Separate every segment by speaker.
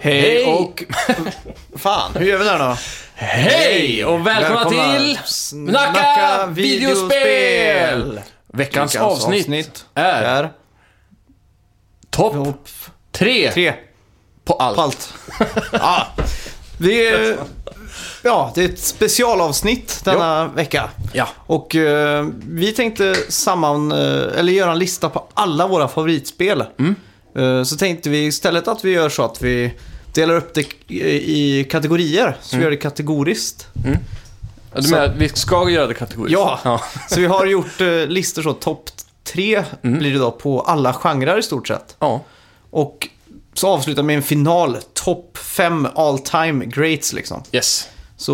Speaker 1: Hej, och...
Speaker 2: Fan, hur gör vi där då?
Speaker 1: Hej och välkomna,
Speaker 2: Välkomna.
Speaker 1: till Snacka,
Speaker 2: Snacka
Speaker 1: videospel!
Speaker 2: videospel!
Speaker 1: Veckans, avsnitt, är,
Speaker 2: är...
Speaker 1: topp tre
Speaker 2: Tre.
Speaker 1: på allt.
Speaker 2: Palt. ja. Det är, ja, det är ett specialavsnitt denna vecka.
Speaker 1: Ja.
Speaker 2: Och eh, vi tänkte samman, eh, eller göra en lista på alla våra favoritspel.
Speaker 1: Mm.
Speaker 2: Eh, så tänkte vi istället att vi gör så att vi delar upp det i kategorier. Så
Speaker 1: Mm.
Speaker 2: vi gör det kategoriskt.
Speaker 1: Du menar, att vi ska göra det kategoriskt?
Speaker 2: Ja. Mm. Så vi har gjort eh, listor så, topp tre blir det då på alla genrer i stort sett.
Speaker 1: ja.
Speaker 2: Och så avslutar med en final, topp fem all time greats liksom.
Speaker 1: Yes.
Speaker 2: Så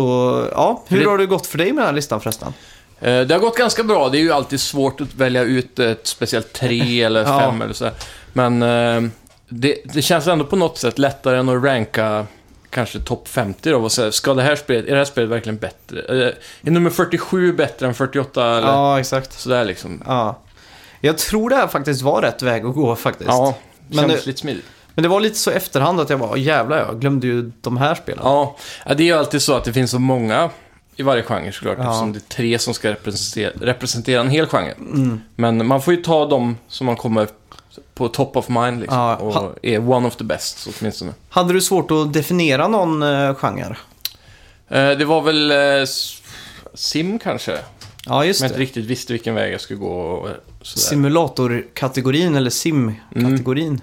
Speaker 2: ja, hur
Speaker 1: Det-
Speaker 2: har det gått för dig med den här listan förresten?
Speaker 1: Eh, Det har gått ganska bra. Det är ju alltid svårt att välja ut ett speciellt tre eller
Speaker 2: Ja.
Speaker 1: fem eller så. här. Men eh, det, det känns ändå på något sätt lättare än att ranka kanske topp 50 då. Och säga, ska det här spelet, är det här spelet verkligen bättre? Eh, Är nummer 47 bättre än 48 eller
Speaker 2: Ja, exakt.
Speaker 1: sådär liksom?
Speaker 2: Ja. Jag tror det här faktiskt var rätt väg att gå faktiskt.
Speaker 1: Ja,
Speaker 2: Men
Speaker 1: känns
Speaker 2: det-
Speaker 1: lite smidigt.
Speaker 2: Men det var lite så i efterhand att jag var jävlar jag glömde ju de här spelen.
Speaker 1: Ja, ja, det är ju alltid så att det finns så många i varje genre såklart.
Speaker 2: Ja.
Speaker 1: Eftersom det är tre som ska representera, representera en hel genre.
Speaker 2: Mm.
Speaker 1: Men man får ju ta dem som man kommer på top of mind liksom.
Speaker 2: Ja, ha-
Speaker 1: Och är one of the best så åtminstone.
Speaker 2: Hade du svårt att definiera någon uh, genre?
Speaker 1: Eh, Det var väl eh, s- Sim kanske?
Speaker 2: Ja, just
Speaker 1: Som jag inte
Speaker 2: det.
Speaker 1: riktigt visste vilken väg jag skulle gå och eh, sådär.
Speaker 2: Simulatorkategorin eller simkategorin.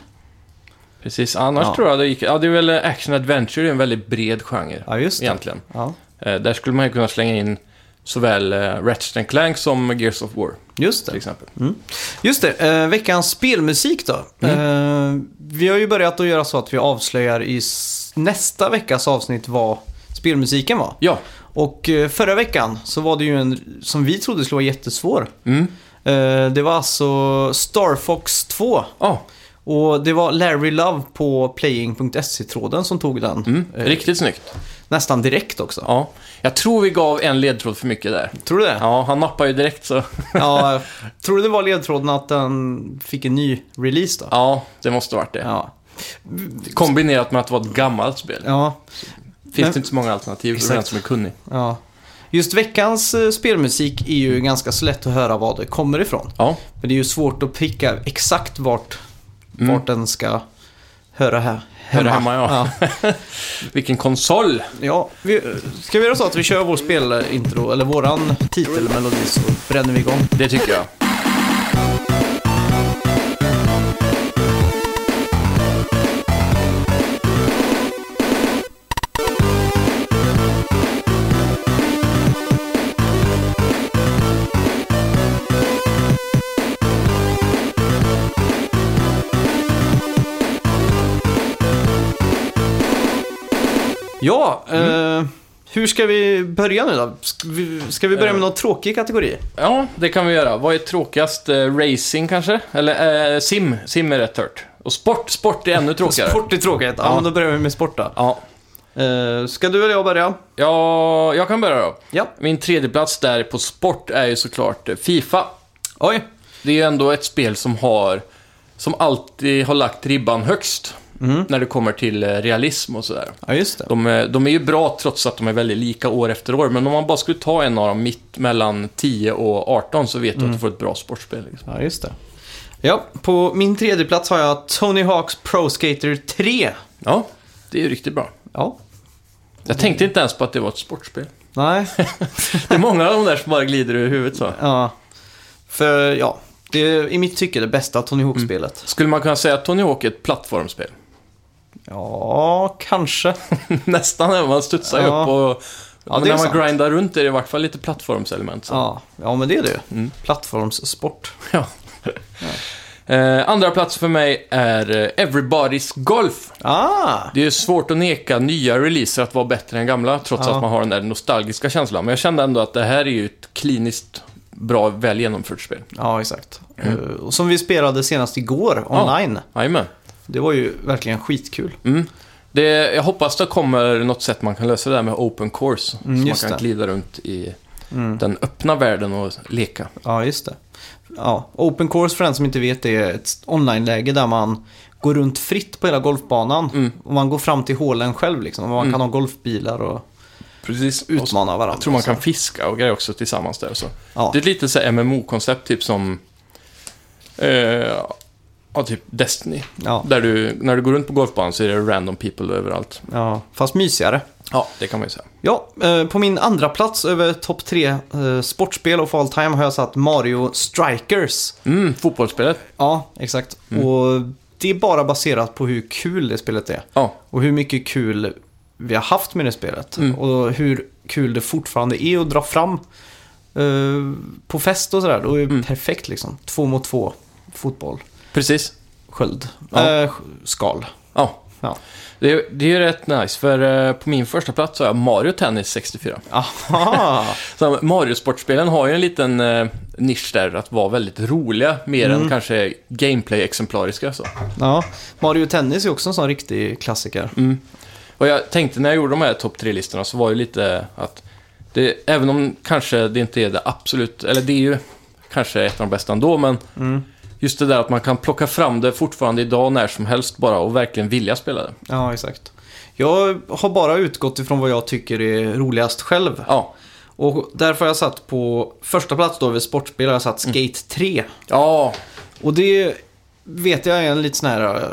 Speaker 1: Precis, annars
Speaker 2: Ja.
Speaker 1: tror jag det gick... Ja, det är väl eh, action adventure är en väldigt bred genre.
Speaker 2: Ja, just det.
Speaker 1: Egentligen.
Speaker 2: Ja,
Speaker 1: Eh, Där skulle man ju kunna slänga in såväl eh, Ratchet and Clank som Gears of War
Speaker 2: just
Speaker 1: till
Speaker 2: det. Mm.
Speaker 1: exempel.
Speaker 2: Just det, eh, veckans spelmusik då.
Speaker 1: Mm.
Speaker 2: Eh, vi har ju börjat att göra så att vi avslöjar i s- nästa veckas avsnitt vad spelmusiken var.
Speaker 1: Ja,
Speaker 2: Och eh, förra veckan så var det ju en som vi trodde skulle vara jättesvår.
Speaker 1: Mm.
Speaker 2: Eh, det var alltså Star Fox 2.
Speaker 1: ja
Speaker 2: Och det var Larry Love på playing.se-tråden som tog den. Eh,
Speaker 1: riktigt snyggt.
Speaker 2: Nästan direkt också.
Speaker 1: Mm. Ja. Jag tror vi gav en ledtråd för mycket där.
Speaker 2: Tror du det?
Speaker 1: Ja, han nappar ju direkt så.
Speaker 2: Ja, tror du det var ledtråden att den fick en ny release då?
Speaker 1: Ja, det måste ha varit det.
Speaker 2: Ja.
Speaker 1: Kombinerat med att det var ett gammalt spel.
Speaker 2: Ja,
Speaker 1: Finns
Speaker 2: Men-
Speaker 1: det inte så många alternativ, så är det den
Speaker 2: Exakt.
Speaker 1: som är kunnig.
Speaker 2: ja. Just veckans eh, spelmusik är ju ganska så lätt att höra var det kommer ifrån.
Speaker 1: Ja,
Speaker 2: Men det är ju svårt att pricka exakt vart, vart den ska höra här.
Speaker 1: Mm. Höra hemma, ja.
Speaker 2: ja.
Speaker 1: vilken konsol!
Speaker 2: Ja, vi, ska vi göra så att vi kör vår spelintro, eller våran titelmelodi, så bränner vi igång.
Speaker 1: Det tycker jag.
Speaker 2: Ja,
Speaker 1: Mm.
Speaker 2: eh, hur ska vi börja nu då? Ska vi, ska vi börja
Speaker 1: Eh.
Speaker 2: med någon tråkig kategori?
Speaker 1: Ja, det kan vi göra. Vad är tråkigast? Eh, Racing kanske? Eller eh, sim? Sim är rätt hört. Och sport? Sport är ännu tråkigare.
Speaker 2: Sport är tråkigt. Ja,
Speaker 1: Ja.
Speaker 2: men då börjar vi med sport då.
Speaker 1: Ja.
Speaker 2: Eh, ska du eller jag börja?
Speaker 1: ja, jag kan börja då.
Speaker 2: Ja.
Speaker 1: Min tredje plats där på sport är ju såklart eh, Fifa.
Speaker 2: Oj.
Speaker 1: Det är ju ändå ett spel som har, som alltid har lagt ribban högst när det kommer till eh, realism och sådär.
Speaker 2: Ja, just det.
Speaker 1: De, är- de är ju bra trots att de är väldigt lika år efter år, men om man bara skulle ta en av dem mitt mellan 10 och 18 så vet du att du får ett bra sportspel. Liksom.
Speaker 2: Ja, just det. Ja, på min tredje plats har jag Tony Hawks Pro Skater 3.
Speaker 1: Ja, det är ju riktigt bra.
Speaker 2: Ja.
Speaker 1: Jag tänkte inte ens på att det var ett sportspel.
Speaker 2: Nej.
Speaker 1: Det är många av de där som bara glider ur huvudet så.
Speaker 2: ja. För, ja. Det är i mitt tycke det bästa Tony Hawk-spelet.
Speaker 1: Skulle man kunna säga att Tony Hawk är ett plattformsspel?
Speaker 2: Ja, kanske.
Speaker 1: Nästan, även om man studsar ju
Speaker 2: Ja.
Speaker 1: upp och...
Speaker 2: Ja,
Speaker 1: men
Speaker 2: det är
Speaker 1: när man
Speaker 2: sant.
Speaker 1: grindar runt är det i vart fall lite plattformselement. Så.
Speaker 2: Ja, ja men det är det ju. Plattformssport.
Speaker 1: Ja. Eh, andra plats för mig är eh, Everybody's Golf.
Speaker 2: Ah!
Speaker 1: Det är svårt att neka nya releaser att vara bättre än gamla, trots
Speaker 2: Ja.
Speaker 1: att man har den där nostalgiska känslan. Men jag kände ändå att det här är ju ett kliniskt bra, väl genomfört spel.
Speaker 2: Ja, exakt. Eh, och som vi spelade senast igår online.
Speaker 1: Jajamän. Mm.
Speaker 2: Det var ju verkligen skitkul.
Speaker 1: Det, jag hoppas det kommer något sätt man kan lösa det där med open course. så man
Speaker 2: Mm, just
Speaker 1: kan
Speaker 2: det. Mm.
Speaker 1: glida runt i den öppna världen och leka.
Speaker 2: Ja, just det. ja, open course för den som inte vet det är ett online-läge där man går runt fritt på hela golfbanan.
Speaker 1: Mm.
Speaker 2: Och man går fram till hålen själv liksom. Och man kan
Speaker 1: Mm.
Speaker 2: ha golfbilar och
Speaker 1: Precis. Och så-
Speaker 2: utmana varandra.
Speaker 1: Jag tror man kan fiska och grejer också tillsammans där. och Så.
Speaker 2: Ja.
Speaker 1: Det är lite så här MMO-koncept, typ som... Eh, ja, typ Destiny.
Speaker 2: Ja,
Speaker 1: Där du, när du går runt på golfbanan så är det random people överallt.
Speaker 2: ja, fast mysigare.
Speaker 1: Ja, det kan man ju säga.
Speaker 2: Ja, eh, på min andra plats över topp tre eh, sportspel of all time har jag satt Mario Strikers.
Speaker 1: Mm, fotbollsspelet.
Speaker 2: Ja, exakt.
Speaker 1: Mm.
Speaker 2: Och det är bara baserat på hur kul det spelet är.
Speaker 1: Ja,
Speaker 2: Och hur mycket kul vi har haft med det spelet. Och hur kul det fortfarande är att dra fram eh, på fest och sådär. Då är det perfekt liksom. Två mot två fotboll.
Speaker 1: precis.
Speaker 2: Sköld.
Speaker 1: Ja.
Speaker 2: Eh, skal.
Speaker 1: Ja.
Speaker 2: Ja.
Speaker 1: Det, är- det är ju rätt nice, för eh, på min första plats har jag Mario Tennis 64.
Speaker 2: Aha!
Speaker 1: Så Mario-sportspelen har ju en liten eh, nisch där, att vara väldigt roliga, mer
Speaker 2: Mm.
Speaker 1: än kanske gameplay-exemplariska. Så.
Speaker 2: ja. Mario Tennis är också en sån riktig klassiker.
Speaker 1: Och jag tänkte när jag gjorde de här topp tre listorna så var det lite att det, även om kanske det inte är det absolut, eller det är ju kanske ett av de bästa ändå, men just det där att man kan plocka fram det fortfarande idag när som helst bara och verkligen vilja spela det.
Speaker 2: Ja, exakt. Jag har bara utgått ifrån vad jag tycker är roligast själv.
Speaker 1: Ja,
Speaker 2: Och därför har jag satt på första plats då vid sportspel har jag satt Skate 3.
Speaker 1: ja,
Speaker 2: Och det vet jag är en lite sån här eh,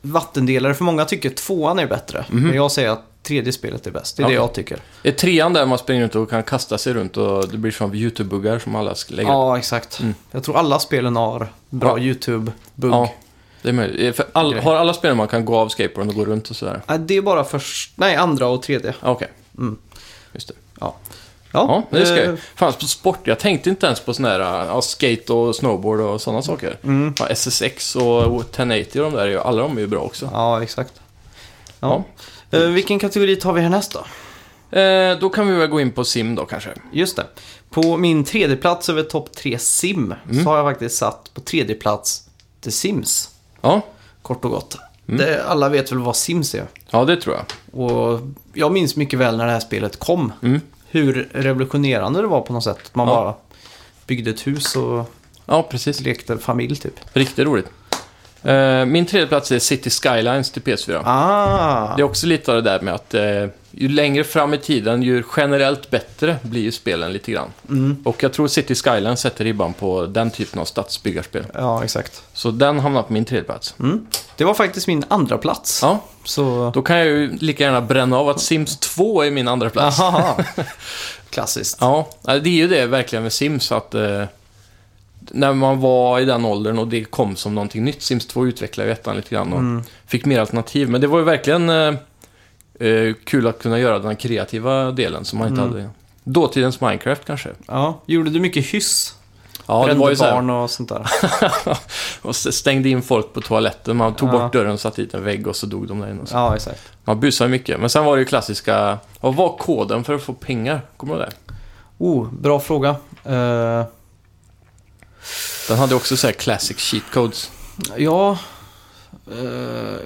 Speaker 2: vattendelare för många tycker tvåan är bättre. Men jag säger att tredje spelet är bäst. Det är
Speaker 1: Mhm. Okej.
Speaker 2: det jag tycker.
Speaker 1: är trean där man springer runt och kan kasta sig runt och det blir som YouTube-buggar som alla ska lägga
Speaker 2: Ja, exakt. Jag tror alla spelen har bra
Speaker 1: Mm. Ja.
Speaker 2: YouTube-bugg.
Speaker 1: Ja, det är möjligt. För all, har alla spelare man kan gå av skateboarden och gå runt och sådär?
Speaker 2: Nej, Det är bara först... Nej, andra och tredje.
Speaker 1: Ja, Okej.
Speaker 2: Mm.
Speaker 1: Just det.
Speaker 2: Ja,
Speaker 1: Ja, det ska
Speaker 2: eh,
Speaker 1: jag. Fan, på sport, jag tänkte inte ens på sån här ja, skate och snowboard och sådana saker.
Speaker 2: Mm.
Speaker 1: Ja, SSX och 1080 och de där, är ju- alla de är ju bra också.
Speaker 2: Ja, exakt. Ja. Eh, vilken kategori tar vi härnäst då?
Speaker 1: Eh, då kan vi väl gå in på sim då kanske.
Speaker 2: Just det. På min tredje plats över topp tre sim
Speaker 1: Mm.
Speaker 2: så har jag faktiskt satt på tredje plats The Sims.
Speaker 1: Ja,
Speaker 2: Kort och gott.
Speaker 1: Mm.
Speaker 2: Det, alla vet väl vad Sims är.
Speaker 1: ja det tror jag.
Speaker 2: Och jag minns mycket väl när det här spelet kom. Hur revolutionerande det var på något sätt. Man
Speaker 1: Mm. Ja.
Speaker 2: bara byggde ett hus och
Speaker 1: Ja, precis.
Speaker 2: lekte familj typ.
Speaker 1: Riktigt roligt. Eh, min tredje plats är City Skylines till PS4.
Speaker 2: Ah,
Speaker 1: Det är också lite av det där med att eh, ju längre fram i tiden, ju generellt bättre blir ju spelen lite grann.
Speaker 2: Mm.
Speaker 1: Och jag tror City Skylines sätter ribban på den typen av stadsbyggarspel.
Speaker 2: ja exakt.
Speaker 1: Så den hamnar på min tredje plats.
Speaker 2: Mm. Det var faktiskt min andra plats.
Speaker 1: Ja,
Speaker 2: Så...
Speaker 1: då kan jag ju lika gärna bränna av att Sims 2 är min andra plats.
Speaker 2: Aha. Klassiskt.
Speaker 1: Ja, nej, det är ju det verkligen med Sims att eh, när man var i den åldern och det kom som någonting nytt. Sims 2 utvecklade ju ettan lite grann och fick mer alternativ. Men det var ju verkligen eh, eh, kul att kunna göra den kreativa delen som man inte hade. Dåtidens Minecraft kanske.
Speaker 2: Ja. Gjorde du mycket hyss?
Speaker 1: Ja, det
Speaker 2: Brände
Speaker 1: var ju så här,
Speaker 2: barn och sånt där.
Speaker 1: och s- stängde in folk på toaletten. Man tog
Speaker 2: Ja.
Speaker 1: bort dörren och satte dit en vägg och så dog de där inne. och så.
Speaker 2: Ja, exakt.
Speaker 1: Man busade mycket. Men sen var det ju klassiska, vad var koden för att få pengar? Kommer du ihåg det?
Speaker 2: Oh, bra fråga. Eh,
Speaker 1: Den hade också så här classic cheat codes.
Speaker 2: ja... eh,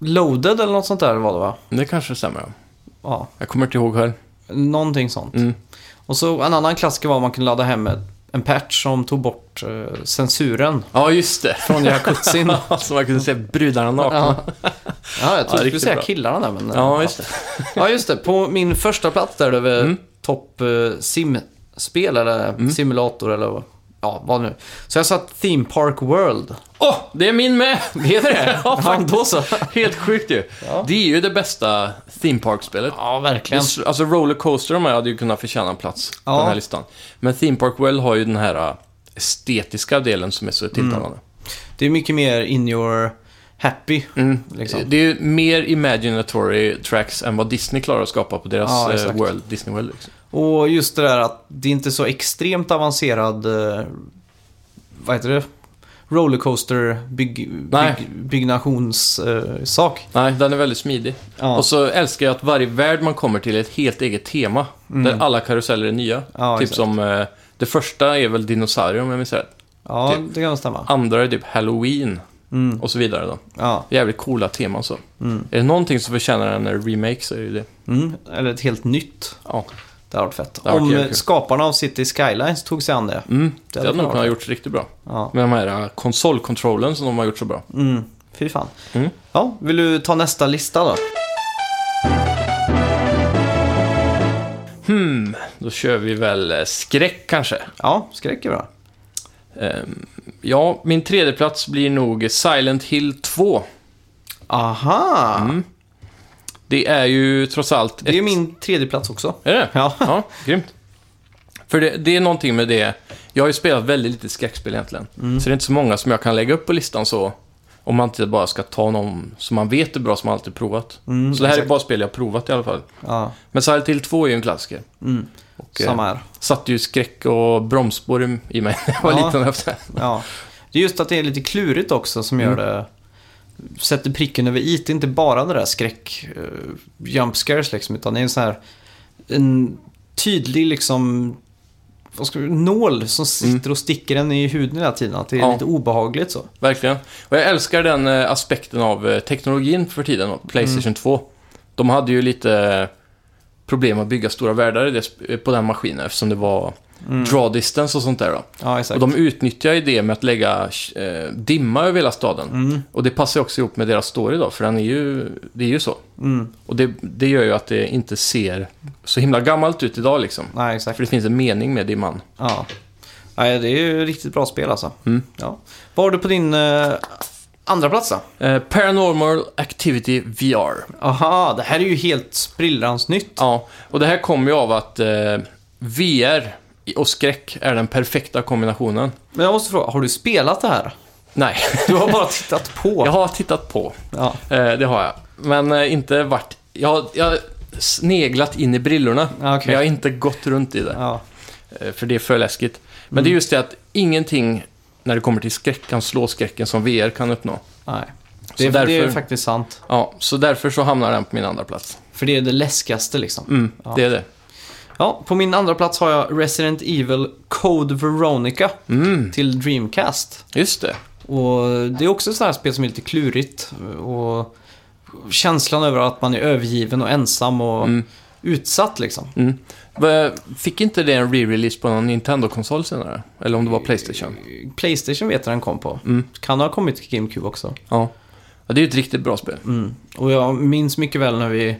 Speaker 2: loaded eller något sånt där var det va?
Speaker 1: Men Det kanske stämmer. ja.
Speaker 2: Ja,
Speaker 1: Jag kommer inte ihåg själv.
Speaker 2: någonting sånt.
Speaker 1: Mm.
Speaker 2: Och så en annan klassiker var att man kunde ladda hem ett- en patch som tog bort eh, censuren
Speaker 1: Ja, just det.
Speaker 2: från jakutsin. ja,
Speaker 1: Så man kunde se brudarna nakna.
Speaker 2: ja, jag trodde du skulle
Speaker 1: riktigt
Speaker 2: säga
Speaker 1: bra.
Speaker 2: killarna där men... eh,
Speaker 1: Ja, just det.
Speaker 2: Ja, just det. På min första plats där över
Speaker 1: Mm.
Speaker 2: topp eh, simspel eller simulator eller ja, vad nu. Så jag satt Theme Park World.
Speaker 1: Åh, det är min med!
Speaker 2: Det är det?
Speaker 1: Ja,
Speaker 2: ja, då så.
Speaker 1: Helt sjukt ju.
Speaker 2: Ja.
Speaker 1: Det är ju det bästa Theme Park-spelet.
Speaker 2: Ja, verkligen.
Speaker 1: Just- Alltså Rollercoaster de här hade ju kunnat förtjäna en plats på
Speaker 2: Ja.
Speaker 1: den här listan. Men Theme Park Well har ju den här äh, estetiska delen som är så tilltalande.
Speaker 2: Det är mycket mer in your happy.
Speaker 1: Mm.
Speaker 2: Liksom.
Speaker 1: Det är ju mer imaginatory tracks än vad Disney klarar att skapa på deras
Speaker 2: Ja,
Speaker 1: eh,
Speaker 2: exakt.
Speaker 1: world, Disney World. Liksom.
Speaker 2: Och just det där att det är inte så extremt avancerad, eh, vad heter det? Rollercoaster bygg,
Speaker 1: Nej.
Speaker 2: bygg, eh, byggnationssak.
Speaker 1: Nej, den är väldigt smidig.
Speaker 2: Ja.
Speaker 1: Och så älskar jag att varje värld man kommer till är ett helt eget tema. Där alla karuseller är nya.
Speaker 2: Mm. Ja,
Speaker 1: typ
Speaker 2: exakt.
Speaker 1: som, eh, det första är väl dinosaurier om jag minns rätt.
Speaker 2: ja,
Speaker 1: det-
Speaker 2: det kan nog stämma.
Speaker 1: Andra är typ halloween
Speaker 2: Mm.
Speaker 1: och så vidare då.
Speaker 2: Ja.
Speaker 1: Jävligt coola teman så. Är det någonting som förtjänar en remake så är det ju det.
Speaker 2: Mm. Eller ett helt nytt.
Speaker 1: Ja.
Speaker 2: Det hade varit fett.
Speaker 1: Det hade varit
Speaker 2: Om
Speaker 1: jävligt kul.
Speaker 2: skaparna av City Skylines tog sig an det.
Speaker 1: Mm. Det
Speaker 2: hade
Speaker 1: hade nog
Speaker 2: varit
Speaker 1: kunnat gjorts riktigt bra.
Speaker 2: Ja.
Speaker 1: Med de här eh, konsolkontrollen som de har gjort så bra.
Speaker 2: Mm. Fy fan.
Speaker 1: Mm.
Speaker 2: Ja, vill du ta nästa lista då?
Speaker 1: Hmm, då kör vi väl eh, skräck kanske.
Speaker 2: Ja, skräck är bra.
Speaker 1: Ehm, ja, min tredje plats blir nog Silent Hill 2.
Speaker 2: Aha!
Speaker 1: Det är ju trots allt...
Speaker 2: Det är
Speaker 1: Mm. ett-
Speaker 2: min tredje plats också.
Speaker 1: Är det?
Speaker 2: Ja.
Speaker 1: Ja, grymt. För det, det är någonting med det. Jag har ju spelat väldigt lite skräckspel egentligen.
Speaker 2: Mm.
Speaker 1: Så det är inte så många som jag kan lägga upp på listan så. Om man inte bara ska ta någon som man vet är bra som man alltid provat. så det här är
Speaker 2: Mm, exakt.
Speaker 1: bara spel jag har provat i alla fall.
Speaker 2: ja.
Speaker 1: Men Silent Hill 2 är ju en klassiker.
Speaker 2: Mm.
Speaker 1: Och, eh,
Speaker 2: Samma här.
Speaker 1: satte ju skräck och bromsspår i- i mig när jag var
Speaker 2: Ja.
Speaker 1: liten. Efter.
Speaker 2: Ja. Det är just att det är lite klurigt också som gör det... Sätter pricken över i. Det är inte bara det där skräck eh, jump scares liksom, utan det är en sån här... En tydlig liksom... Vad ska vi, nål som sitter och sticker en i huden hela tiden. Att det är
Speaker 1: Ja.
Speaker 2: lite obehagligt så.
Speaker 1: Verkligen. Och jag älskar den eh, aspekten av eh, teknologin för tiden, och Playstation
Speaker 2: Mm.
Speaker 1: 2. De hade ju lite eh, problem att bygga stora världar i det, sp- eh, på den maskinen eftersom det var draw distance och sånt där. Då.
Speaker 2: Ja, Mm. exakt.
Speaker 1: Och de utnyttjar ju det med att lägga eh, dimma över hela staden.
Speaker 2: Mm.
Speaker 1: Och det passar ju också ihop med deras story då, för den är ju, det är ju så.
Speaker 2: Mm.
Speaker 1: Och det, det gör ju att det inte ser så himla gammalt ut idag liksom.
Speaker 2: Nej, exakt.
Speaker 1: För det finns en mening med dimman.
Speaker 2: Ja. Nej, det är ju riktigt bra spel alltså. Ja. Vad har du på din eh, andra plats då?
Speaker 1: Eh, Paranormal Activity VR.
Speaker 2: Aha, det här är ju helt sprillans nytt.
Speaker 1: Ja, och det här kommer ju av att eh, VR och skräck är den perfekta kombinationen.
Speaker 2: Men jag måste fråga, har du spelat det här?
Speaker 1: Nej,
Speaker 2: Du har bara tittat på.
Speaker 1: jag har tittat på.
Speaker 2: Ja.
Speaker 1: Eh, det har jag. Men eh, inte varit... Jag har, jag har sneglat in i brillorna.
Speaker 2: Ja, Ah, okej.
Speaker 1: Men jag har inte gått runt i det.
Speaker 2: Ja.
Speaker 1: eh, För det är för läskigt. Men
Speaker 2: Mm.
Speaker 1: det är just det att ingenting när det kommer till skräck kan slå skräcken som VR kan uppnå.
Speaker 2: Nej.
Speaker 1: Så
Speaker 2: Det, är- det är
Speaker 1: därför-
Speaker 2: faktiskt sant.
Speaker 1: Ja, så därför så hamnar den på min andra plats.
Speaker 2: För det är det läskigaste liksom.
Speaker 1: Mm,
Speaker 2: Ja.
Speaker 1: Det är det.
Speaker 2: Ja, på min andra plats har jag Resident Evil Code Veronica
Speaker 1: Mm,
Speaker 2: till Dreamcast.
Speaker 1: just det.
Speaker 2: Och det är också ett sånt här spel som är lite klurigt. Och känslan över att man är övergiven och ensam och
Speaker 1: Mm.
Speaker 2: utsatt liksom.
Speaker 1: Mm. Va- Fick inte det en re-release på någon Nintendo-konsol senare? Eller om det var Playstation?
Speaker 2: Playstation vet jag den kom på.
Speaker 1: Mm.
Speaker 2: Kan ha kommit till GameCube också.
Speaker 1: Ja. ja det är ju ett riktigt bra spel.
Speaker 2: Mm. Och jag minns mycket väl när vi... eh,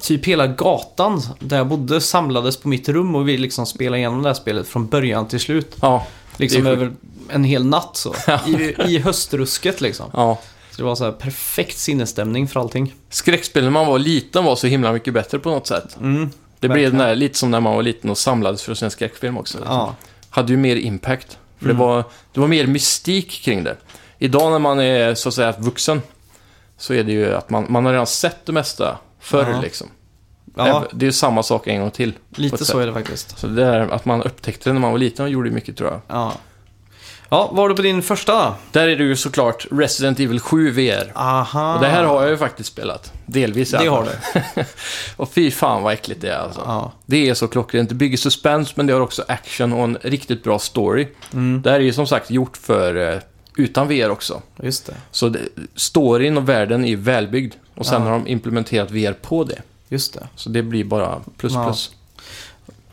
Speaker 2: Typ hela gatan där jag bodde samlades på mitt rum och vi liksom spelade igenom det här spelet från början till slut.
Speaker 1: Ja,
Speaker 2: Liksom
Speaker 1: Det är
Speaker 2: över en hel natt så. I, I höstrusket liksom.
Speaker 1: ja.
Speaker 2: Så det var så här perfekt sinnesstämning för allting.
Speaker 1: Skräckspel när man var liten var så himla mycket bättre på något sätt.
Speaker 2: Mm.
Speaker 1: Det blev
Speaker 2: Verkligen.
Speaker 1: den där, lite som när man var liten och samlades för att se en skräckfilm också.
Speaker 2: Ja. Mm.
Speaker 1: Hade ju mer impact. För det, var, det var mer mystik kring det. Idag när man är så att säga vuxen så är det ju att man, man har redan sett det mesta förr
Speaker 2: Ja.
Speaker 1: liksom.
Speaker 2: ja,
Speaker 1: Det är ju samma sak en gång till. på
Speaker 2: lite
Speaker 1: ett
Speaker 2: så
Speaker 1: sätt.
Speaker 2: är det faktiskt.
Speaker 1: Så det där att man upptäckte det när man var liten och gjorde mycket tror jag.
Speaker 2: Ja. Ja, vad har du på din första då?
Speaker 1: Där är det ju såklart Resident Evil 7 VR.
Speaker 2: Aha.
Speaker 1: Och det här har jag ju faktiskt spelat. Delvis i
Speaker 2: Ah. Det
Speaker 1: alla
Speaker 2: har
Speaker 1: fall. och fy fan vad äckligt det är alltså.
Speaker 2: Ja.
Speaker 1: Det är så klockrent. Det bygger suspense men det har också action och en riktigt bra story.
Speaker 2: Mm.
Speaker 1: Det här är ju som sagt gjort för eh, utan VR också.
Speaker 2: Just det.
Speaker 1: Så det, storyn och världen är ju välbyggd. Och sen
Speaker 2: Ja.
Speaker 1: har de implementerat VR på det.
Speaker 2: Just det.
Speaker 1: Så det blir bara plus
Speaker 2: Ja.
Speaker 1: plus.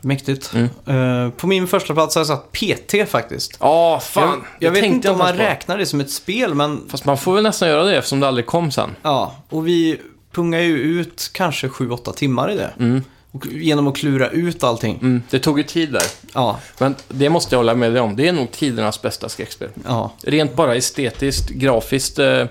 Speaker 2: Mäktigt.
Speaker 1: Mm.
Speaker 2: Eh, på min första plats har jag satt PT faktiskt.
Speaker 1: Ja, fan!
Speaker 2: jag jag vet
Speaker 1: tänkte
Speaker 2: inte om man
Speaker 1: ens på.
Speaker 2: räknar det som ett spel, men
Speaker 1: Fast man får väl nästan göra det eftersom det aldrig kom sen.
Speaker 2: ja. Och vi pungar ju ut kanske 7-8 timmar i det.
Speaker 1: Mm.
Speaker 2: Och, genom att klura ut allting.
Speaker 1: Mm. Det tog ju tid där.
Speaker 2: Ja,
Speaker 1: Men det måste jag hålla med dig om. Det är nog tidernas bästa skräckspel.
Speaker 2: ja.
Speaker 1: Rent bara estetiskt, grafiskt, eh,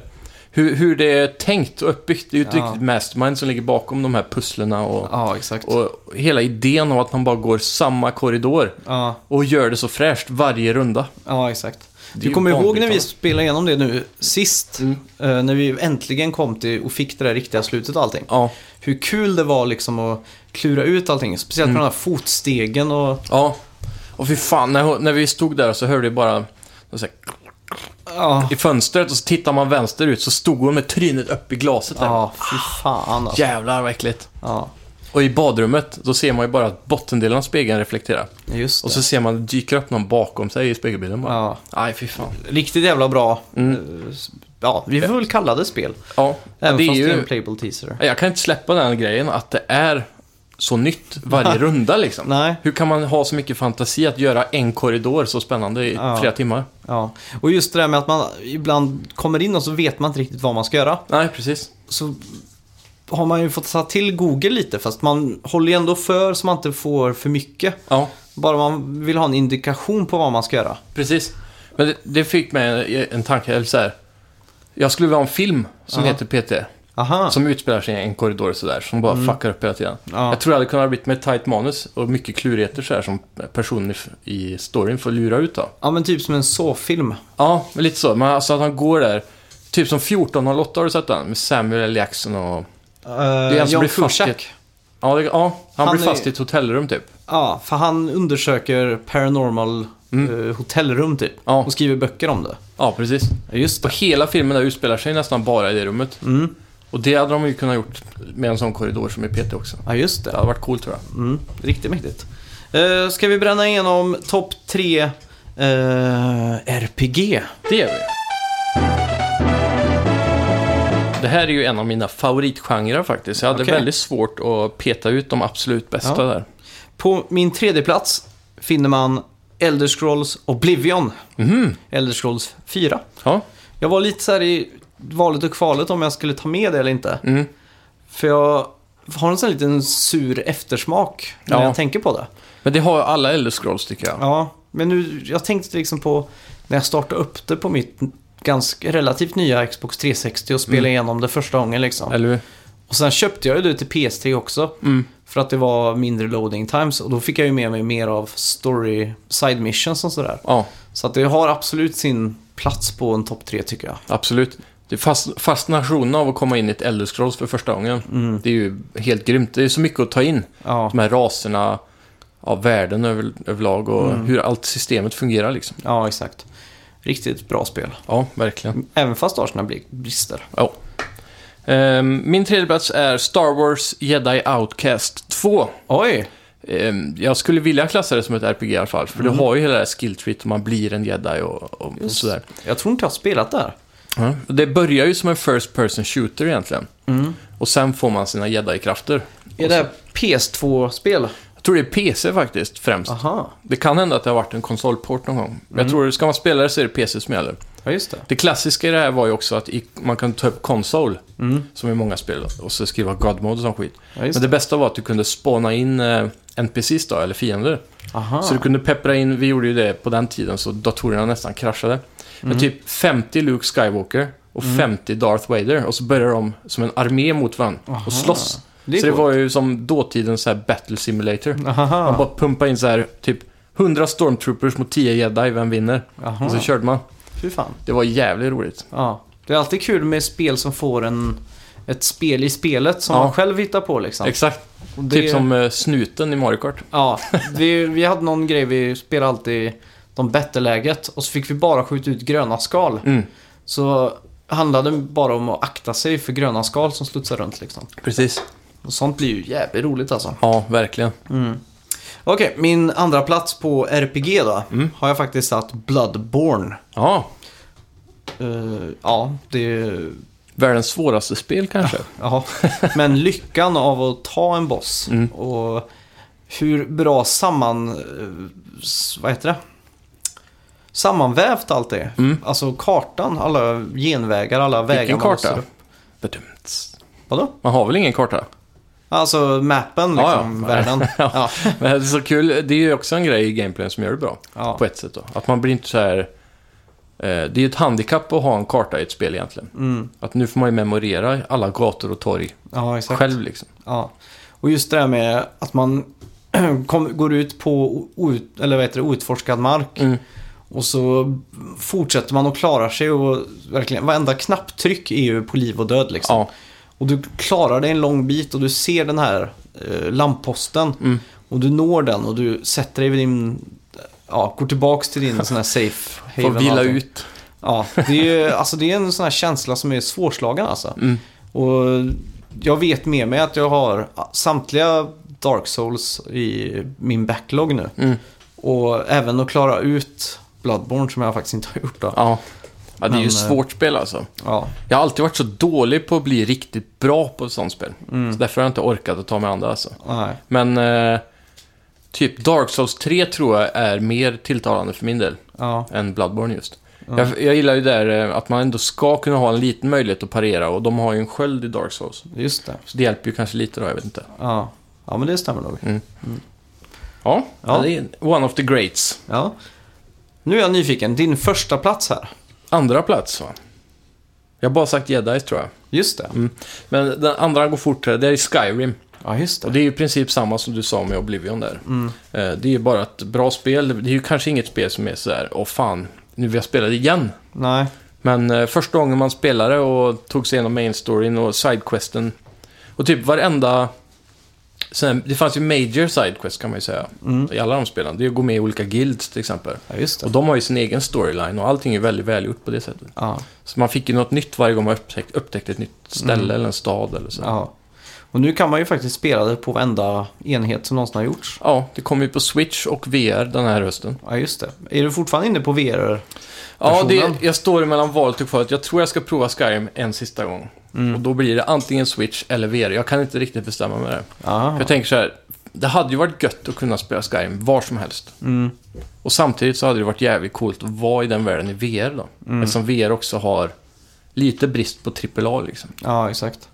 Speaker 1: hur, hur det är tänkt och uppbyggt. Det är ju ett
Speaker 2: Ja.
Speaker 1: riktigt mastermind som ligger bakom de här pusslerna och,
Speaker 2: Ja, exakt.
Speaker 1: och hela idén om att man bara går samma korridor
Speaker 2: Ja,
Speaker 1: och gör det så fräscht varje runda.
Speaker 2: ja, exakt.
Speaker 1: är
Speaker 2: Du
Speaker 1: ju
Speaker 2: kommer ihåg när vi
Speaker 1: banbrytande.
Speaker 2: spelade igenom det nu sist?
Speaker 1: Mm.
Speaker 2: eh, när vi äntligen kom till och fick det där riktiga slutet och allting.
Speaker 1: Ja,
Speaker 2: Hur kul det var liksom att klura ut allting. Speciellt
Speaker 1: Mm.
Speaker 2: med de här fotstegen och...
Speaker 1: ja. Och fy fan, när, när vi stod där så hörde jag bara så här,
Speaker 2: Ja,
Speaker 1: i fönstret och så tittar man vänsterut så stod hon med trynet upp i glaset där.
Speaker 2: ja fy fan alltså.
Speaker 1: Jävlar vad äckligt.
Speaker 2: Ja,
Speaker 1: Och i badrummet, då ser man ju bara att bottendelen av spegeln reflekterar.
Speaker 2: just det.
Speaker 1: Och så ser man att det dyker upp någon bakom sig i spegelbilden bara.
Speaker 2: Ja,
Speaker 1: Aj, fy fan.
Speaker 2: riktigt jävla bra. eh, s- Ja, vi får väl kalla det spel.
Speaker 1: Mm. Ja,
Speaker 2: Även
Speaker 1: det är
Speaker 2: fast det är en
Speaker 1: ju...
Speaker 2: playable teaser.
Speaker 1: Jag kan inte släppa den grejen att det är så nytt varje runda liksom.
Speaker 2: Nej.
Speaker 1: Hur kan man ha så mycket fantasi att göra en korridor så spännande i
Speaker 2: Ja.
Speaker 1: flera timmar?
Speaker 2: Ja. Och just det där med att man ibland kommer in och så vet man inte riktigt vad man ska göra.
Speaker 1: Nej, precis.
Speaker 2: Så har man ju fått ta till Google lite fast man håller ju ändå för så man inte får för mycket.
Speaker 1: Ja,
Speaker 2: Bara man vill ha en indikation på vad man ska göra.
Speaker 1: precis. Men det, det fick mig en, en tanke, eller så här. Jag skulle vilja ha en film som
Speaker 2: Ja.
Speaker 1: heter PT.
Speaker 2: Aha.
Speaker 1: Som utspelar sig i en korridor och sådär, som bara fuckar upp hela tiden.
Speaker 2: Mm. Ja.
Speaker 1: Jag tror det hade kunnat bli med ett tajt manus och mycket klurigheter så här som personer i storyn får lura ut då.
Speaker 2: Ja men typ som en såfilm.
Speaker 1: Ja, men lite så. Men alltså att han går där, typ som 1408 har du sett den? Med Samuel L. Jackson och...
Speaker 2: Uh,
Speaker 1: är han som blir fast i ett- Ja, det, ja han,
Speaker 2: Han
Speaker 1: blir
Speaker 2: är-
Speaker 1: fast i ett hotellrum typ.
Speaker 2: Ja, för han undersöker paranormal eh, hotellrum typ.
Speaker 1: Mm. Ja.
Speaker 2: Och skriver böcker om det.
Speaker 1: Ja, precis.
Speaker 2: Just
Speaker 1: Och hela filmen där utspelar sig nästan bara i det rummet.
Speaker 2: Mm.
Speaker 1: Och det hade de ju kunnat gjort med en sån korridor som i PT också.
Speaker 2: Ja, just
Speaker 1: Det
Speaker 2: det.
Speaker 1: hade varit coolt tror jag.
Speaker 2: Mm. Riktigt mäktigt. Eh, ska vi bränna igenom topp tre eh, RPG?
Speaker 1: Det gör vi. Det här är ju en av mina favoritgenrer faktiskt. Jag hade
Speaker 2: Okej.
Speaker 1: väldigt svårt att peta ut de absolut bästa
Speaker 2: Ja.
Speaker 1: där.
Speaker 2: På min tredje plats finner man Elder Scrolls Oblivion.
Speaker 1: Mhm.
Speaker 2: Elder Scrolls 4.
Speaker 1: Ja.
Speaker 2: Jag var lite så här i valet och kvalet om jag skulle ta med det eller inte.
Speaker 1: Mm.
Speaker 2: För jag har en sån här liten sur eftersmak när
Speaker 1: Ja.
Speaker 2: jag tänker på det.
Speaker 1: Men det har ju alla Elder Scrolls tycker jag.
Speaker 2: Ja, men nu, jag tänkte liksom på när jag startade upp det på mitt ganska relativt nya Xbox 360 och spelade
Speaker 1: Mm.
Speaker 2: igenom det första gången liksom.
Speaker 1: Eller hur?
Speaker 2: Och sen köpte jag ju det till PS3 också.
Speaker 1: Mm.
Speaker 2: För att det var mindre loading times och då fick jag ju med mig mer av story side missions och sådär.
Speaker 1: Ja,
Speaker 2: Så att det har absolut sin plats på en topp 3 tycker jag.
Speaker 1: absolut. Det är fast, fascinationen av att komma in i ett Elder Scrolls för första gången. Det är ju helt grymt. Det är så mycket att ta in.
Speaker 2: Mm. Ja,
Speaker 1: De här raserna, ja, världen över, överlag och
Speaker 2: Mm.
Speaker 1: hur allt systemet fungerar liksom.
Speaker 2: ja exakt. Riktigt bra spel.
Speaker 1: Ja, verkligen.
Speaker 2: Även fast det har sina bli- brister.
Speaker 1: Ja. Ehm, min tredje plats är Star Wars Jedi Outcast 2.
Speaker 2: Oj!
Speaker 1: Ehm, jag skulle vilja klassa det som ett RPG i alla fall, för
Speaker 2: Mm.
Speaker 1: det har ju hela det här skill treat och man blir en jedi och, och, och sådär.
Speaker 2: Jag tror inte jag har spelat där.
Speaker 1: Ja. Det börjar ju som en first person shooter egentligen. Och sen får man sina jedi-krafter.
Speaker 2: Mm. Är det här PS2-spel?
Speaker 1: Jag tror det är PC faktiskt, främst.
Speaker 2: Aha,
Speaker 1: Det kan hända att det har varit en konsolport någon gång. Men
Speaker 2: Mm.
Speaker 1: jag tror, ska man spela det så är det PC som gäller.
Speaker 2: ja just det.
Speaker 1: Det klassiska i det här var ju också att i, man kan ta upp konsol, som i många spel, och så skriva God Mode och sån skit.
Speaker 2: Mm. Ja, just
Speaker 1: Men det bästa var att du kunde spåna in eh, NPCs då, eller fiender.
Speaker 2: Aha.
Speaker 1: Så du kunde peppra in, vi gjorde ju det på den tiden så datorerna nästan kraschade.
Speaker 2: Mm.
Speaker 1: Men typ 50 Luke Skywalker och 50 Darth Vader och så börjar de som en armé mot varandra
Speaker 2: Aha.
Speaker 1: och slåss.
Speaker 2: Det är
Speaker 1: så det
Speaker 2: coolt.
Speaker 1: var ju som dåtidens så här battle simulator. Man
Speaker 2: Aha.
Speaker 1: bara pumpade in så här typ 100 stormtroopers mot 10 jedi, vem vinner?
Speaker 2: Aha.
Speaker 1: Och så körde man.
Speaker 2: Fy fan.
Speaker 1: Det var jävligt roligt.
Speaker 2: Ja. Det är alltid kul med spel som får en, ett spel i spelet som
Speaker 1: Ja.
Speaker 2: man själv hittar på liksom.
Speaker 1: Exakt.
Speaker 2: Och det-
Speaker 1: Typ som eh, snuten i Mario Kart.
Speaker 2: Ja, vi, vi hade någon grej, vi spelade alltid de battle-läget och så fick vi bara skjuta ut gröna skal.
Speaker 1: Mm,
Speaker 2: Så handlade det bara om att akta sig för gröna skal som studsar runt liksom.
Speaker 1: precis.
Speaker 2: Och sånt blir ju jävligt roligt alltså.
Speaker 1: Ja, verkligen.
Speaker 2: Okej, min andra plats på RPG då har jag faktiskt satt Bloodborne.
Speaker 1: Ja,
Speaker 2: Eh, ja, det...
Speaker 1: världens svåraste spel kanske.
Speaker 2: Ja. Men lyckan av att ta en boss
Speaker 1: Mm.
Speaker 2: och hur bra samman... eh, s- Vad heter det? Sammanvävt allt det. Alltså kartan, alla genvägar, alla vägar
Speaker 1: Vilken
Speaker 2: man måste
Speaker 1: Mm. karta?
Speaker 2: upp.
Speaker 1: Bedömts.
Speaker 2: Vadå?
Speaker 1: Man har väl ingen karta?
Speaker 2: Alltså mappen,
Speaker 1: Ja, ja.
Speaker 2: liksom, världen. Ja.
Speaker 1: Men det är så kul, det är ju också en grej i gameplayen som gör det bra.
Speaker 2: Ja.
Speaker 1: På ett sätt då. Att man blir inte så här... eh, Det är ju ett handikapp att ha en karta i ett spel egentligen. Att nu får man ju memorera alla gator och torg
Speaker 2: ja, Mm. exakt.
Speaker 1: själv liksom.
Speaker 2: Ja. Och just det där med att man kom, går ut på o- out, eller vad heter det, outforskad mark
Speaker 1: Mm.
Speaker 2: och så fortsätter man och klarar sig och verkligen varenda knapptryck är ju på liv och död liksom.
Speaker 1: Ja,
Speaker 2: Och du klarar dig en lång bit och du ser den här eh, lampposten
Speaker 1: Mm.
Speaker 2: och du når den och du sätter dig vid din Ja, går tillbaks till din sån här safe
Speaker 1: får
Speaker 2: och
Speaker 1: vila
Speaker 2: allting.
Speaker 1: ut.
Speaker 2: Ja, det är, ju, alltså, det är en sån här känsla som är svårslagen alltså.
Speaker 1: Mm.
Speaker 2: Och jag vet med mig att jag har samtliga Dark Souls i min backlog nu.
Speaker 1: Mm.
Speaker 2: Och även att klara ut Bloodborne som jag faktiskt inte har gjort då.
Speaker 1: Ja. Ja, det är
Speaker 2: Men,
Speaker 1: ju
Speaker 2: eh,
Speaker 1: svårt spel alltså.
Speaker 2: Ja.
Speaker 1: Jag har alltid varit så dålig på att bli riktigt bra på ett sånt spel.
Speaker 2: Mm.
Speaker 1: Så därför har jag inte orkat att ta mig andra alltså.
Speaker 2: Nej.
Speaker 1: Men eh, typ Dark Souls 3 tror jag är mer tilltalande för min del
Speaker 2: Ja.
Speaker 1: än Bloodborne just. Jag, jag gillar ju där eh, att man ändå ska kunna ha en liten möjlighet att parera och de har ju en sköld i Dark Souls.
Speaker 2: Just det.
Speaker 1: Så det hjälper ju kanske lite då, jag vet inte.
Speaker 2: Ja. Ja, men det stämmer nog.
Speaker 1: Ja,
Speaker 2: Ja.
Speaker 1: det är one of the greats.
Speaker 2: Ja. Nu är jag nyfiken. Din första plats här.
Speaker 1: Andra plats va? Jag har bara sagt Jedis tror jag.
Speaker 2: Just det.
Speaker 1: Mm. Men den andra går fortare, det är Skyrim.
Speaker 2: Ja, just
Speaker 1: Och det är ju i princip samma som du sa med Oblivion där. Eh, Det är ju bara ett bra spel. Det är ju kanske inget spel som är sådär, åh fan, nu vill jag spela det igen.
Speaker 2: Nej.
Speaker 1: Men eh, första gången man spelade och tog sig igenom main storyn och sidequesten. Och typ varenda... Sen, det fanns ju major sidequest kan man ju säga. I alla de spelen. Det är att gå med i olika guilds till exempel.
Speaker 2: Ja, just
Speaker 1: Och
Speaker 2: det.
Speaker 1: de har ju sin egen storyline och allting är väldigt välgjort på det sättet.
Speaker 2: Ja.
Speaker 1: Så man fick ju något nytt varje gång man upptäckte, upptäckte ett nytt ställe eller en stad eller så. Ja.
Speaker 2: ja. Och nu kan man ju faktiskt spela det på varenda enhet som någonsin har gjorts.
Speaker 1: det kom ju på Switch och VR den här hösten.
Speaker 2: Ja, just det. Är du fortfarande inne på VR?
Speaker 1: Ja, det,
Speaker 2: Versionen.
Speaker 1: jag står mellan valet och kvalet. Jag tror jag ska prova Skyrim en sista gång. Och då blir det antingen Switch eller VR. Jag kan inte riktigt bestämma mig där. För
Speaker 2: Ja.
Speaker 1: Jag tänker så här, det hade ju varit gött att kunna spela Skyrim var som helst. Och samtidigt så hade det varit jävligt coolt att vara i den världen i VR då. Eftersom VR också har lite brist på AAA liksom.
Speaker 2: Ja, exakt.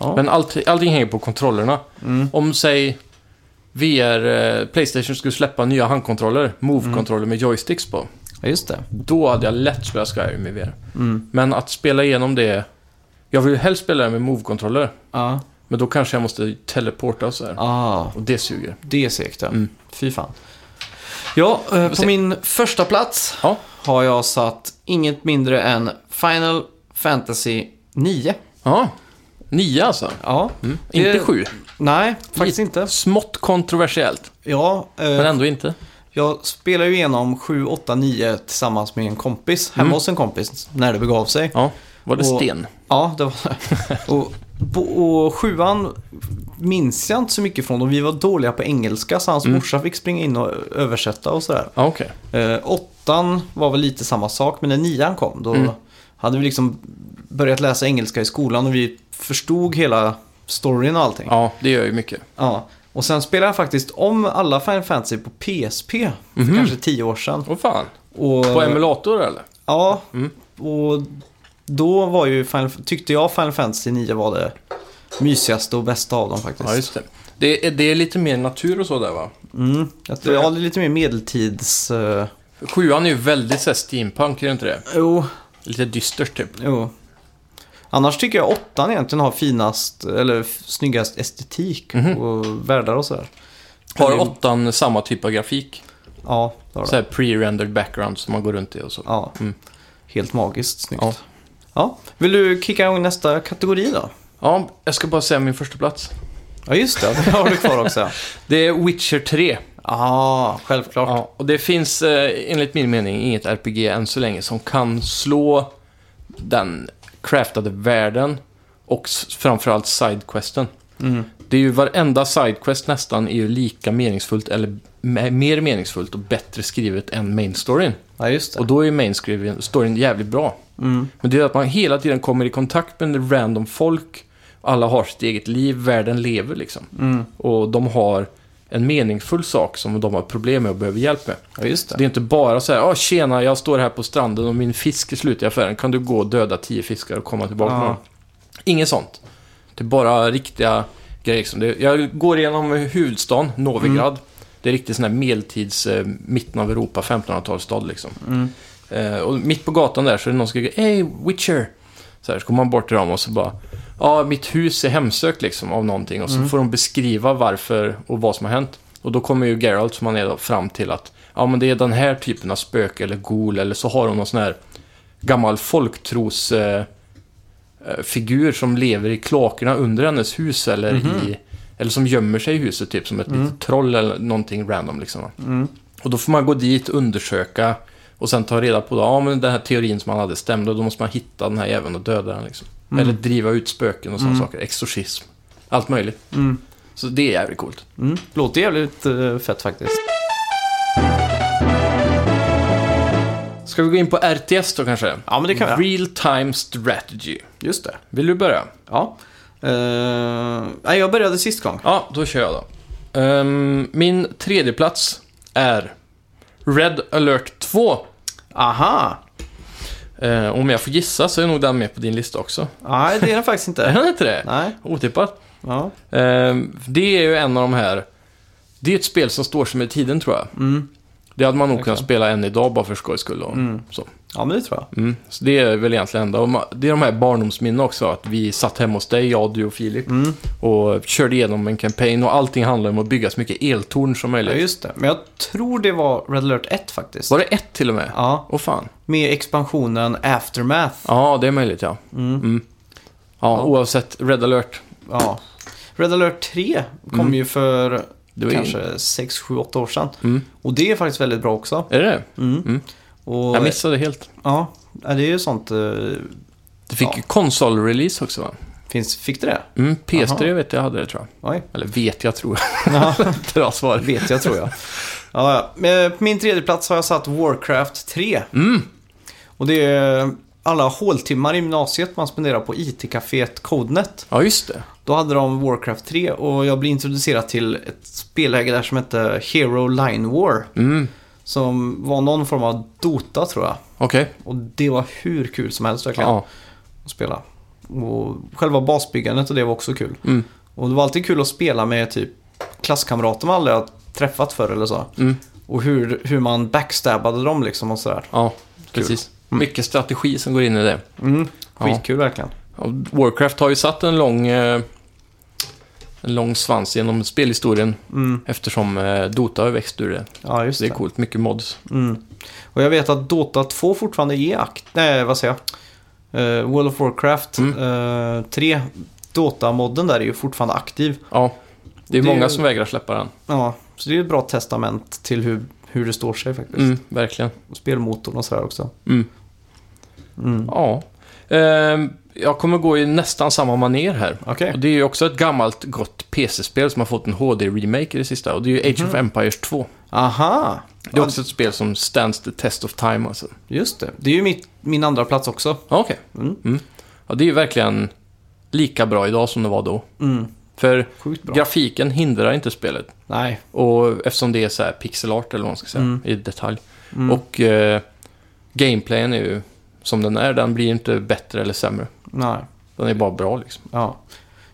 Speaker 2: Ja.
Speaker 1: Men allt, allting hänger på kontrollerna. Om, säg, VR, eh, Playstation skulle släppa nya handkontroller, Move-kontroller med joysticks på.
Speaker 2: Ja, just det.
Speaker 1: Då hade jag lätt spelat Skyrim i VR. Men att spela igenom det... Jag vill ju helst spela det med Move-kontroller.
Speaker 2: Ja.
Speaker 1: Men då kanske jag måste teleporta och så här.
Speaker 2: Ah,
Speaker 1: Och det suger.
Speaker 2: det är segt ja. Fy fan. Ja, eh, på
Speaker 1: Mm. se.
Speaker 2: min första plats
Speaker 1: Ja.
Speaker 2: har jag satt inget mindre än Final Fantasy 9.
Speaker 1: Ja. Nio alltså.
Speaker 2: Ja, Det-
Speaker 1: Inte sju.
Speaker 2: nej, faktiskt inte.
Speaker 1: Smått kontroversiellt,
Speaker 2: Ja,
Speaker 1: men
Speaker 2: eh,
Speaker 1: ändå inte.
Speaker 2: jag spelade ju igenom 7, 8, 9 tillsammans med en kompis, hemma hos en kompis, när det begav sig.
Speaker 1: Mm. Ja. Var det
Speaker 2: Och-
Speaker 1: sten?
Speaker 2: Ja, det var och, bo- och sjuan minns jag inte så mycket från och vi var dåliga på engelska så hans
Speaker 1: Mm.
Speaker 2: morsa fick springa in och översätta och sådär.
Speaker 1: Ja, okej.
Speaker 2: Eh, åttan var väl lite samma sak, men när nian kom då
Speaker 1: Mm.
Speaker 2: hade vi liksom börjat läsa engelska i skolan och vi förstod hela storyn och allting. Ja.
Speaker 1: Ja, det gör ju mycket.
Speaker 2: Och sen spelade jag faktiskt om alla Final Fantasy på PSP för kanske tio år sedan.
Speaker 1: Åh fan.
Speaker 2: Och,
Speaker 1: Mhm. På emulator eller?
Speaker 2: Ja, mm. och då var ju Final, tyckte jag Final Fantasy 9 var det mysigaste och bästa av dem faktiskt.
Speaker 1: Ja, just det. Det är, det är lite mer natur och så där va?
Speaker 2: Mm. Jag tror jag hade lite mer medeltids... eh,
Speaker 1: Sjuan är ju väldigt så här, steampunk, är det inte det?
Speaker 2: jo,
Speaker 1: Lite dystert typ.
Speaker 2: Jo. Annars tycker jag åttan egentligen har finast, eller f- snyggast estetik och världar och sådär.
Speaker 1: Mhm. Har
Speaker 2: Eller-
Speaker 1: åttan samma typ av grafik?
Speaker 2: Ja, det har
Speaker 1: Så
Speaker 2: det.
Speaker 1: här pre-rendered background som man går runt i och så.
Speaker 2: Ja.
Speaker 1: Mm.
Speaker 2: Helt magiskt snyggt.
Speaker 1: Ja.
Speaker 2: Ja. Vill du kicka igång nästa kategori då?
Speaker 1: Ja, jag ska bara säga min första plats.
Speaker 2: Ja, just det. Det har du kvar också. Ja,
Speaker 1: Det är Witcher 3.
Speaker 2: ah, självklart.
Speaker 1: Ja, och det finns eh, enligt min mening inget RPG än så länge som kan slå den craftade världen och s- framförallt sidequesten. Det är ju varenda sidequest nästan är ju lika meningsfullt eller me- mer meningsfullt och bättre skrivet än main storyn.
Speaker 2: Ja, just det.
Speaker 1: Och då är ju main storyn- storyn jävligt bra. Men det är att man hela tiden kommer i kontakt med random folk. Alla har sitt eget liv, världen lever liksom. Och de har en meningsfull sak som de har problem med och behöver hjälp med.
Speaker 2: Ja, just
Speaker 1: Så
Speaker 2: det.
Speaker 1: Det är inte bara så här, "Ah, tjena, jag står här på stranden och min fisk är slut i affären. Kan du gå och döda tio fiskar och komma tillbaka
Speaker 2: Ja.
Speaker 1: med dem? Inget sånt. Det är bara riktiga grejer. Liksom. Det- Jag går igenom huvudstaden, Novigrad. Det är riktigt sån här medeltids, eh, mitten av Europa, 1500-talsstad liksom. Eh, och mitt på gatan där så är det någon som skriker “Hey, Witcher!” Så här, så kommer man bort till dem och så bara “Ja, mitt hus är hemsökt liksom av någonting” och så får de beskriva varför och vad som har hänt. Och då kommer ju Geralt, som han är då, fram till att ja, men det är den här typen av spöke eller gol eller så har de någon sån här gammal folktros... Eh, eh, figur som lever i kloakerna under hennes hus eller
Speaker 2: Mhm.
Speaker 1: i... Eller som gömmer sig i huset, typ som ett
Speaker 2: Mm.
Speaker 1: litet troll eller någonting random liksom. va. Och då får man gå dit, undersöka och sen ta reda på då, ja men den här teorin som man hade stämde och då måste man hitta den här jäveln och döda den liksom.
Speaker 2: Mm.
Speaker 1: Eller driva ut spöken och sådana saker, exorcism, allt möjligt. Så det är jävligt coolt.
Speaker 2: Mm. Låter jävligt eh, fett faktiskt.
Speaker 1: Ska vi gå in på RTS då kanske?
Speaker 2: Ja, men det kan vi göra.
Speaker 1: Real time strategy.
Speaker 2: Just det.
Speaker 1: Vill du börja?
Speaker 2: Ja. Eh, nej, jag började sist gång.
Speaker 1: Ja, då kör jag då. Ehm, min tredje plats är Red alert 2.
Speaker 2: Aha!
Speaker 1: Eh, om jag får gissa så är nog den med på din lista också.
Speaker 2: Nej, det är den faktiskt
Speaker 1: Är
Speaker 2: inte.
Speaker 1: den inte det?
Speaker 2: Nej.
Speaker 1: Otippat.
Speaker 2: Ja.
Speaker 1: Ehm, det är ju en av de här... Det är ett spel som står som i tiden tror jag. Det hade man nog kunnat spela än idag bara för skojs skull. Och så.
Speaker 2: ja, men det tror jag.
Speaker 1: Mm. så det är väl egentligen enda. Och ma- Det är de här barndomsminnen också. Att vi satt hemma hos dig, jag, du och Filip. Och körde igenom en kampanj och allting handlade om att bygga så mycket eltorn som
Speaker 2: Ja,
Speaker 1: möjligt.
Speaker 2: just det. Men jag tror det var Red Alert 1 faktiskt.
Speaker 1: Var det ett till och med?
Speaker 2: Ja,
Speaker 1: Åh fan.
Speaker 2: med expansionen Aftermath.
Speaker 1: Ja, det är möjligt ja. Mm. Ja, oavsett. Red alert.
Speaker 2: Ja. Red Alert 3 kom ju för
Speaker 1: Mm. Det var ju-
Speaker 2: kanske 6, 7, 8 år sedan.
Speaker 1: Mm.
Speaker 2: Och det är faktiskt väldigt bra också.
Speaker 1: Är det
Speaker 2: Mm.
Speaker 1: Mm.
Speaker 2: Och,
Speaker 1: Jag missade helt.
Speaker 2: Ja, ja, det är ju sånt. eh,
Speaker 1: Det fick
Speaker 2: Ja.
Speaker 1: ju konsolrelease också va?
Speaker 2: Finns, fick det det?
Speaker 1: Mm, PS3
Speaker 2: Aha.
Speaker 1: vet jag hade det tror jag.
Speaker 2: Oj,
Speaker 1: Eller vet jag tror
Speaker 2: Ja.
Speaker 1: jag. Bra svar.
Speaker 2: vet jag tror jag. Ja, ja. Men På min tredje plats har jag satt Warcraft 3.
Speaker 1: Mm.
Speaker 2: Och det är alla håltimmar i gymnasiet man spenderar på IT-caféet Codenet.
Speaker 1: Ja, just det.
Speaker 2: Då hade de Warcraft 3 och jag blev introducerad till ett spelläge där som hette Hero Line War.
Speaker 1: Mm.
Speaker 2: Som var någon form av Dota tror jag.
Speaker 1: Okej.
Speaker 2: Och det var hur kul som helst verkligen
Speaker 1: Ja.
Speaker 2: att spela. Och själva basbyggandet och det var också kul.
Speaker 1: Mm.
Speaker 2: Och det var alltid kul att spela med typ klasskamrater man aldrig har träffat förr eller så.
Speaker 1: Mm.
Speaker 2: Och hur, hur man backstabbade dem liksom och sådär.
Speaker 1: ja, precis. Mycket strategi som går in i det.
Speaker 2: Mm.
Speaker 1: Ja.
Speaker 2: Skitkul verkligen.
Speaker 1: Och Warcraft har ju satt en lång, eh, en lång svans genom spelhistorien
Speaker 2: Mm.
Speaker 1: eftersom eh, Dota har växt ur det.
Speaker 2: Ja, just
Speaker 1: Så det är
Speaker 2: det.
Speaker 1: coolt. Mycket mods.
Speaker 2: Mm. Och jag vet att Dota 2 fortfarande är akt... Nej, vad säger jag? Eh, World of Warcraft
Speaker 1: Mm.
Speaker 2: eh, 3. Dota-modden där är ju fortfarande aktiv.
Speaker 1: Ja, det är
Speaker 2: Det är
Speaker 1: många
Speaker 2: ju-
Speaker 1: som vägrar släppa den.
Speaker 2: Ja, så det är ju ett bra testament till hur, hur det står sig faktiskt.
Speaker 1: Mm, verkligen.
Speaker 2: Spelmotorn och sådär också.
Speaker 1: Mm.
Speaker 2: Mm.
Speaker 1: Ja. Ehm, jag kommer gå i nästan samma maner här.
Speaker 2: Okej.
Speaker 1: Och det är ju också ett gammalt gott PC-spel som har fått en HD-remake i det sista. Och det är ju
Speaker 2: Mhm.
Speaker 1: Age of Empires 2.
Speaker 2: Aha!
Speaker 1: Det är också ett spel som stands the test of time alltså.
Speaker 2: Just det. Det är ju mitt, min andra plats också.
Speaker 1: Ja, Okej.
Speaker 2: Mm.
Speaker 1: Ja, det är ju verkligen lika bra idag som det var då.
Speaker 2: Mm.
Speaker 1: För
Speaker 2: Sjukt bra.
Speaker 1: grafiken hindrar inte spelet.
Speaker 2: Nej.
Speaker 1: Och eftersom det är så här pixelart eller vad man ska säga
Speaker 2: Mm.
Speaker 1: i detalj.
Speaker 2: Mm.
Speaker 1: Och eh, gameplayen är ju som den är. Den blir ju inte bättre eller sämre.
Speaker 2: Nej.
Speaker 1: Den är bara bra liksom.
Speaker 2: Ja.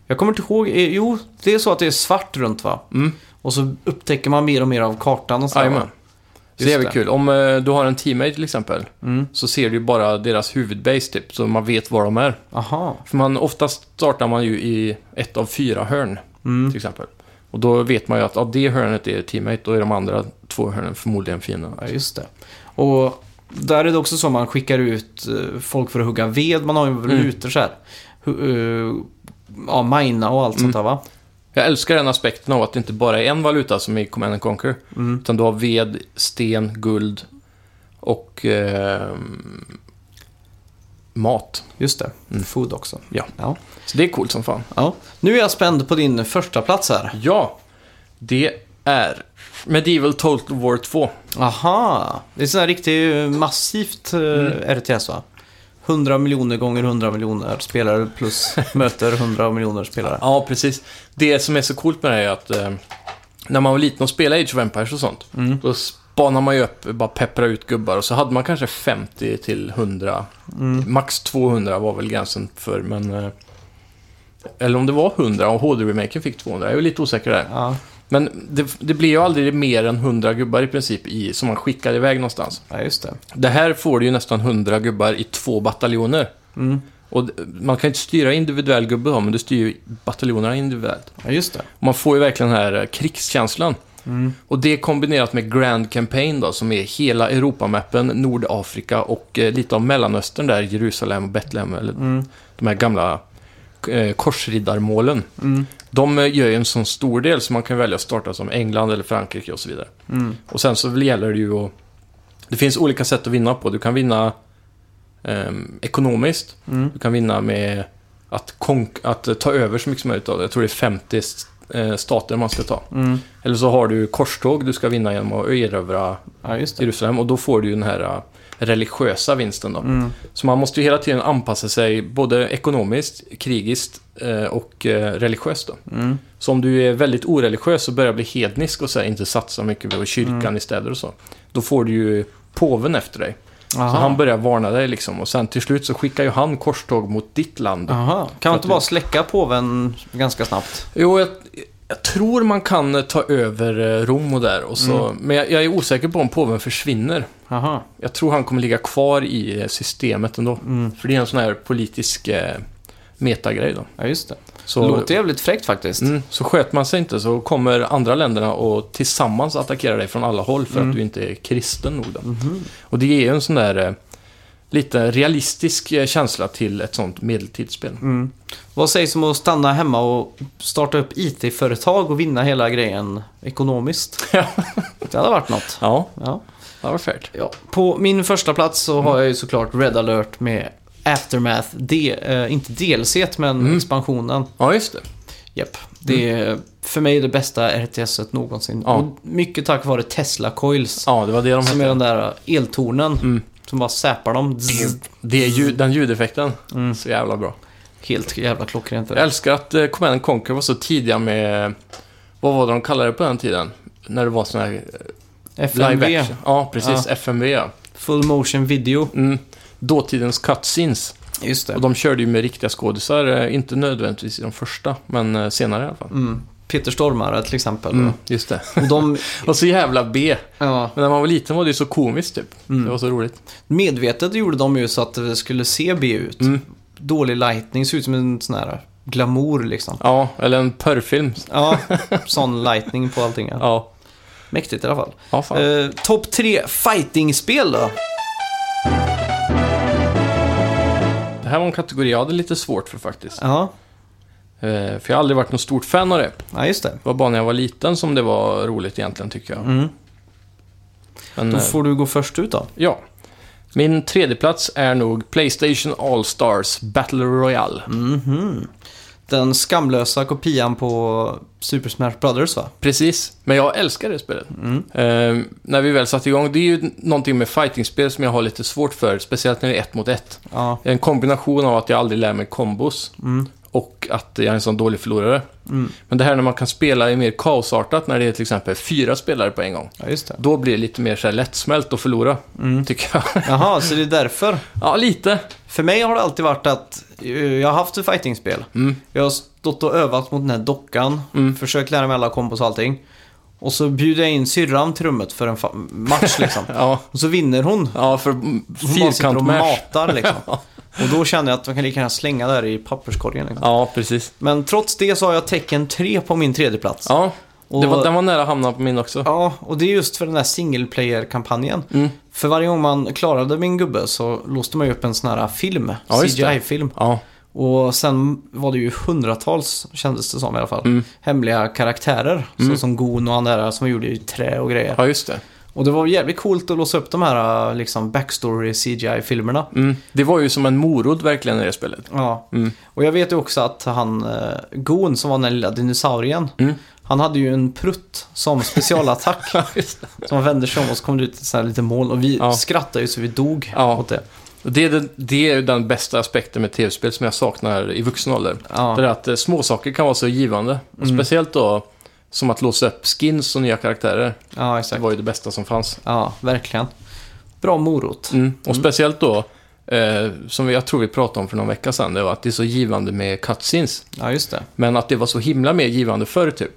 Speaker 2: Jag kommer inte ihåg. eh, Jo, det är så att det är svart runt va?
Speaker 1: Mm.
Speaker 2: Och så upptäcker man mer och mer av kartan och sådär. va?
Speaker 1: Jajamän. Så det är
Speaker 2: Just
Speaker 1: väl
Speaker 2: det.
Speaker 1: kul. Om eh, du har en teammate till exempel,
Speaker 2: Mm.
Speaker 1: så ser du ju bara deras huvudbase typ, så man vet var de är.
Speaker 2: Aha.
Speaker 1: För man, oftast startar man ju i ett av fyra hörn,
Speaker 2: Mm.
Speaker 1: till exempel. Och då vet man ju att ja, det hörnet är teammate, då är de andra två hörnen förmodligen fienden.
Speaker 2: Ja, just det. Och där är det också så man skickar ut eh, folk för att hugga ved. Man har
Speaker 1: Mm.
Speaker 2: ju rutor så här. Hu- eh, Ja, mina och
Speaker 1: Mm.
Speaker 2: allt sånt där va?
Speaker 1: Jag älskar den aspekten av att det inte bara är en valuta som i Command and Conquer.
Speaker 2: Mm.
Speaker 1: Utan du har ved, sten, guld och ehm, mat.
Speaker 2: Just det. Food också.
Speaker 1: Mm. Ja.
Speaker 2: Ja.
Speaker 1: Så det är coolt som fan.
Speaker 2: ja. Nu är jag spänd på din första plats här.
Speaker 1: Ja, det är Medieval Total War 2.
Speaker 2: Aha. Det är sån här riktigt eh, massivt eh,
Speaker 1: Mm.
Speaker 2: RTS va? 100 miljoner gånger 100 miljoner spelare plus möter 100 miljoner spelare.
Speaker 1: Ja, precis. Det som är så coolt med det här är att eh, när man var liten och spelade Age of Empires och sånt, då spanar man ju upp, bara peppra ut gubbar och så hade man kanske 50 till 100,
Speaker 2: Mm.
Speaker 1: max 200 var väl gränsen för, men... Eh, eller om det var 100 och HD-remaken fick 200, jag är lite osäker där.
Speaker 2: Ja,
Speaker 1: Men det, det blir ju aldrig mer än 100 gubbar i princip i, som man skickar iväg någonstans.
Speaker 2: ja just det.
Speaker 1: Det här får du ju nästan 100 gubbar i två bataljoner.
Speaker 2: Mm.
Speaker 1: Och d- man kan ju inte styra individuell gubbe då, men du styr ju bataljonerna individuellt.
Speaker 2: Ja, just det. Mm,
Speaker 1: Man får ju verkligen den här eh, krigskänslan. Och det kombinerat med Grand Campaign då, som är hela Europamappen, Nordafrika och eh, lite av Mellanöstern där, Jerusalem och Betlehem, eller de här gamla eh, korsriddarmålen.
Speaker 2: Mm.
Speaker 1: De eh, gör ju en sån stor del så man kan välja att starta som England eller Frankrike och så vidare.
Speaker 2: Mm.
Speaker 1: Och sen så gäller det ju att... Det finns olika sätt att vinna på. Du kan vinna ehm, ekonomiskt.
Speaker 2: Mm.
Speaker 1: Du kan vinna med att, konk- att eh, ta över så mycket som möjligt av det. Jag tror det är 50 st- eh, stater man ska ta.
Speaker 2: Mm.
Speaker 1: Eller så har du korståg du ska vinna genom att erövra
Speaker 2: Ja, just det.
Speaker 1: Jerusalem. Och då får du ju den här eh, religiösa vinsten då. Så man måste ju hela tiden anpassa sig både ekonomiskt, krigiskt eh, och eh, religiöst då. Så om du är väldigt oreligiös och börjar bli hednisk och så här, inte satsa mycket på kyrkan i städer och så. Då får du ju påven efter dig. Så
Speaker 2: Aha.
Speaker 1: han börjar varna dig liksom. Och sen till slut så skickar ju han korståg mot ditt land.
Speaker 2: Aha. Kan man
Speaker 1: att
Speaker 2: inte
Speaker 1: du-
Speaker 2: bara släcka påven ganska snabbt?
Speaker 1: Jo, jag, jag tror man kan eh, ta över eh, Rom och där. Och så,
Speaker 2: Mm.
Speaker 1: Men jag, jag är osäker på om påven försvinner.
Speaker 2: Aha.
Speaker 1: Jag tror han kommer ligga kvar i eh, systemet ändå.
Speaker 2: Mm.
Speaker 1: För det är en sån här politisk eh, metagrej då.
Speaker 2: Ja, just det.
Speaker 1: Så,
Speaker 2: Låter jävligt fräckt faktiskt.
Speaker 1: mm, så sköter man sig inte så kommer andra länderna och tillsammans attackera dig från alla håll för
Speaker 2: Mm.
Speaker 1: att du inte är kristen nog. Då.
Speaker 2: Mhm.
Speaker 1: Och det ger ju en sån där eh, lite realistisk eh, känsla till ett sånt medeltidsspel.
Speaker 2: Mm. Vad sägs om att stanna hemma och starta upp IT-företag och vinna hela grejen ekonomiskt?
Speaker 1: Ja.
Speaker 2: det hade varit något.
Speaker 1: Ja,
Speaker 2: Ja.
Speaker 1: det var färdigt.
Speaker 2: Ja. På min första plats så har jag ju såklart Red Alert med Aftermath, D, eh, inte DLC t, men
Speaker 1: Mm.
Speaker 2: expansionen.
Speaker 1: Ja, just det.
Speaker 2: Japp. Det är för mig det bästa RTS-et någonsin.
Speaker 1: Mm. Ja.
Speaker 2: Och mycket tack vare Tesla Coils,
Speaker 1: Ja, Mm. det var det de
Speaker 2: som
Speaker 1: hette.
Speaker 2: är den där eltornen som bara säpar dem. Zzz.
Speaker 1: Det är ljud, den ljudeffekten. Så jävla bra.
Speaker 2: Helt jävla klockrent. är
Speaker 1: Jag
Speaker 2: det.
Speaker 1: älskar att eh, Command Conquer var så tidiga med... Vad var det de kallade det på den tiden? När det var sån här eh, live
Speaker 2: FMV,
Speaker 1: action. Ja, precis. FMV, ja.
Speaker 2: Full Motion Video.
Speaker 1: Mm. Dåtidens cutscenes.
Speaker 2: Just det.
Speaker 1: Och de körde ju med riktiga skådisar. eh, Inte nödvändigtvis i de första, men eh, senare i alla fall.
Speaker 2: Mm. Peter Stormare till exempel.
Speaker 1: Mm, just det.
Speaker 2: Och de,
Speaker 1: Och så jävla B.
Speaker 2: ja,
Speaker 1: Men när man var liten var det ju så komiskt typ. Det var så roligt.
Speaker 2: medvetet gjorde de ju så att det skulle se B ut. Dålig lightning, ser ut som en sån här glamour liksom.
Speaker 1: Ja, eller en porrfilm.
Speaker 2: Ja, sån lightning på allting. Ja.
Speaker 1: Ja.
Speaker 2: Mäktigt i alla fall.
Speaker 1: Ja, fan.
Speaker 2: Eh, Topp tre fighting-spel då?
Speaker 1: Det här var en kategori jag hade lite svårt för faktiskt.
Speaker 2: Ja,
Speaker 1: Eh, För jag har aldrig varit någon stort fan av det.
Speaker 2: ja just det.
Speaker 1: Det var bara när jag var liten som det var roligt egentligen, tycker jag.
Speaker 2: Mm.
Speaker 1: Men,
Speaker 2: Då
Speaker 1: eh,
Speaker 2: får du gå först ut då.
Speaker 1: ja. Min tredje plats är nog Playstation All-Stars Battle Royale.
Speaker 2: Den skamlösa kopian på Super Smash Brothers va?
Speaker 1: Precis, men jag älskar det spelet. Eh, när vi väl satte igång, det är ju någonting med fightingspel som jag har lite svårt för, speciellt när det är ett mot ett.
Speaker 2: Ja,
Speaker 1: En kombination av att jag aldrig lär mig kombos och att jag är en sån dålig förlorare. Men det här när man kan spela är mer kaosartat, när det är till exempel fyra spelare på en gång.
Speaker 2: ja just det.
Speaker 1: Då blir det lite mer så här lättsmält att förlora,
Speaker 2: Mm.
Speaker 1: tycker jag.
Speaker 2: Jaha, så det är därför.
Speaker 1: Ja, lite.
Speaker 2: För mig har det alltid varit att eh, jag har haft ett fightingspel.
Speaker 1: Mm.
Speaker 2: Jag har stått och övat mot den här dockan, försökt lära mig alla kombos och allting. Och så bjuder jag in syrran till rummet för en fa- match liksom.
Speaker 1: Ja,
Speaker 2: Och så vinner hon.
Speaker 1: ja för
Speaker 2: Hon bara sitter och
Speaker 1: fyrkantmatch.
Speaker 2: matar liksom. Och då känner jag att man kan lika gärna slänga där i papperskorgen. Liksom.
Speaker 1: Ja, precis.
Speaker 2: Men trots det så har jag tecken 3 på min tredje plats.
Speaker 1: Ja, det
Speaker 2: Och-
Speaker 1: var, den var nära att hamna på min också.
Speaker 2: Ja, och det är just för den där single player-kampanjen.
Speaker 1: Mm.
Speaker 2: För varje gång man klarade min gubbe så låste man ju upp en sån här film,
Speaker 1: Ja, just det.
Speaker 2: CGI-film.
Speaker 1: Ja,
Speaker 2: Och sen var det ju hundratals, kändes det som i alla fall,
Speaker 1: Mm.
Speaker 2: hemliga karaktärer. Så som Gon och han där som gjorde i trä och grejer.
Speaker 1: ja just det.
Speaker 2: Och det var jävligt coolt att låsa upp de här äh, liksom backstory CGI-filmerna.
Speaker 1: Mm. Det var ju som en morod verkligen i det spelet.
Speaker 2: Ja. Och jag vet ju också att han, äh, Gon som var den lilla dinosaurien,
Speaker 1: Mm.
Speaker 2: han hade ju en prutt som specialattack. som han vände sig om och så kom det ut ett sånt här litet moln. Och vi
Speaker 1: Ja.
Speaker 2: skrattade ju så vi dog
Speaker 1: Ja.
Speaker 2: åt det.
Speaker 1: Det är, den, det är ju den bästa aspekten med tv-spel som jag saknar i vuxen ålder.
Speaker 2: Ja. Mm.
Speaker 1: Det är att eh, småsaker kan vara så givande. Och speciellt då som att låsa upp skins och nya karaktärer.
Speaker 2: Ja,
Speaker 1: Det
Speaker 2: exakt.
Speaker 1: var ju det bästa som fanns.
Speaker 2: Ja, verkligen. Bra morot.
Speaker 1: Mm. Och speciellt då, eh, som jag tror vi pratade om för någon vecka sedan, det var att det är så givande med cutscenes.
Speaker 2: Ja, just det.
Speaker 1: Men att det var så himla mer givande förr typ,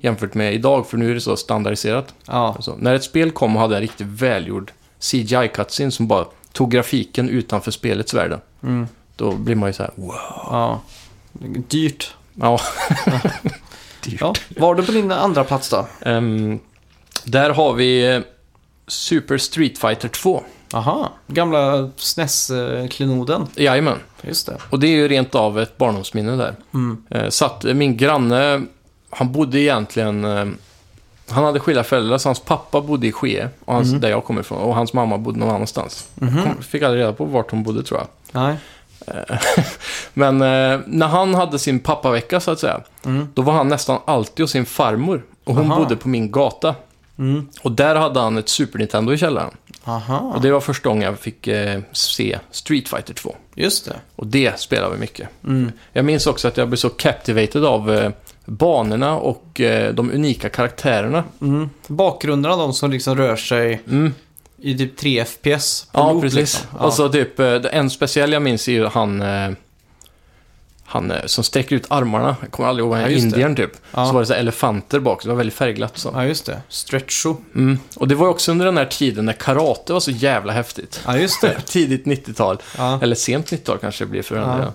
Speaker 1: jämfört med idag, för nu är det så standardiserat.
Speaker 2: Ja,
Speaker 1: Alltså, när ett spel kom och hade en riktigt välgjord cgi cutscene som bara tog grafiken utanför spelets värld, då blir man ju så här, wow.
Speaker 2: Ja. Dyrt.
Speaker 1: Ja.
Speaker 2: Ja. Var du på din andra plats då?
Speaker 1: Ehm, där har vi eh, Super Street Fighter 2.
Speaker 2: Aha. Gamla eh, SNES-klenoden.
Speaker 1: Jajamän.
Speaker 2: Just det.
Speaker 1: Och det är ju rent av ett barndomsminne där.
Speaker 2: Mm.
Speaker 1: Eh, Så att eh, min granne, han bodde egentligen... eh, Han hade skilda föräldrar, så hans pappa bodde i Skee, och hans, där jag kommer ifrån, och hans mamma bodde någon annanstans. Jag kom- fick aldrig reda på vart hon bodde, tror jag.
Speaker 2: Nej.
Speaker 1: Men eh, när han hade sin pappavecka, så att säga, då var han nästan alltid hos sin farmor. Och hon
Speaker 2: Aha.
Speaker 1: bodde på min gata. Och där hade han ett Super Nintendo i källaren. Och
Speaker 2: Mm. Aha,
Speaker 1: det var första gången jag fick eh, se Street Fighter 2.
Speaker 2: just det.
Speaker 1: Och det spelade vi mycket.
Speaker 2: Mm.
Speaker 1: Jag minns också att jag blev så captivated av eh, banorna och eh, de unika karaktärerna.
Speaker 2: Mm. Bakgrunderna, de som liksom rör sig
Speaker 1: Mm.
Speaker 2: i typ 3 FPS. på
Speaker 1: Ja,
Speaker 2: loop,
Speaker 1: precis.
Speaker 2: Liksom. Ja.
Speaker 1: Och så typ, eh, det- en speciell jag minns är ju han, eh, han eh, som sträcker ut armarna. Jag kommer aldrig ihåg vad han
Speaker 2: Ja,
Speaker 1: är,
Speaker 2: just det.
Speaker 1: indiern typ.
Speaker 2: Ja.
Speaker 1: Så var det så här elefanter bak, så det var väldigt färgglatt. Så.
Speaker 2: ja, just det. Stretcho.
Speaker 1: Mm. Och det var ju också under den här tiden när karate var så jävla häftigt.
Speaker 2: Ja, just det.
Speaker 1: Tidigt 90-tal.
Speaker 2: Ja.
Speaker 1: Eller sent 90-tal kanske det blir för den
Speaker 2: Ja.
Speaker 1: delen.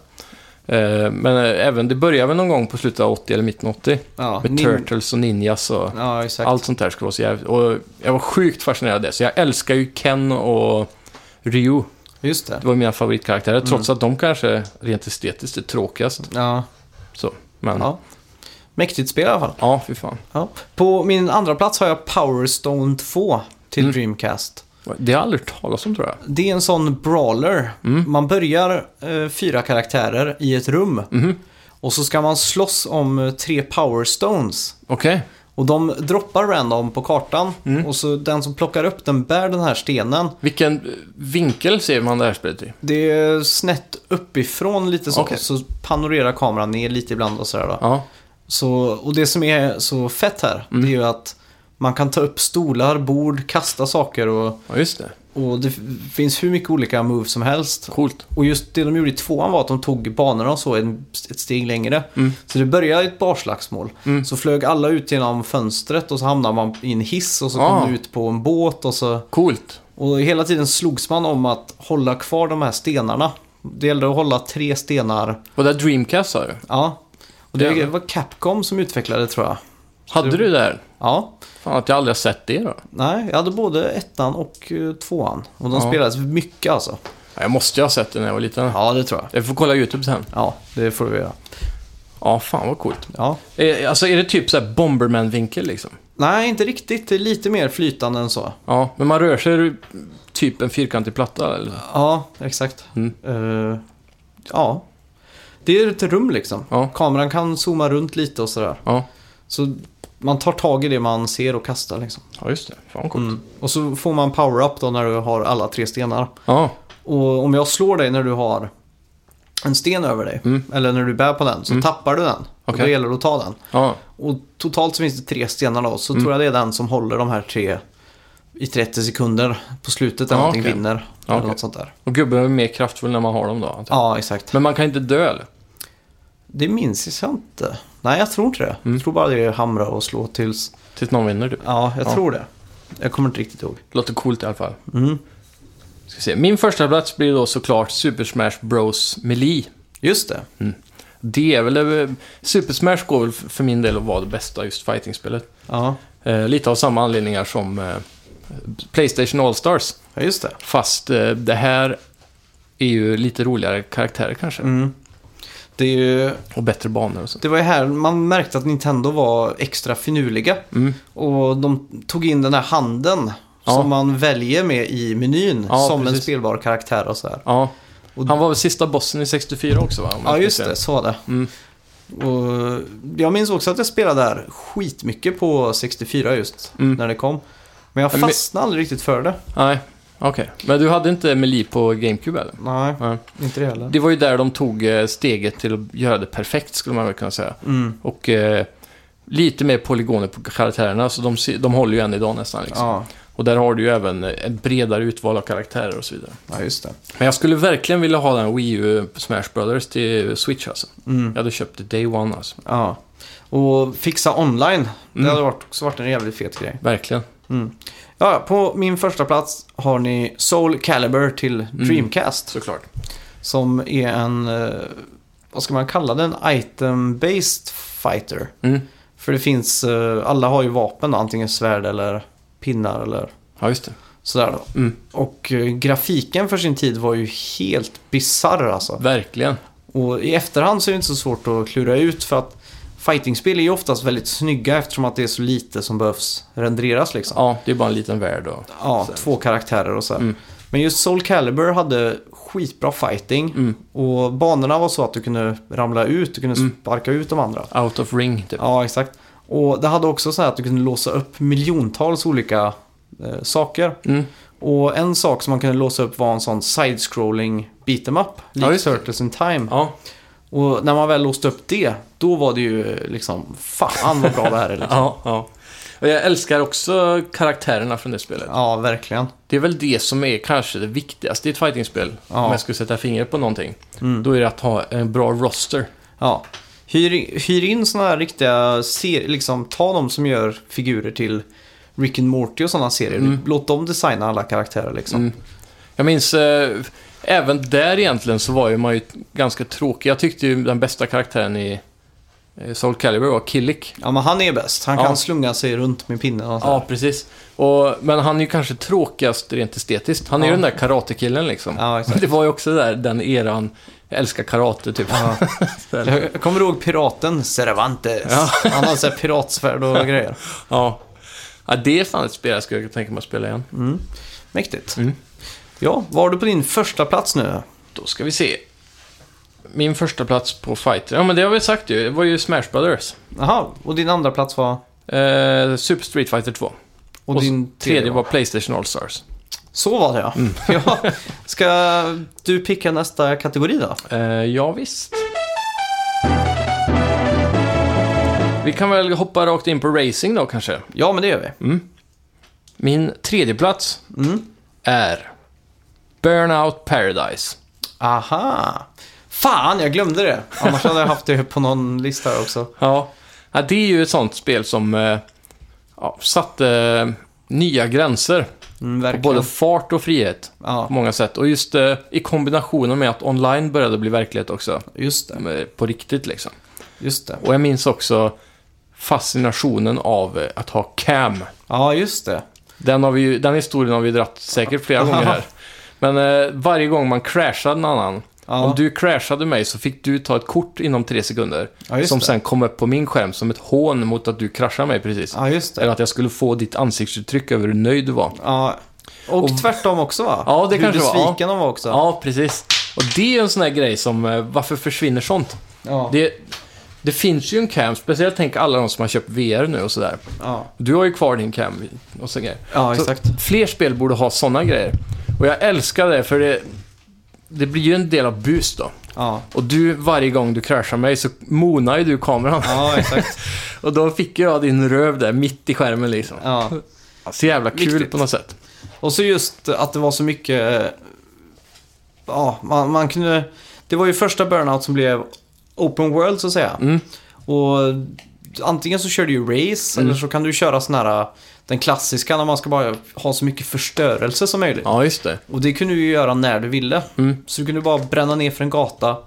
Speaker 1: Eh, Men eh, även, det började väl någon gång på slutet av 80 eller mitten av 80.
Speaker 2: Ja,
Speaker 1: Med
Speaker 2: nin-
Speaker 1: Turtles och Ninjas och
Speaker 2: Ja, exakt.
Speaker 1: allt sånt där skulle vara så jävligt. Och jag var sjukt fascinerad av det. Så jag älskar ju Ken och Ryu.
Speaker 2: Just det.
Speaker 1: Det var mina favoritkaraktärer.
Speaker 2: Mm.
Speaker 1: Trots att de kanske rent estetiskt är tråkigast.
Speaker 2: Ja.
Speaker 1: Så, men ja,
Speaker 2: ja. Mäktigt spel i alla fall.
Speaker 1: fy fan.
Speaker 2: Ja. På min andra plats har jag Power Stone 2 till
Speaker 1: Mm.
Speaker 2: Dreamcast.
Speaker 1: Det har jag aldrig hört talas om tror jag.
Speaker 2: Det är en sån brawler.
Speaker 1: Mm.
Speaker 2: Man börjar eh, fyra karaktärer i ett rum.
Speaker 1: Mhm.
Speaker 2: Och så ska man slåss om eh, tre Power Stones.
Speaker 1: Okej.
Speaker 2: Och de droppar random på kartan.
Speaker 1: Mm.
Speaker 2: Och så den som plockar upp den bär den här stenen.
Speaker 1: Vilken eh, vinkel ser man det här spelet i?
Speaker 2: Det är snett uppifrån lite så.
Speaker 1: Okej.
Speaker 2: Så panorerar kameran ner lite ibland och sådär då.
Speaker 1: Ja. Mm.
Speaker 2: Så, och det som är så fett här, det är ju att man kan ta upp stolar, bord, kasta saker och,
Speaker 1: ja, just det.
Speaker 2: och det f- finns hur mycket olika moves som helst.
Speaker 1: Coolt.
Speaker 2: Och just det de gjorde i tvåan var att de tog banorna och så en- ett steg längre.
Speaker 1: Mm.
Speaker 2: Så det började i ett barslagsmål. Så flög alla ut genom fönstret och så hamnade man i en hiss och så kom
Speaker 1: Ah.
Speaker 2: man ut på en båt och så...
Speaker 1: Coolt.
Speaker 2: Och hela tiden slogs man om att hålla kvar de här stenarna. Det gällde att hålla tre stenar.
Speaker 1: Och det här Dreamcast sa du.
Speaker 2: Ja. Och det
Speaker 1: Jävlar.
Speaker 2: var Capcom som utvecklade tror jag.
Speaker 1: Hade du det här?
Speaker 2: Ja.
Speaker 1: Fan att jag aldrig har sett det då.
Speaker 2: Nej, jag hade både ettan och eh, tvåan. Och de
Speaker 1: Ja.
Speaker 2: spelades mycket alltså.
Speaker 1: Ja, Jag måste ju ha sett det när jag var liten.
Speaker 2: Ja, det tror jag.
Speaker 1: Jag får kolla YouTube sen.
Speaker 2: Ja, det får vi göra.
Speaker 1: Ja, fan vad coolt.
Speaker 2: Ja.
Speaker 1: Eh, Alltså är det typ så här Bomberman-vinkel liksom?
Speaker 2: Nej, inte riktigt. Det är lite mer flytande än så.
Speaker 1: Ja, men man rör sig ur typ en fyrkantig platta eller?
Speaker 2: Ja, exakt.
Speaker 1: Mm.
Speaker 2: Eh, ja. Det är ett rum liksom.
Speaker 1: Ja.
Speaker 2: Kameran kan zooma runt lite och sådär.
Speaker 1: Ja,
Speaker 2: Så man tar tag i det man ser och kastar liksom.
Speaker 1: ja just det. Fan vad coolt.
Speaker 2: Mm. Och så får man power-up då när du har alla tre stenar.
Speaker 1: Ja,
Speaker 2: Och om jag slår dig när du har en sten över dig,
Speaker 1: Mm.
Speaker 2: eller när du bär på den, så tappar du den. Och då
Speaker 1: Okej.
Speaker 2: gäller det att ta den.
Speaker 1: ja,
Speaker 2: Och totalt så finns det tre stenar då,
Speaker 1: Mm.
Speaker 2: så tror jag det är den som håller de här tre i 30 sekunder på slutet när
Speaker 1: Ja,
Speaker 2: någonting
Speaker 1: okej.
Speaker 2: vinner.
Speaker 1: Ja,
Speaker 2: eller
Speaker 1: okej.
Speaker 2: något sånt där.
Speaker 1: och gubben är mer kraftfull när man har dem då. antar jag.
Speaker 2: Ja, exakt.
Speaker 1: Men man kan inte dö eller?
Speaker 2: Det minns jag inte. Nej, jag tror inte det.
Speaker 1: Mm.
Speaker 2: Jag tror bara det är hamra och slå tills...
Speaker 1: Tills någon vinner typ.
Speaker 2: Ja, jag
Speaker 1: Ja.
Speaker 2: tror det. Jag kommer inte riktigt ihåg.
Speaker 1: Låter coolt i alla fall.
Speaker 2: Mm.
Speaker 1: Ska se. Min första plats blir då såklart Super Smash Bros Melee.
Speaker 2: Just det.
Speaker 1: Mm. Det är väl... eh, Super Smash går väl för min del att vara det bästa just fighting-spelet.
Speaker 2: Ja,
Speaker 1: Eh, lite av samma anledningar som eh, Playstation All-Stars.
Speaker 2: ja just det.
Speaker 1: Fast eh, det här är ju lite roligare karaktärer kanske.
Speaker 2: Mm. Det, är ju,
Speaker 1: Och bättre banor och sånt.
Speaker 2: det var ju här man märkte att Nintendo var extra finurliga.
Speaker 1: Mm.
Speaker 2: Och de tog in den här handen
Speaker 1: Ja.
Speaker 2: som man väljer med i menyn
Speaker 1: Ja,
Speaker 2: som en
Speaker 1: precis.
Speaker 2: spelbar karaktär och så här.
Speaker 1: Ja.
Speaker 2: Och-
Speaker 1: Han var väl sista bossen i 64 också va? Om jag
Speaker 2: Ja,
Speaker 1: ska
Speaker 2: just
Speaker 1: säga.
Speaker 2: det. Så var det.
Speaker 1: Mm.
Speaker 2: Och jag minns också att jag spelade där skitmycket på 64 just,
Speaker 1: Mm.
Speaker 2: när det kom. Men jag
Speaker 1: Men me-
Speaker 2: fastnade aldrig riktigt för det.
Speaker 1: Nej, okej. Men du hade inte Melee på GameCube eller?
Speaker 2: Nej,
Speaker 1: Nej.
Speaker 2: inte det heller.
Speaker 1: Det var ju där de tog eh, steget till att göra det perfekt skulle man väl kunna säga.
Speaker 2: Mm.
Speaker 1: Och eh, lite mer polygoner på karaktärerna, så de, se- de håller ju än idag nästan. Liksom.
Speaker 2: Ja.
Speaker 1: Och där har du ju även eh, ett bredare utval av karaktärer och så vidare.
Speaker 2: ja, just det.
Speaker 1: Men jag skulle verkligen vilja ha den Wii U Smash Brothers till Switch alltså.
Speaker 2: Mm.
Speaker 1: Jag hade köpt det day one alltså.
Speaker 2: Ja. Och fixa online, det
Speaker 1: Mm.
Speaker 2: hade varit, också varit en jävligt fet grej.
Speaker 1: Verkligen.
Speaker 2: Mm. Ja, ja, på min första plats har ni Soul Calibur till
Speaker 1: Mm.
Speaker 2: Dreamcast.
Speaker 1: Såklart.
Speaker 2: Som är en, eh, vad ska man kalla den, item-based fighter.
Speaker 1: Mm.
Speaker 2: För det finns, eh, alla har ju vapen då, antingen svärd eller pinnar eller
Speaker 1: Ja, just det.
Speaker 2: sådär då.
Speaker 1: Mm.
Speaker 2: Och eh, grafiken för sin tid var ju helt bisarr alltså.
Speaker 1: Verkligen.
Speaker 2: Och i efterhand så är det inte så svårt att klura ut för att fightingspel är ju oftast väldigt snygga eftersom att det är så lite som behövs renderas liksom.
Speaker 1: Ja, det är bara en liten värld och...
Speaker 2: Ja,
Speaker 1: Så-
Speaker 2: två karaktärer och så här.
Speaker 1: Mm.
Speaker 2: Men just Soul Calibur hade skitbra fighting.
Speaker 1: Mm.
Speaker 2: Och banorna var så att du kunde ramla ut, du kunde sparka ut de andra.
Speaker 1: Out of ring, typ.
Speaker 2: Ja, exakt. Och det hade också så här att du kunde låsa upp miljontals olika eh, saker.
Speaker 1: Mm.
Speaker 2: Och en sak som man kunde låsa upp var en sån side-scrolling beat'em up.
Speaker 1: Ja,
Speaker 2: Likt
Speaker 1: just det.
Speaker 2: Turtles in Time.
Speaker 1: Ja,
Speaker 2: Och när man väl låste upp det, då var det ju liksom, fan vad bra det här är. Liksom.
Speaker 1: ja, ja. Och jag älskar också karaktärerna från det spelet.
Speaker 2: ja, verkligen.
Speaker 1: Det är väl det som är kanske det viktigaste i ett fightingspel.
Speaker 2: Ja.
Speaker 1: Om jag skulle sätta fingret på någonting.
Speaker 2: Mm.
Speaker 1: Då är det att ha en bra roster.
Speaker 2: Ja. Hyr, i- hyr in sådana här riktiga serier, liksom ta de som gör figurer till Rick and Morty och sådana serier.
Speaker 1: Mm.
Speaker 2: Låt dem designa alla karaktärer liksom.
Speaker 1: Mm. Jag minns, eh, även där egentligen så var ju man ju ganska tråkig. Jag tyckte ju den bästa karaktären i eh, Soul Calibur var Killik.
Speaker 2: Ja, men han är bäst. Han
Speaker 1: Ja.
Speaker 2: kan slunga sig runt med pinnen och sådär.
Speaker 1: Ja, precis. Och, men han är ju kanske tråkigast rent estetiskt. Han är
Speaker 2: Ja.
Speaker 1: ju den där karatekillen liksom.
Speaker 2: Ja, exakt.
Speaker 1: Det var ju också där, den eran, jag älskar karate typ.
Speaker 2: Ja. Jag kommer ihåg piraten Cervantes.
Speaker 1: Ja.
Speaker 2: Han har så här piratsvärd och grejer.
Speaker 1: Ja. ja, det är fan ett spel jag skulle tänka mig att spela igen.
Speaker 2: Mm. Mäktigt.
Speaker 1: Mm.
Speaker 2: Ja, vad har du på din första plats nu?
Speaker 1: Då ska vi se. Min första plats på Fighter, ja men det har vi sagt ju, det var ju Smash Brothers.
Speaker 2: Jaha, och din andra plats var?
Speaker 1: Eh, Super Street Fighter 2.
Speaker 2: Och,
Speaker 1: Och
Speaker 2: din
Speaker 1: Tredje var Mm. Playstation All Stars.
Speaker 2: Så var det ja. ja. Ska du picka nästa kategori då?
Speaker 1: Eh, ja, visst. Vi kan väl hoppa rakt in på racing då kanske.
Speaker 2: Ja, men det gör vi.
Speaker 1: Mm. Min tredje plats
Speaker 2: Mm.
Speaker 1: är Burnout Paradise.
Speaker 2: Aha. Fan, jag glömde det. Annars hade jag haft det på någon lista här också.
Speaker 1: Ja. ja, det är ju ett sånt spel som eh, ja, satte eh, nya gränser.
Speaker 2: Mm,
Speaker 1: På
Speaker 2: verkligen.
Speaker 1: både fart och frihet. på
Speaker 2: Ja,
Speaker 1: många sätt. Och just eh, i kombinationen med att online började bli verklighet också.
Speaker 2: just det.
Speaker 1: eh, På riktigt liksom.
Speaker 2: Just det.
Speaker 1: Och jag minns också fascinationen av eh, att ha cam.
Speaker 2: Ja, just det.
Speaker 1: Den, har vi ju, den historien har vi dratt säkert flera gånger här. Men eh, varje gång man crashade en annan.
Speaker 2: Ja.
Speaker 1: Om du crashade mig så fick du ta ett kort inom tre sekunder.
Speaker 2: Ja, just
Speaker 1: som
Speaker 2: det.
Speaker 1: sen kom upp på min skärm som ett hån mot att du kraschade mig precis.
Speaker 2: Ja, just det.
Speaker 1: Eller att jag skulle få ditt ansiktsuttryck över hur nöjd du var.
Speaker 2: Ja. Och, tvärtom också va?
Speaker 1: Ja, det
Speaker 2: Hur
Speaker 1: kanske det var, ja.
Speaker 2: besviken de var också.
Speaker 1: Ja, precis. Och det är en sån här grej som, eh, varför försvinner sånt?
Speaker 2: Ja.
Speaker 1: Det, det finns ju en cam, speciellt tänk alla de som har köpt VR nu och sådär.
Speaker 2: ja.
Speaker 1: Du har ju kvar din cam och så grejer.
Speaker 2: ja
Speaker 1: Så
Speaker 2: exakt.
Speaker 1: Fler spel borde ha sådana grejer. Och jag älskar det för det, det blir ju en del av bus då.
Speaker 2: Ja.
Speaker 1: Och du, varje gång du kraschar mig så monar ju du kameran.
Speaker 2: ja, exakt.
Speaker 1: Och då fick jag din röv där mitt i skärmen liksom.
Speaker 2: Ja.
Speaker 1: Så jävla kul
Speaker 2: Viktigt.
Speaker 1: på något sätt.
Speaker 2: Och så just att det var så mycket... eh, Ja, man, man kunde... Det var ju första Burnout som blev Open World så att säga.
Speaker 1: Mm.
Speaker 2: Och antingen så kör du ju race
Speaker 1: Mm.
Speaker 2: eller så kan du köra sån här... Den klassiska när man ska bara ha så mycket förstörelse som möjligt.
Speaker 1: Ja, just det.
Speaker 2: Och det kunde du ju göra när du ville.
Speaker 1: Mm.
Speaker 2: Så du kunde bara bränna ner för en gata,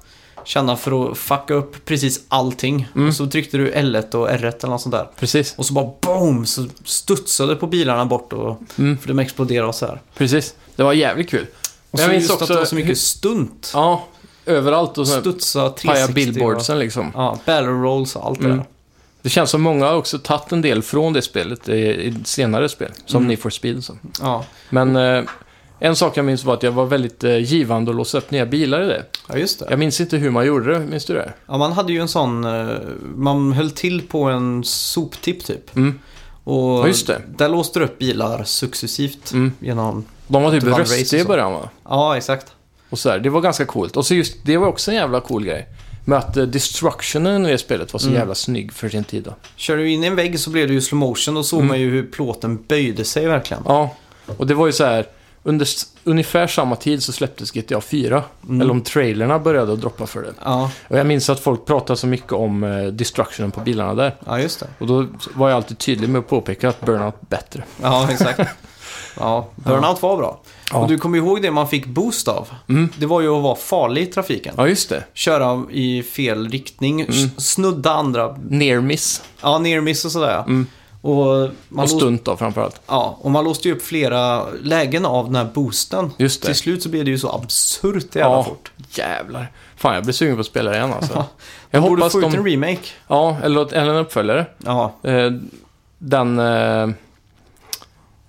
Speaker 2: känna för att fucka upp precis allting.
Speaker 1: Mm.
Speaker 2: Och så tryckte du L1 och R1 eller något sånt där.
Speaker 1: Precis,
Speaker 2: Och så bara boom! Så studsade på bilarna bort och...
Speaker 1: Mm.
Speaker 2: För de exploderade och så här.
Speaker 1: precis. Det var jävligt kul.
Speaker 2: Och
Speaker 1: Men
Speaker 2: så
Speaker 1: jag minns
Speaker 2: just att
Speaker 1: också
Speaker 2: det var så
Speaker 1: hur-
Speaker 2: mycket stunt.
Speaker 1: Ja, överallt och så
Speaker 2: Studsa 360.
Speaker 1: paja
Speaker 2: och-
Speaker 1: billboardsen liksom.
Speaker 2: Ja, battle rolls och allt det
Speaker 1: Mm.
Speaker 2: där.
Speaker 1: Det känns som många har också tagit en del från det spelet i, i senare spel, som
Speaker 2: Mm.
Speaker 1: Need for Speed. Så.
Speaker 2: Ja.
Speaker 1: Men eh, en sak jag minns var att jag var väldigt eh, givande att låsa upp nya bilar i det.
Speaker 2: ja, just det.
Speaker 1: Jag minns inte hur man gjorde det, minns du det?
Speaker 2: Ja, man hade ju en sån... eh, Man höll till på en soptipp typ.
Speaker 1: Mm.
Speaker 2: Och
Speaker 1: Ja, just det.
Speaker 2: där låste du upp bilar successivt
Speaker 1: Mm.
Speaker 2: genom...
Speaker 1: De var typ
Speaker 2: Det var en race och
Speaker 1: röstiga i
Speaker 2: så.
Speaker 1: början va?
Speaker 2: Ja, exakt.
Speaker 1: Och så där. Det var ganska coolt. Och så just, det var också en jävla cool grej. Med att eh, destructionen i det spelet var så jävla snygg för sin tid då.
Speaker 2: Kör du in i en vägg så blev det ju slow motion och såg man ju hur plåten böjde sig verkligen.
Speaker 1: Mm. Ja, och det var ju så här. Under s- ungefär samma tid så släpptes GTA 4. Eller om trailerna började att droppa för det.
Speaker 2: Ja,
Speaker 1: Och jag minns att folk pratade så mycket om eh, destructionen på bilarna där.
Speaker 2: ja just det.
Speaker 1: Och då var jag alltid tydlig med att påpeka att Burnout bättre.
Speaker 2: Ja, exakt. Ja, burnout var bra.
Speaker 1: Ja. Mm.
Speaker 2: Och du kommer ihåg det man fick boost av? Det var ju att vara farlig i trafiken.
Speaker 1: Ja, Mm. just det.
Speaker 2: Köra i fel riktning, s- snudda andra,
Speaker 1: Near miss
Speaker 2: ja, near miss och sådär. ja. Och man,
Speaker 1: Mm. och
Speaker 2: lås-
Speaker 1: stunt då framförallt.
Speaker 2: ja, och man låste ju upp flera lägen av den här boosten.
Speaker 1: Just det.
Speaker 2: Till slut så blev det ju så absurt jävla
Speaker 1: ja,
Speaker 2: fort.
Speaker 1: jävlar. Fan, jag blir sugen på att spela det igen alltså. jag
Speaker 2: Jag borde
Speaker 1: hoppas
Speaker 2: få ut en
Speaker 1: de...
Speaker 2: remake.
Speaker 1: Ja, eller, eller en uppföljare.
Speaker 2: Ja,
Speaker 1: Eh, den... Eh,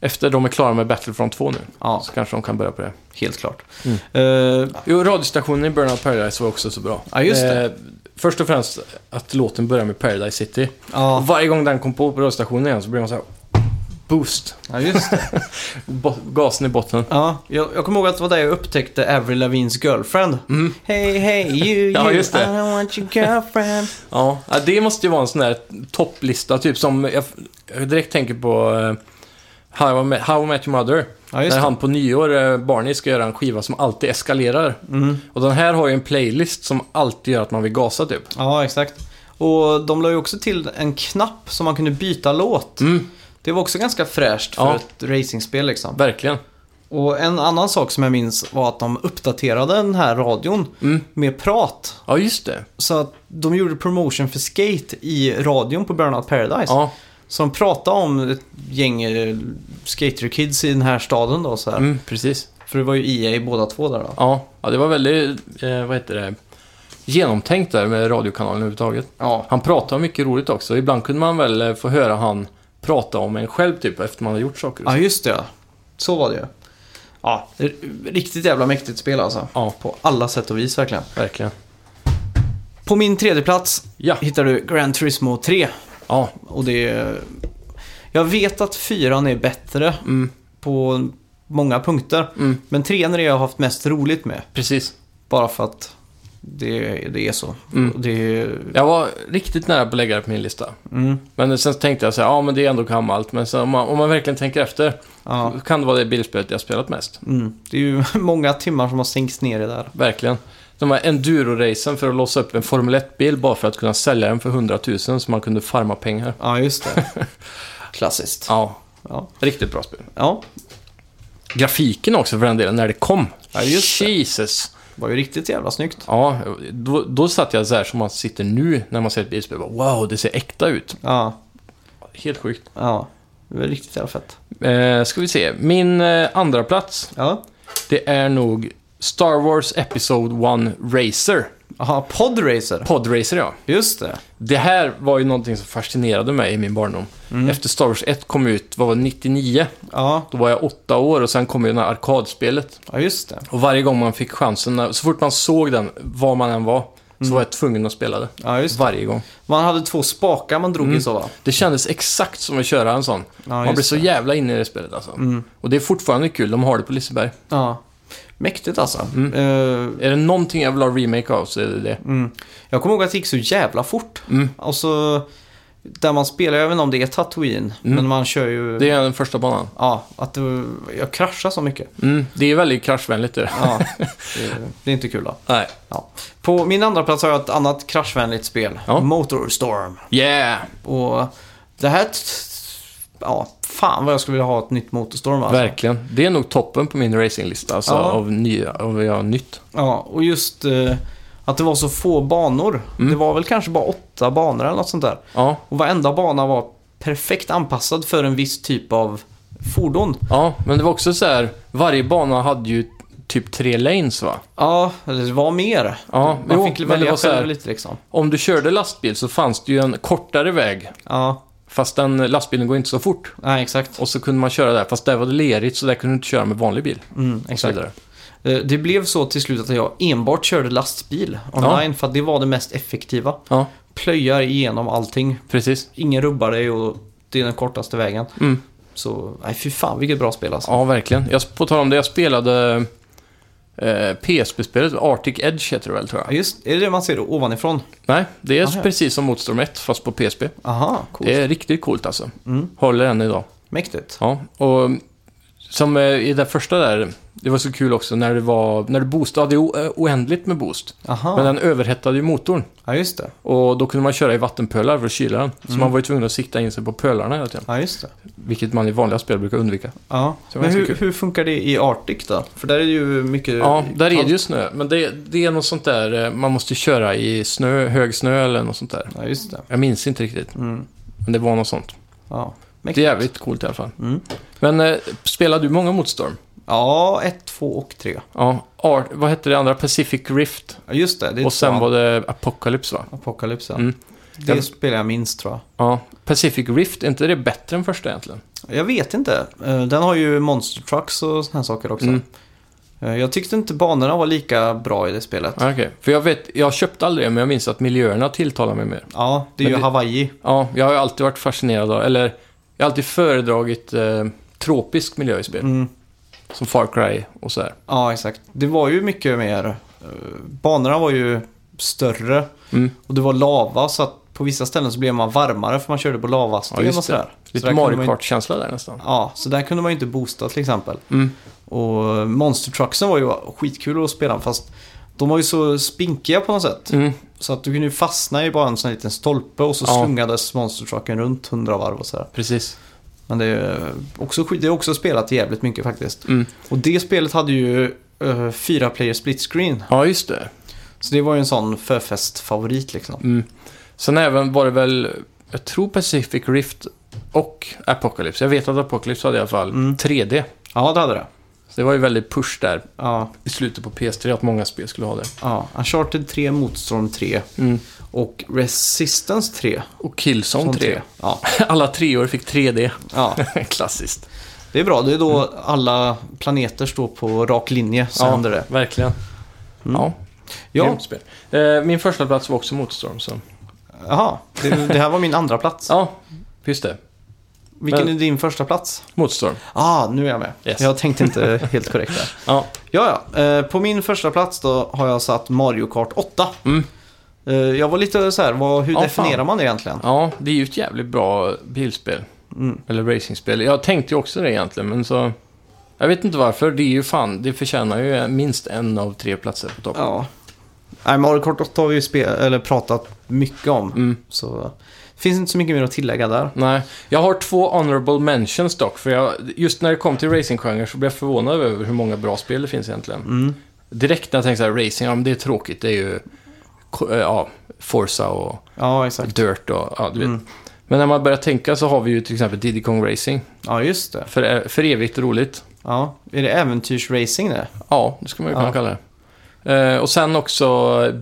Speaker 1: efter de är klara med Battlefront 2 nu.
Speaker 2: ja
Speaker 1: Så kanske de kan börja på det.
Speaker 2: helt klart.
Speaker 1: Mm.
Speaker 2: Eh,
Speaker 1: Jo, radiostationen i Burnout Paradise var också så bra.
Speaker 2: Ja, just det.
Speaker 1: Eh, först och främst att låten börjar med Paradise City.
Speaker 2: ja.
Speaker 1: Och varje gång den kom på på radiostationen igen så blev man så här... boost.
Speaker 2: Ja, just det.
Speaker 1: Bo- gasen i botten.
Speaker 2: Ja, jag, jag kommer ihåg att det var där jag upptäckte Avril Lavins girlfriend.
Speaker 1: Mm.
Speaker 2: Hey, hey, you,
Speaker 1: Ja,
Speaker 2: you,
Speaker 1: just det.
Speaker 2: I don't want your girlfriend.
Speaker 1: Ja, ja, det måste ju vara en sån där topplista, typ som jag, jag direkt tänker på eh, How, I Met, How I Met Your Mother.
Speaker 2: Ja, just
Speaker 1: När
Speaker 2: det.
Speaker 1: han på nyår, eh, Barney, ska göra en skiva som alltid eskalerar.
Speaker 2: Mm.
Speaker 1: Och den här har ju en playlist som alltid gör att man vill gasa typ.
Speaker 2: Ja, exakt. Och de la ju också till en knapp som man kunde byta låt.
Speaker 1: Mm.
Speaker 2: Det var också ganska fräscht för
Speaker 1: Ja.
Speaker 2: ett racingspel liksom.
Speaker 1: Verkligen.
Speaker 2: Och en annan sak som jag minns var att de uppdaterade den här radion
Speaker 1: Mm.
Speaker 2: med prat.
Speaker 1: Ja, just det.
Speaker 2: Så att de gjorde promotion för skate i radion på Burnout Paradise.
Speaker 1: Ja,
Speaker 2: Så de pratade om ett gäng eh, skaterkids i den här staden då så här.
Speaker 1: mm, precis.
Speaker 2: För det var ju EA båda två där då.
Speaker 1: Ja. ja, det var väldigt, eh, vad heter det, genomtänkt där med radiokanalen överhuvudtaget.
Speaker 2: Ja.
Speaker 1: Han pratade om mycket roligt också. Ibland kunde man väl eh, få höra han prata om en själv typ efter man har gjort saker. och
Speaker 2: Ja,
Speaker 1: så.
Speaker 2: just det. ja. Så var det ju. Ja, r- riktigt jävla mäktigt spel alltså.
Speaker 1: Ja,
Speaker 2: På alla sätt och vis verkligen.
Speaker 1: verkligen.
Speaker 2: På min tredje plats
Speaker 1: Ja,
Speaker 2: hittar du Gran Turismo 3.
Speaker 1: ja,
Speaker 2: Och det är... Jag vet att fyran är bättre
Speaker 1: mm,
Speaker 2: på många punkter.
Speaker 1: mm,
Speaker 2: Men trean är det jag har haft mest roligt med.
Speaker 1: precis.
Speaker 2: Bara för att det, det är så.
Speaker 1: Mm.
Speaker 2: Och Det är...
Speaker 1: Jag var riktigt nära på att lägga det på min lista.
Speaker 2: Mm.
Speaker 1: Men sen tänkte jag så här, ja men det är ändå gammalt. Men sen, om, man, om man verkligen tänker efter,
Speaker 2: Ja.
Speaker 1: kan det vara det bilspelet jag spelat mest.
Speaker 2: Mm. Det är ju många timmar som har sänkts ner i det här.
Speaker 1: Verkligen. De här enduro-racen för att låsa upp en Formel 1-bil bara för att kunna sälja den för 100 000 så man kunde farma pengar.
Speaker 2: Ja, just det. Klassiskt.
Speaker 1: Ja,
Speaker 2: Ja.
Speaker 1: riktigt bra spel.
Speaker 2: ja,
Speaker 1: Grafiken också för den delen, när det kom.
Speaker 2: Ja, just
Speaker 1: Jesus!
Speaker 2: det var ju riktigt jävla snyggt.
Speaker 1: Ja, då, då satt jag så här som man sitter nu när man ser ett bilspel. Bara, Wow, det ser äkta ut.
Speaker 2: Ja,
Speaker 1: Helt sjukt.
Speaker 2: ja. Det var riktigt jävla fett.
Speaker 1: Eh, ska vi se. Min eh, andra plats
Speaker 2: Ja,
Speaker 1: det är nog Star Wars Episode 1 Racer.
Speaker 2: Aha, podracer.
Speaker 1: Podracer, ja.
Speaker 2: Just det.
Speaker 1: Det här var ju någonting som fascinerade mig i min barndom.
Speaker 2: Mm.
Speaker 1: Efter Star Wars 1 kom ut, vad var det, 99?
Speaker 2: Ja,
Speaker 1: Då var jag åtta år och sen kom ju det här arkadspelet.
Speaker 2: ja just det.
Speaker 1: Och varje gång man fick chansen, när- så fort man såg den, var man än var,
Speaker 2: Mm.
Speaker 1: så var jag tvungen att spela det.
Speaker 2: Ja, just det. Mm.
Speaker 1: Varje gång.
Speaker 2: Man hade två spakar man drog i så va?
Speaker 1: Det kändes exakt som att köra en sån.
Speaker 2: Ja,
Speaker 1: man
Speaker 2: just
Speaker 1: blir så
Speaker 2: det. Mm.
Speaker 1: jävla inne i det spelet alltså. Och det är fortfarande kul, de har det på Liseberg.
Speaker 2: Ja. Mäktigt alltså. Eh,
Speaker 1: Är det någonting jag vill ha remake av så är det det.
Speaker 2: Mm. Jag kommer ihåg att det gick så jävla fort.
Speaker 1: Mm.
Speaker 2: Och så, där man spelar, jag vet inte om det är Tatooine, men man kör ju...
Speaker 1: Det är den första banan.
Speaker 2: Ja, att det, jag kraschar så mycket.
Speaker 1: Mm, det är väldigt kraschvänligt det.
Speaker 2: Ja, det, det är inte kul då.
Speaker 1: Nej.
Speaker 2: Ja. På min andra plats har jag ett annat kraschvänligt spel,
Speaker 1: Ja.
Speaker 2: Motorstorm.
Speaker 1: Yeah!
Speaker 2: Och det här... t- Ja, fan vad jag skulle vilja ha ett nytt Motorstorm alltså.
Speaker 1: Verkligen. Det är nog toppen på min racinglista, alltså
Speaker 2: Ja.
Speaker 1: av, nya, av ja, nytt.
Speaker 2: Ja, och just eh, att det var så få banor.
Speaker 1: Mm.
Speaker 2: Det var väl kanske bara åtta banor eller något sånt där.
Speaker 1: Ja,
Speaker 2: Och varenda bana var perfekt anpassad för en viss typ av fordon.
Speaker 1: ja, men det var också så här, varje bana hade ju typ tre lanes va?
Speaker 2: Ja, eller det var mer.
Speaker 1: Ja,
Speaker 2: Man
Speaker 1: jo,
Speaker 2: fick
Speaker 1: men det
Speaker 2: välja
Speaker 1: var så här-
Speaker 2: själv lite liksom.
Speaker 1: Om du körde lastbil så fanns det ju en kortare väg,
Speaker 2: Ja,
Speaker 1: fast den lastbilen går inte så fort.
Speaker 2: nej exakt.
Speaker 1: Och så kunde man köra där, fast där var det lerigt så där kunde du inte köra med vanlig bil.
Speaker 2: Mm,
Speaker 1: Och så
Speaker 2: exakt.
Speaker 1: vidare.
Speaker 2: Eh, Det blev så till slut att jag enbart körde lastbil online för att det var det mest effektiva.
Speaker 1: Ja,
Speaker 2: Plöjar igenom allting.
Speaker 1: precis.
Speaker 2: Ingen rubbar dig och det är den kortaste vägen.
Speaker 1: Mm.
Speaker 2: Så, nej fy fan vilket bra spel alltså.
Speaker 1: Ja, verkligen. Jag, på tal om det, jag spelade eh, PSP-spelet, Arctic Edge heter det väl tror
Speaker 2: Ja,
Speaker 1: jag.
Speaker 2: just, är det det man ser ovanifrån?
Speaker 1: Nej, det är
Speaker 2: Ah, ja.
Speaker 1: precis som Motorstorm 1, fast på PSP.
Speaker 2: Aha, coolt.
Speaker 1: Det är riktigt coolt alltså.
Speaker 2: Mm.
Speaker 1: Håller än idag.
Speaker 2: Mäktigt.
Speaker 1: Ja, och som eh, i det första där, det var så kul också när det var, när du boostade, hade o- eh, oändligt med boost.
Speaker 2: Aha,
Speaker 1: Men den överhettade ju motorn
Speaker 2: ja just det.
Speaker 1: och då kunde man köra i vattenpölar för att kyla den. Så
Speaker 2: Mm.
Speaker 1: man var ju tvungen att sikta in sig på pölarna hela tiden.
Speaker 2: Ja just det.
Speaker 1: Vilket man i vanliga spel brukar undvika.
Speaker 2: Ja,
Speaker 1: Så det var
Speaker 2: men
Speaker 1: ganska
Speaker 2: hur,
Speaker 1: kul.
Speaker 2: hur funkar det i Arctic då? För där är det ju mycket...
Speaker 1: Ja, där är det ju snö. Men det, det är något sånt där, eh, man måste köra i snö, hög snö eller något sånt där.
Speaker 2: Ja, just det.
Speaker 1: Jag minns inte riktigt,
Speaker 2: Mm.
Speaker 1: men det var något sånt.
Speaker 2: Ja.
Speaker 1: Det är jävligt coolt i alla fall.
Speaker 2: Mm.
Speaker 1: Men eh, spelar du många motstorm?
Speaker 2: Ja, ett, två och tre.
Speaker 1: Ja, Art, vad hette det andra? Pacific Rift?
Speaker 2: Ja, just det. det är
Speaker 1: Och sen
Speaker 2: tvåan.
Speaker 1: var det Apocalypse va?
Speaker 2: Apocalypse, ja.
Speaker 1: Mm.
Speaker 2: Det
Speaker 1: Jag-
Speaker 2: spelar jag minst tror jag.
Speaker 1: Ja. Pacific Rift, är inte det bättre än första egentligen?
Speaker 2: Jag vet inte. Eh, Den har ju Monster Trucks och såna här saker också.
Speaker 1: Mm.
Speaker 2: Eh, Jag tyckte inte banorna var lika bra i det spelet.
Speaker 1: Ja, Okej, för jag vet, jag köpte aldrig det men jag minns att miljöerna tilltalar mig mer.
Speaker 2: Ja, det är
Speaker 1: Men
Speaker 2: ju
Speaker 1: det-
Speaker 2: Hawaii.
Speaker 1: Ja, jag har ju alltid varit fascinerad av, eller Jag har alltid föredragit eh, tropisk miljö i spel.
Speaker 2: Mm.
Speaker 1: Som Far Cry och sådär.
Speaker 2: Ja, exakt. Det var ju mycket mer... eh, Banorna var ju större
Speaker 1: Mm.
Speaker 2: och det var lava så att på vissa ställen så blev man varmare för man körde på
Speaker 1: Ja,
Speaker 2: lavasten
Speaker 1: just
Speaker 2: och sådär. så
Speaker 1: Lite
Speaker 2: där kunde man
Speaker 1: Mario
Speaker 2: ju-
Speaker 1: Kart-känsla där nästan.
Speaker 2: Ja, så där kunde man ju inte boosta till exempel.
Speaker 1: Mm.
Speaker 2: Och Monster Trucksen var ju skitkul att spela fast de var ju så spinkiga på något sätt.
Speaker 1: Mm.
Speaker 2: Så att du kunde ju fastna i bara en sån här liten stolpe och så
Speaker 1: Ja.
Speaker 2: slungades Monster Trucken runt hundra varv och sådär.
Speaker 1: Precis.
Speaker 2: Men det är också, skit- det är också spelat jävligt mycket faktiskt.
Speaker 1: Mm.
Speaker 2: Och det spelet hade ju uh, fyra player split screen.
Speaker 1: Ja, just det.
Speaker 2: Så det var ju en sån förfestfavorit liksom.
Speaker 1: Mm. Sen även var det väl, jag tror Pacific Rift och Apocalypse. Jag vet att Apocalypse hade i alla fall
Speaker 2: Mm.
Speaker 1: 3D.
Speaker 2: Ja, det hade det.
Speaker 1: Så det var ju väldigt push där
Speaker 2: Ja,
Speaker 1: i slutet på PS3 att många spel skulle ha det.
Speaker 2: ja. Uncharted 3, Motstorm 3
Speaker 1: Mm.
Speaker 2: och Resistance 3.
Speaker 1: Och Killzone
Speaker 2: Sån
Speaker 1: 3.
Speaker 2: Ja,
Speaker 1: Alla treor fick 3D.
Speaker 2: ja.
Speaker 1: Klassiskt.
Speaker 2: Det är bra, det är då alla planeter står på rak linje, så
Speaker 1: Mm. Ja.
Speaker 2: händer det.
Speaker 1: Verkligen.
Speaker 2: Mm.
Speaker 1: Ja,
Speaker 2: Ja,
Speaker 1: grymt spel. Eh, min första plats var också Motorstorm. Så.
Speaker 2: jaha. Det, det här var min andra plats.
Speaker 1: Ja, just det.
Speaker 2: Vilken
Speaker 1: men-
Speaker 2: är din första plats?
Speaker 1: Motorstorm.
Speaker 2: Ah, nu är jag med.
Speaker 1: Yes.
Speaker 2: Jag tänkte inte helt korrekt där.
Speaker 1: Ja,
Speaker 2: Ja, ja. Eh, På min första plats då har jag satt Mario Kart 8.
Speaker 1: Mm.
Speaker 2: Eh, Jag var lite så här, vad, hur
Speaker 1: Ja,
Speaker 2: definierar
Speaker 1: fan.
Speaker 2: man det egentligen?
Speaker 1: ja, det är ju ett jävligt bra bilspel.
Speaker 2: Mm.
Speaker 1: Eller racingspel. Jag tänkte ju också det egentligen, men så... Jag vet inte varför. Det är ju fan, det förtjänar ju minst en av tre platser på topp.
Speaker 2: Ja. Nej, Mario Kart 8 har vi ju spe- eller pratat mycket om.
Speaker 1: Mm.
Speaker 2: Så det finns inte så mycket mer att tillägga där.
Speaker 1: Nej, jag har två honorable mentions dock. För jag, just när det kom till racinggenren så blev jag förvånad över hur många bra spel det finns egentligen.
Speaker 2: Mm.
Speaker 1: Direkt när jag tänkte så här, racing, ja men det är tråkigt. Det är ju ko- eh, ja, Forza och
Speaker 2: Ja, exakt.
Speaker 1: Dirt och ja, du vet.
Speaker 2: Mm.
Speaker 1: Men när man börjar tänka så har vi ju till exempel Diddy Kong Racing.
Speaker 2: Ja, just det.
Speaker 1: För, eh, för evigt roligt.
Speaker 2: Ja. Är det äventyrsracing det?
Speaker 1: Ja, det skulle man ju kunna
Speaker 2: Ja.
Speaker 1: kalla det. Eh, och sen också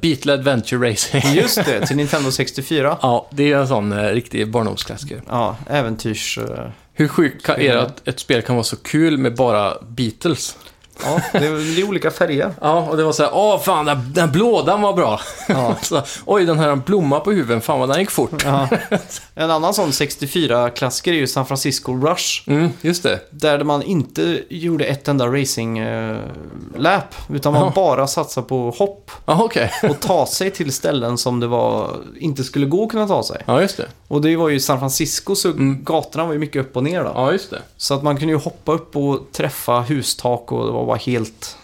Speaker 1: Beatle Adventure Racing.
Speaker 2: Just det, till Nintendo 64.
Speaker 1: ja, det är en sån eh, riktig barndomsklassiker.
Speaker 2: Ja, äventyrs... eh,
Speaker 1: Hur sjukt kan- är
Speaker 2: Spel.
Speaker 1: det att ett spel kan vara så kul med bara Beatles?
Speaker 2: Ja, det är, det är olika färger.
Speaker 1: Ja, och det var så här, åh fan, den, den blå, den var bra.
Speaker 2: Ja.
Speaker 1: Så, Oj, den här blomma på huvudet, fan vad den gick fort.
Speaker 2: Ja. En annan sån 64-klassiker är ju San Francisco Rush.
Speaker 1: Mm, just det.
Speaker 2: Där man inte gjorde ett enda racing-lap, utan man
Speaker 1: Ja.
Speaker 2: bara satsade på hopp
Speaker 1: Ja, okej.
Speaker 2: och ta sig till ställen som det var, inte skulle gå att kunna ta sig.
Speaker 1: Ja, just det.
Speaker 2: Och det var ju San Francisco, så
Speaker 1: Mm.
Speaker 2: gatorna var ju mycket upp och ner då.
Speaker 1: Ja, just det.
Speaker 2: Så att man kunde ju hoppa upp och träffa hustak och det var bara helt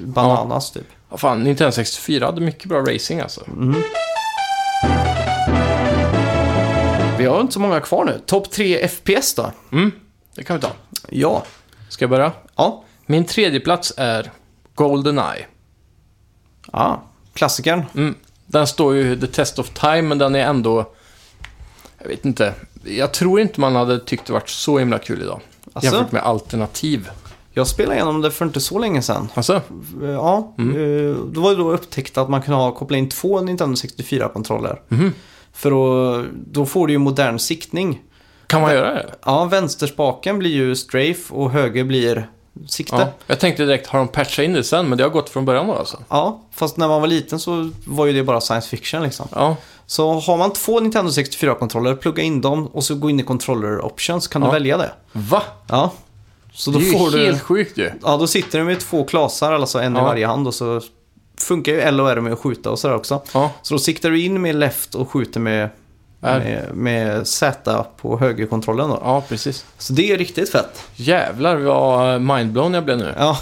Speaker 2: bananas typ.
Speaker 1: Ja, fan, Nintendo 64 hade mycket bra racing alltså.
Speaker 2: Vi har inte så många kvar nu. Topp 3 FPS då?
Speaker 1: Mm, det kan vi ta.
Speaker 2: Ja.
Speaker 1: Ska jag börja?
Speaker 2: Ja.
Speaker 1: Min tredje plats är Goldeneye.
Speaker 2: Ja, Ah, klassikern.
Speaker 1: Mm. Den står ju The Test of Time, men den är ändå... Jag vet inte. Jag tror inte man hade tyckt det varit så himla kul idag.
Speaker 2: Asså?
Speaker 1: Jämfört med alternativ.
Speaker 2: Jag spelade igenom det för inte så länge sedan.
Speaker 1: Alltså,
Speaker 2: Ja,
Speaker 1: Mm.
Speaker 2: eh, då var det då upptäckt att man kunde ha, koppla in två Nintendo 64-kontroller.
Speaker 1: Mhm.
Speaker 2: För då, då får du ju modern siktning.
Speaker 1: kan man göra det?
Speaker 2: Ja, vänsterspaken blir ju strafe och höger blir sikte.
Speaker 1: Ja.
Speaker 2: Ja.
Speaker 1: Jag tänkte direkt, har de patchat in det sen? Men det har gått från början då alltså?
Speaker 2: fast när man var liten så var ju det bara science fiction liksom.
Speaker 1: Ja,
Speaker 2: Så har man två Nintendo 64-kontroller, plugga in dem och så gå in i controller options kan
Speaker 1: Ja.
Speaker 2: du välja det.
Speaker 1: Va?
Speaker 2: Ja, så
Speaker 1: Det
Speaker 2: då
Speaker 1: är ju
Speaker 2: får du...
Speaker 1: helt sjukt ju.
Speaker 2: Ja, då sitter du med två klasar, alltså en
Speaker 1: Ja.
Speaker 2: i varje hand och så funkar ju L och R med att skjuta och sådär också.
Speaker 1: Ja,
Speaker 2: Så då siktar du in med left och skjuter med,
Speaker 1: R.
Speaker 2: med, med Z på högerkontrollen då.
Speaker 1: ja precis.
Speaker 2: Så det är riktigt fett.
Speaker 1: Jävlar vad eh, mindblown jag blev nu.
Speaker 2: Ja.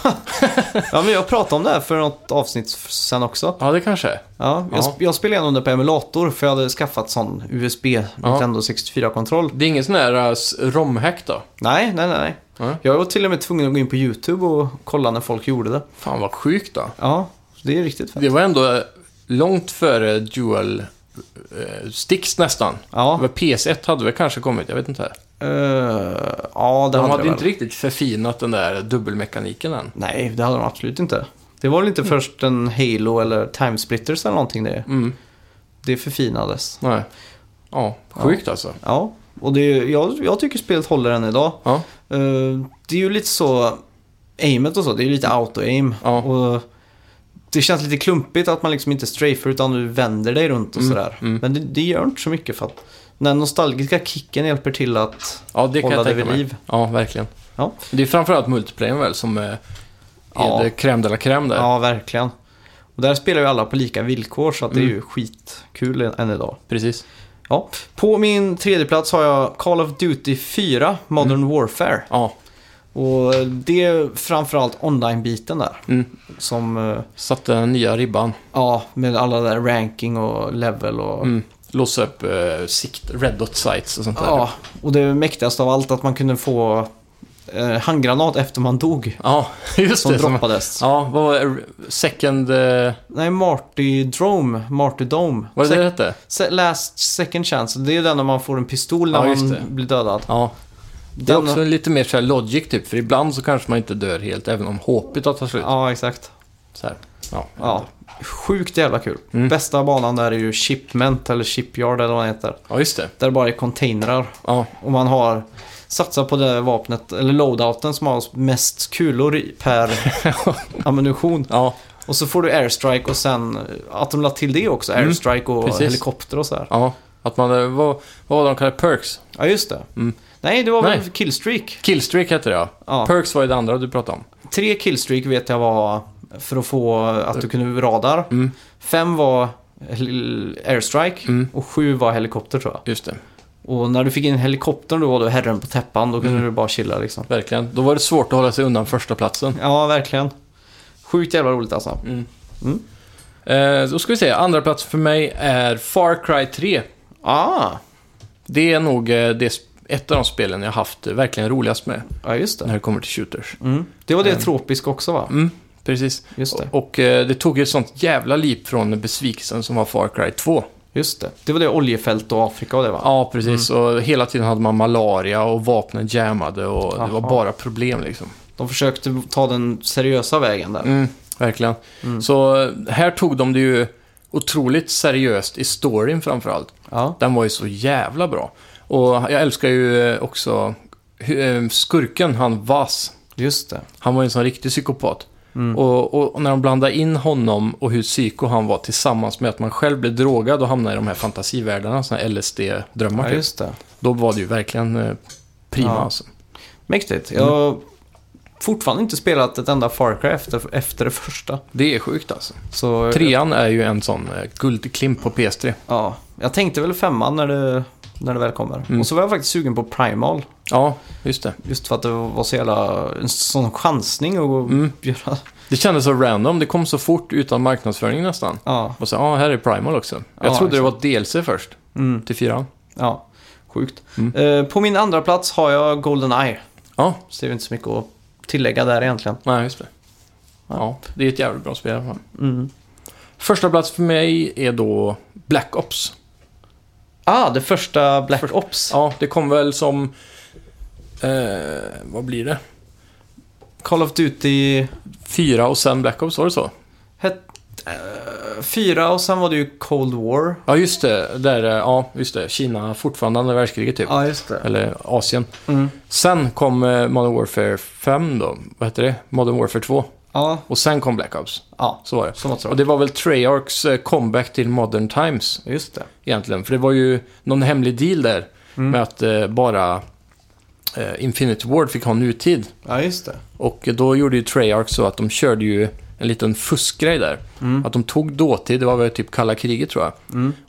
Speaker 2: ja, men jag pratade om det här för något avsnitt sen också.
Speaker 1: Ja, det kanske är.
Speaker 2: Ja, jag,
Speaker 1: Ja.
Speaker 2: jag spelade igenom det på emulator för jag hade skaffat sån USB Nintendo 64-kontroll.
Speaker 1: Det är ingen sån här äh, s- romhack då?
Speaker 2: Nej, nej, nej, nej.
Speaker 1: Nej.
Speaker 2: Jag var till och med tvungen att gå in på YouTube och kolla när folk gjorde det.
Speaker 1: Fan vad sjukt då.
Speaker 2: Ja, så det är riktigt fett.
Speaker 1: Det var ändå eh, långt före dual eh, sticks nästan.
Speaker 2: Ja,
Speaker 1: Men PS1 hade väl kanske kommit, jag vet inte.
Speaker 2: Eh, ja det
Speaker 1: De
Speaker 2: hade det
Speaker 1: hade
Speaker 2: väl.
Speaker 1: inte riktigt förfinat den där dubbelmekaniken än.
Speaker 2: Nej, det hade de absolut inte. Det var väl inte först en Halo eller Time Splitters eller någonting det.
Speaker 1: Mm.
Speaker 2: Det förfinades.
Speaker 1: Nej. Ja, sjukt alltså.
Speaker 2: Ja, och det, jag, jag tycker spelet håller än idag.
Speaker 1: Ja.
Speaker 2: Eh, det är ju lite så, aimet och så, det är ju lite auto-aim.
Speaker 1: Ja.
Speaker 2: Och det känns lite
Speaker 1: Mm.
Speaker 2: klumpigt att man liksom inte strafar utan du vänder dig runt och sådär. Men det, det gör inte så mycket för att Den nostalgiska kicken hjälper till att...
Speaker 1: Ja, det kan
Speaker 2: Hålla
Speaker 1: jag
Speaker 2: det
Speaker 1: tänka
Speaker 2: vid
Speaker 1: mig.
Speaker 2: liv.
Speaker 1: Ja, verkligen.
Speaker 2: Ja.
Speaker 1: Det är framförallt multiplayern väl som eh, är
Speaker 2: Ja.
Speaker 1: det crème de la crème där.
Speaker 2: Ja, verkligen. Och där spelar ju alla på lika villkor så att det är
Speaker 1: Mm.
Speaker 2: ju skitkul än idag.
Speaker 1: Precis.
Speaker 2: Ja. På min tredje plats har jag Call of Duty 4 Modern
Speaker 1: Mm.
Speaker 2: Warfare.
Speaker 1: Ja,
Speaker 2: Och det är framförallt online-biten där.
Speaker 1: Mm.
Speaker 2: Som, eh,
Speaker 1: satte den nya ribban.
Speaker 2: ja, med alla där ranking och level och...
Speaker 1: Mm. Låsa upp eh, sikt, red dot sites och sånt där.
Speaker 2: Ja, och det mäktigaste av allt att man kunde få eh, handgranat efter man dog.
Speaker 1: Ja, just
Speaker 2: Som
Speaker 1: det. Som,
Speaker 2: droppades.
Speaker 1: ja, vad var det? Second... eh,
Speaker 2: Nej, Martydrome. Martydome.
Speaker 1: Vad är det det hette?
Speaker 2: Se- last second chance. Det är den när man får en pistol när
Speaker 1: Ja, just det.
Speaker 2: man blir dödad.
Speaker 1: Ja. Det är
Speaker 2: Den-
Speaker 1: också lite mer så här logic typ, för ibland så kanske man inte dör helt, även om hoppet har tagit slut.
Speaker 2: Ja, exakt.
Speaker 1: Så här. Ja.
Speaker 2: Ja, sjukt jävla kul.
Speaker 1: Mm.
Speaker 2: Bästa banan där är ju Shipment eller Shipyard eller vad den heter.
Speaker 1: ja, just det.
Speaker 2: Där det bara är containrar.
Speaker 1: Ja,
Speaker 2: Och man har satsat på det där vapnet, eller loadouten som har mest kulor i per ammunition.
Speaker 1: ja,
Speaker 2: Och så får du airstrike och sen eh, att de la till det också.
Speaker 1: Mm,
Speaker 2: Airstrike och
Speaker 1: precis.
Speaker 2: helikopter och sådär.
Speaker 1: ja. Att man, eh, vad, vad var det de kallade perks?
Speaker 2: Ja, just det.
Speaker 1: Mm.
Speaker 2: Nej, det var väl
Speaker 1: Nej.
Speaker 2: killstreak.
Speaker 1: Killstreak hette det ja.
Speaker 2: Ja.
Speaker 1: Perks var ju det andra du pratade om.
Speaker 2: Tre killstreak vet jag var för att få att du kunde radar. Fem var hel- airstrike
Speaker 1: Mm.
Speaker 2: och sju var helikopter tror jag.
Speaker 1: Just det,
Speaker 2: Och när du fick in helikoptern då var du herren på täppan. Då kunde
Speaker 1: Mm.
Speaker 2: du bara chilla liksom.
Speaker 1: verkligen. Då var det svårt att hålla sig undan första platsen.
Speaker 2: Ja, verkligen. Sjukt jävla roligt alltså.
Speaker 1: Mm. Eh, då ska vi se, andra plats för mig är Far Cry 3.
Speaker 2: Ah,
Speaker 1: Det är nog eh, det, sp- ett av de spelen jag haft eh, verkligen roligast med
Speaker 2: ja just det.
Speaker 1: när det kommer till shooters.
Speaker 2: Mm. Det
Speaker 1: Ehm.
Speaker 2: var det tropiska också va?
Speaker 1: Mm, precis.
Speaker 2: Just det.
Speaker 1: Och eh, det tog ju ett sånt jävla liv från besvikelsen som var Far Cry 2.
Speaker 2: Just det. Det var det oljefält och Afrika och det va?
Speaker 1: Ja, precis. Mm. Och hela tiden hade man malaria och vapnen jammade och det var
Speaker 2: Aha.
Speaker 1: bara problem liksom.
Speaker 2: De försökte ta den seriösa vägen där.
Speaker 1: Mm, verkligen.
Speaker 2: Mm.
Speaker 1: Så eh, här tog de det ju otroligt seriöst i storyn framförallt.
Speaker 2: Ja.
Speaker 1: Den var ju så jävla bra. Och jag älskar ju eh, också hu- eh, skurken, han Vas.
Speaker 2: Just det.
Speaker 1: Han var ju en sån riktig psykopat.
Speaker 2: Mm.
Speaker 1: Och, och, och när de blandade in honom och hur psyko han var tillsammans med att man själv blev drogad och hamnade i de här fantasivärldarna, såna här LSD-drömmar
Speaker 2: Ja,
Speaker 1: typ.
Speaker 2: just det.
Speaker 1: Då var det ju verkligen eh, prima
Speaker 2: Ja.
Speaker 1: alltså.
Speaker 2: Mäktigt. Jag har fortfarande inte spelat ett enda Far Cry efter, efter det första.
Speaker 1: Det är sjukt alltså.
Speaker 2: Så
Speaker 1: Trean är ju en sån eh, guldklimp på PS3.
Speaker 2: ja, jag tänkte väl femman när det, när det väl kommer. Och så var jag faktiskt sugen på Primal.
Speaker 1: Ja, just det.
Speaker 2: Just för att det var så jävla, en sån chansning att göra.
Speaker 1: Det kändes så random. Det kom så fort utan marknadsföring nästan.
Speaker 2: Ja,
Speaker 1: Och så, ja, ah, här är Primal också. Jag
Speaker 2: Ja,
Speaker 1: trodde det var ett DLC först,
Speaker 2: mm,
Speaker 1: till fyran.
Speaker 2: ja. Sjukt. Eh, på min andra plats har jag Goldeneye.
Speaker 1: Ja,
Speaker 2: Så det är inte så mycket att tillägga där egentligen.
Speaker 1: nej, just det. Ja, det är ett jävligt bra spel i alla fall.
Speaker 2: Mm.
Speaker 1: Första plats för mig är då Black Ops.
Speaker 2: Ah, det första Black
Speaker 1: Först-
Speaker 2: Ops.
Speaker 1: Ja, det kom väl som... Eh, vad blir det?
Speaker 2: Call of Duty
Speaker 1: Fyra och sen Black Ops, var det så?
Speaker 2: hette... eh, fyra och sen var det ju Cold War.
Speaker 1: Ja, just det. Där, eh, ja, just det. Kina, fortfarande andra världskriget typ.
Speaker 2: Ja, just det.
Speaker 1: Eller Asien.
Speaker 2: Mm.
Speaker 1: Sen kom eh, Modern Warfare 5 då. Vad heter det? Modern Warfare 2.
Speaker 2: Ja,
Speaker 1: Och sen kom Black Ops.
Speaker 2: ja.
Speaker 1: Så var det.
Speaker 2: Så måste det
Speaker 1: Och det var väl Treyarchs eh, comeback till Modern Times
Speaker 2: Just det.
Speaker 1: egentligen. För det var ju någon hemlig deal där med att eh, bara eh, Infinity Ward fick ha nutid.
Speaker 2: Ja, just det.
Speaker 1: Och då gjorde ju Treyarch så att de körde ju en liten fuskgrej där. Att de tog dåtid, det var väl typ kalla kriget tror jag.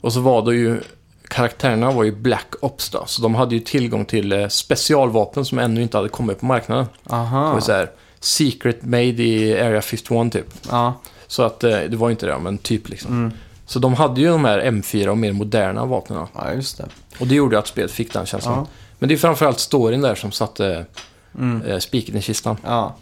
Speaker 1: Och så var det ju, karaktärerna var ju Black Ops då. Så de hade ju tillgång till eh, specialvapen som ännu inte hade kommit på marknaden. Det var
Speaker 2: Aha.
Speaker 1: ju så här, Secret Made i Area 51 typ.
Speaker 2: Ja,
Speaker 1: Så att eh, det var ju inte det, men typ liksom.
Speaker 2: Mm.
Speaker 1: Så de hade ju de här M4 och mer moderna vapnen.
Speaker 2: ja just det.
Speaker 1: Och det gjorde att spelet fick den känslan.
Speaker 2: Ja. Mm.
Speaker 1: Men det är framförallt storyn där som satte eh, spiken i kistan.
Speaker 2: Ja.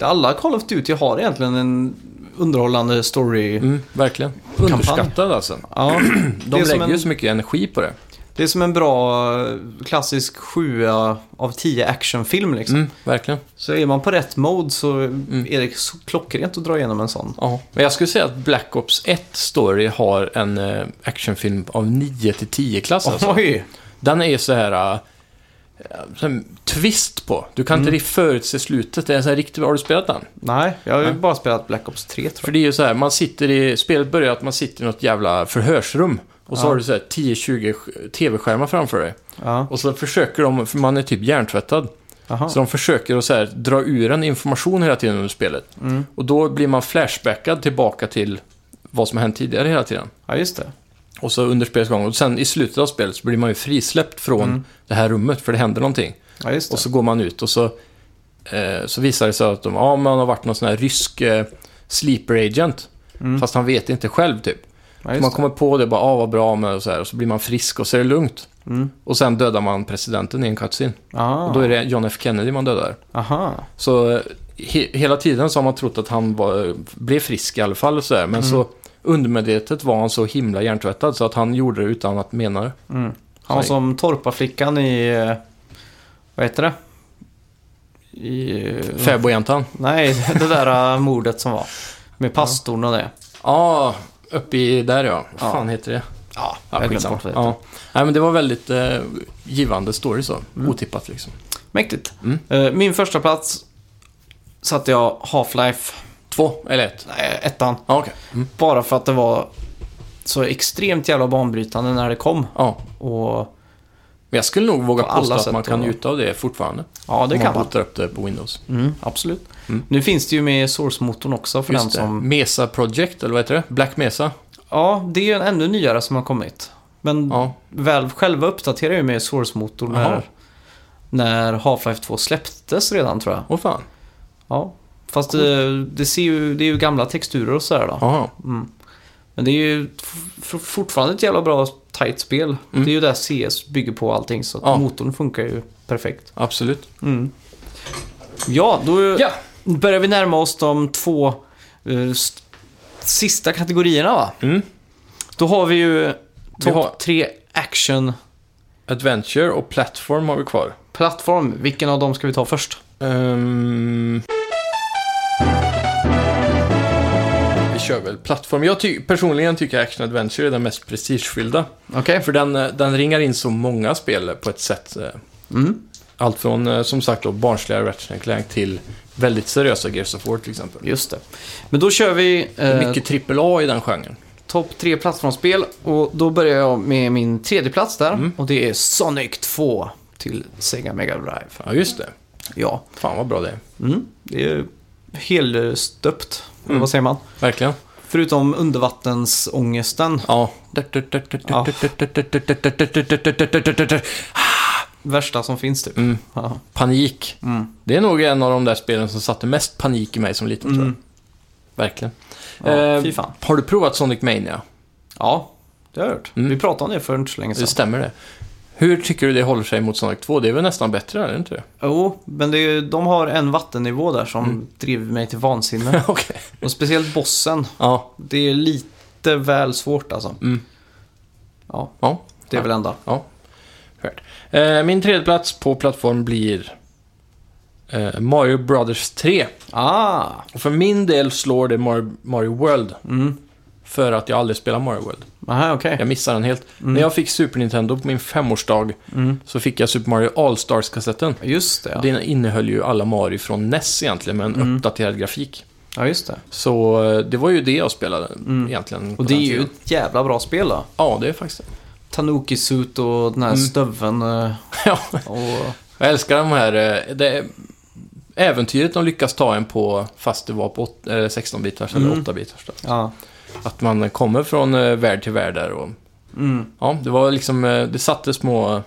Speaker 2: Alla Call of Duty har egentligen en underhållande story.
Speaker 1: Mm, verkligen. Underskattad alltså.
Speaker 2: Ja, det,
Speaker 1: De
Speaker 2: är som
Speaker 1: lägger ju
Speaker 2: en,
Speaker 1: så mycket energi på det.
Speaker 2: det är som en bra eh, klassisk 7 av 10 actionfilm liksom.
Speaker 1: Mm, verkligen.
Speaker 2: Så är man på rätt mode så är det så klockrent att dra igenom en sån.
Speaker 1: Ja. Men jag skulle säga att Black Ops 1 Story har en eh, actionfilm av 9 till 10 klass alltså.
Speaker 2: Oj!
Speaker 1: Den är så här... eh, som twist på. Du kan inte
Speaker 2: Mm.
Speaker 1: riktigt förutse slutet. Det är så här riktigt... Har du spelat den?
Speaker 2: Nej, jag har ju bara spelat Black Ops 3 tror
Speaker 1: För
Speaker 2: jag.
Speaker 1: det är ju så här, man sitter i... Spelet börjar att man sitter i något jävla förhörsrum. Och Och så
Speaker 2: Ja.
Speaker 1: har du så här 10-20 sk- tv-skärmar framför dig.
Speaker 2: Ja,
Speaker 1: Och så försöker de, för man är typ hjärntvättad,
Speaker 2: aha.
Speaker 1: så de försöker att så här, dra ur en information hela tiden under spelet.
Speaker 2: Mm.
Speaker 1: Och då blir man flashbackad tillbaka till vad som har hänt tidigare hela tiden.
Speaker 2: ja just det.
Speaker 1: Och så under spelets gång. Och sen i slutet av spelet så blir man ju frisläppt från
Speaker 2: Mm.
Speaker 1: det här rummet för det händer någonting.
Speaker 2: Ja, just det.
Speaker 1: Och så går man ut och så, eh, så visar det sig att de, ja, man har varit någon sån här rysk eh, sleeper agent.
Speaker 2: Mm.
Speaker 1: Fast han vet inte själv typ.
Speaker 2: ja,
Speaker 1: Så
Speaker 2: just
Speaker 1: man
Speaker 2: det.
Speaker 1: kommer på det bara, ah, vad bra med och så här. Och så blir man frisk och så är det lugnt.
Speaker 2: Mm. Ah.
Speaker 1: Och sen dödar man presidenten i en cutscene.
Speaker 2: Aha.
Speaker 1: Och då är det John F Kennedy man dödar.
Speaker 2: aha.
Speaker 1: Så eh, he hela tiden så har man trott att han var, blev frisk i alla fall och så här. Men
Speaker 2: Mm.
Speaker 1: så undermedvetet var han så himla hjärntvättad så att han gjorde det utan att mena det.
Speaker 2: Mm. Han var
Speaker 1: Så-
Speaker 2: som torparflickan i... eh, Vad heter det? I... eh,
Speaker 1: Fäbodjäntan.
Speaker 2: Nej, det där eh, mordet som var. Med pastorn och det.
Speaker 1: Ja, Ah, uppe i där ja. Vad
Speaker 2: Ja.
Speaker 1: fan heter det?
Speaker 2: Ja, jag
Speaker 1: Ja,
Speaker 2: har glömt
Speaker 1: skitsamma.
Speaker 2: bort vad det heter.
Speaker 1: ja. Nej, men det var väldigt eh, givande story så.
Speaker 2: Mm.
Speaker 1: Otippat liksom.
Speaker 2: Mäktigt.
Speaker 1: Mm.
Speaker 2: Eh, Min första plats satte jag Half-Life,
Speaker 1: Två eller ett?
Speaker 2: nej, ettan.
Speaker 1: Ja, okej. Mm.
Speaker 2: Bara för att det var så extremt jävla banbrytande när det kom.
Speaker 1: Ja.
Speaker 2: Och
Speaker 1: Men jag skulle nog våga
Speaker 2: På alla
Speaker 1: påstå att
Speaker 2: sätt
Speaker 1: man kan
Speaker 2: då.
Speaker 1: njuta av det fortfarande.
Speaker 2: ja, det
Speaker 1: om
Speaker 2: kan
Speaker 1: man
Speaker 2: man.
Speaker 1: bootar upp det på Windows.
Speaker 2: Mm, absolut.
Speaker 1: Mm.
Speaker 2: Nu finns det ju med Source-motorn också för den
Speaker 1: Just det.
Speaker 2: som... Mm.
Speaker 1: Mesa Project, eller vad heter det? Black Mesa?
Speaker 2: Ja, det är ju en ännu nyare som har kommit. Men
Speaker 1: Ja.
Speaker 2: Valve själva uppdaterade ju med Source-motorn
Speaker 1: Jaha.
Speaker 2: när, när Half-Life 2 släpptes redan tror jag.
Speaker 1: Åh fan.
Speaker 2: Ja. Fast det, det, ser ju, det är ju gamla texturer och sådär då.
Speaker 1: Jaha.
Speaker 2: Men det är ju f- fortfarande ett jävla bra tight spel. Det är ju där CS bygger på allting så att
Speaker 1: Mm. Ja.
Speaker 2: motorn funkar ju perfekt.
Speaker 1: Absolut.
Speaker 2: Ja, då
Speaker 1: Ja.
Speaker 2: börjar vi närma oss de två eh, s- sista kategorierna va?
Speaker 1: Mm.
Speaker 2: Då har vi ju topp
Speaker 1: har-
Speaker 2: tre action
Speaker 1: Adventure och Platform har vi kvar.
Speaker 2: plattform. Vilken av dem ska vi ta först?
Speaker 1: Ehm. Vi kör väl plattform. Jag ty- personligen tycker jag Action Adventure är den mest prestigefyllda.
Speaker 2: Okej.
Speaker 1: För den, eh, den ringar in så många spel på ett sätt. eh,
Speaker 2: Mm.
Speaker 1: Allt från, eh, som sagt, då, barnsliga Ratchet Clank till väldigt seriösa Gears of War till exempel.
Speaker 2: Just det. Men då kör vi eh,
Speaker 1: Mycket trippel A i den genren.
Speaker 2: topp tre plattformsspel och då börjar jag med min tredje plats där
Speaker 1: Mm.
Speaker 2: och det är Sonic 2 till Sega Mega Drive.
Speaker 1: Ja, just det.
Speaker 2: Ja,
Speaker 1: Fan vad bra det är.
Speaker 2: mm. det är helstöpt. Mm. Vad säger man?
Speaker 1: Verkligen.
Speaker 2: Förutom undervattensångesten.
Speaker 1: Ja.
Speaker 2: Ja. Värsta som finns typ.
Speaker 1: Mm.
Speaker 2: Ja.
Speaker 1: Panik.
Speaker 2: Mm.
Speaker 1: Det är nog en av de där spelen som satte mest panik i mig som liten, tror jag. Verkligen.
Speaker 2: Mm. Ja,
Speaker 1: Eh,
Speaker 2: fy fan.
Speaker 1: Har du provat Sonic Mania?
Speaker 2: ja, det har jag hört.
Speaker 1: Mm.
Speaker 2: Vi pratade om det för inte så länge
Speaker 1: Det
Speaker 2: sedan.
Speaker 1: stämmer det. Hur tycker du det håller sig mot Sonic 2? Det är väl nästan bättre, är det inte det?
Speaker 2: Jo, men det är, de har en vattennivå där som
Speaker 1: Mm.
Speaker 2: driver mig till vansinne.
Speaker 1: Okej.
Speaker 2: och speciellt bossen.
Speaker 1: Ja.
Speaker 2: Det är lite väl svårt alltså.
Speaker 1: Mm.
Speaker 2: Ja,
Speaker 1: ja.
Speaker 2: det är väl ända.
Speaker 1: Eh, min tredje plats på plattform blir eh, Mario Brothers 3.
Speaker 2: Ah,
Speaker 1: Och för min del slår det Mario, Mario World.
Speaker 2: mm.
Speaker 1: För att jag aldrig spelar Mario World.
Speaker 2: Aha, okej.
Speaker 1: Jag missar den helt. När jag fick Super Nintendo på min femårsdag
Speaker 2: Mm.
Speaker 1: så fick jag Super Mario All-Stars-kassetten.
Speaker 2: Just det, ja.
Speaker 1: Den innehöll ju alla Mario från NES egentligen med en
Speaker 2: Mm.
Speaker 1: uppdaterad grafik.
Speaker 2: ja. just det.
Speaker 1: Så eh, det var ju det jag spelade egentligen. på
Speaker 2: Mm. Och det är
Speaker 1: den
Speaker 2: ju
Speaker 1: tiden.
Speaker 2: ett jävla bra spel då.
Speaker 1: Ja, det är faktiskt det.
Speaker 2: Tanuki Suit och den här
Speaker 1: Mm.
Speaker 2: stöveln eh,
Speaker 1: Ja,
Speaker 2: och...
Speaker 1: Jag älskar de här... eh, Det äventyret de lyckas ta en på fast det var på åt- eh, 16-bitars eller 8-bitars. då.
Speaker 2: Ja.
Speaker 1: Att man kommer från eh, värld till värld där och...
Speaker 2: Mm.
Speaker 1: Ja, det var liksom... eh, Det satte små eh,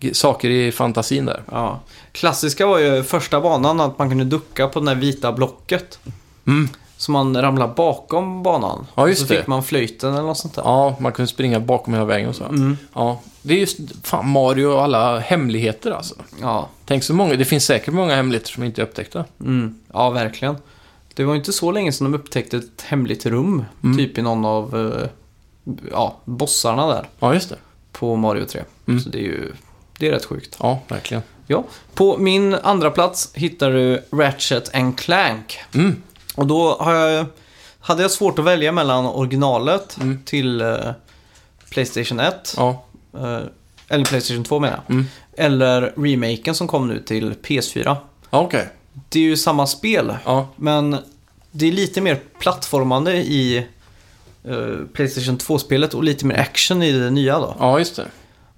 Speaker 1: g- saker i fantasin där.
Speaker 2: ja. Klassiska var ju första banan att man kunde ducka på det här vita blocket.
Speaker 1: Mm.
Speaker 2: Så man ramlade bakom banan.
Speaker 1: Ja, just
Speaker 2: så
Speaker 1: det.
Speaker 2: fick man flöjten eller något sånt där.
Speaker 1: Ja, man kunde springa bakom hela vägen och så. Ja, det är just... Fan, Mario och alla hemligheter alltså.
Speaker 2: Ja,
Speaker 1: Tänk så många. Det finns säkert många hemligheter som inte är upptäckta.
Speaker 2: mm. ja verkligen. Det var ju inte så länge sedan de upptäckte ett hemligt rum.
Speaker 1: Mm.
Speaker 2: Typ i någon av eh, ja, bossarna där
Speaker 1: Ja, just det.
Speaker 2: på Mario 3.
Speaker 1: Mm.
Speaker 2: Så det är ju det är rätt sjukt.
Speaker 1: Ja, verkligen.
Speaker 2: Ja. På min andra plats hittar du Ratchet and Clank.
Speaker 1: Mm.
Speaker 2: Och då har jag, hade jag svårt att välja mellan originalet till eh, Playstation 1.
Speaker 1: Mm. Ja.
Speaker 2: eh, eller Playstation 2 menar jag.
Speaker 1: Mm.
Speaker 2: Eller remaken som kom nu till PS4.
Speaker 1: Ja, okej.
Speaker 2: Det är ju samma spel,
Speaker 1: Ja.
Speaker 2: men det är lite mer plattformande i eh, Playstation 2-spelet och lite mer action i det nya då.
Speaker 1: Ja, just det.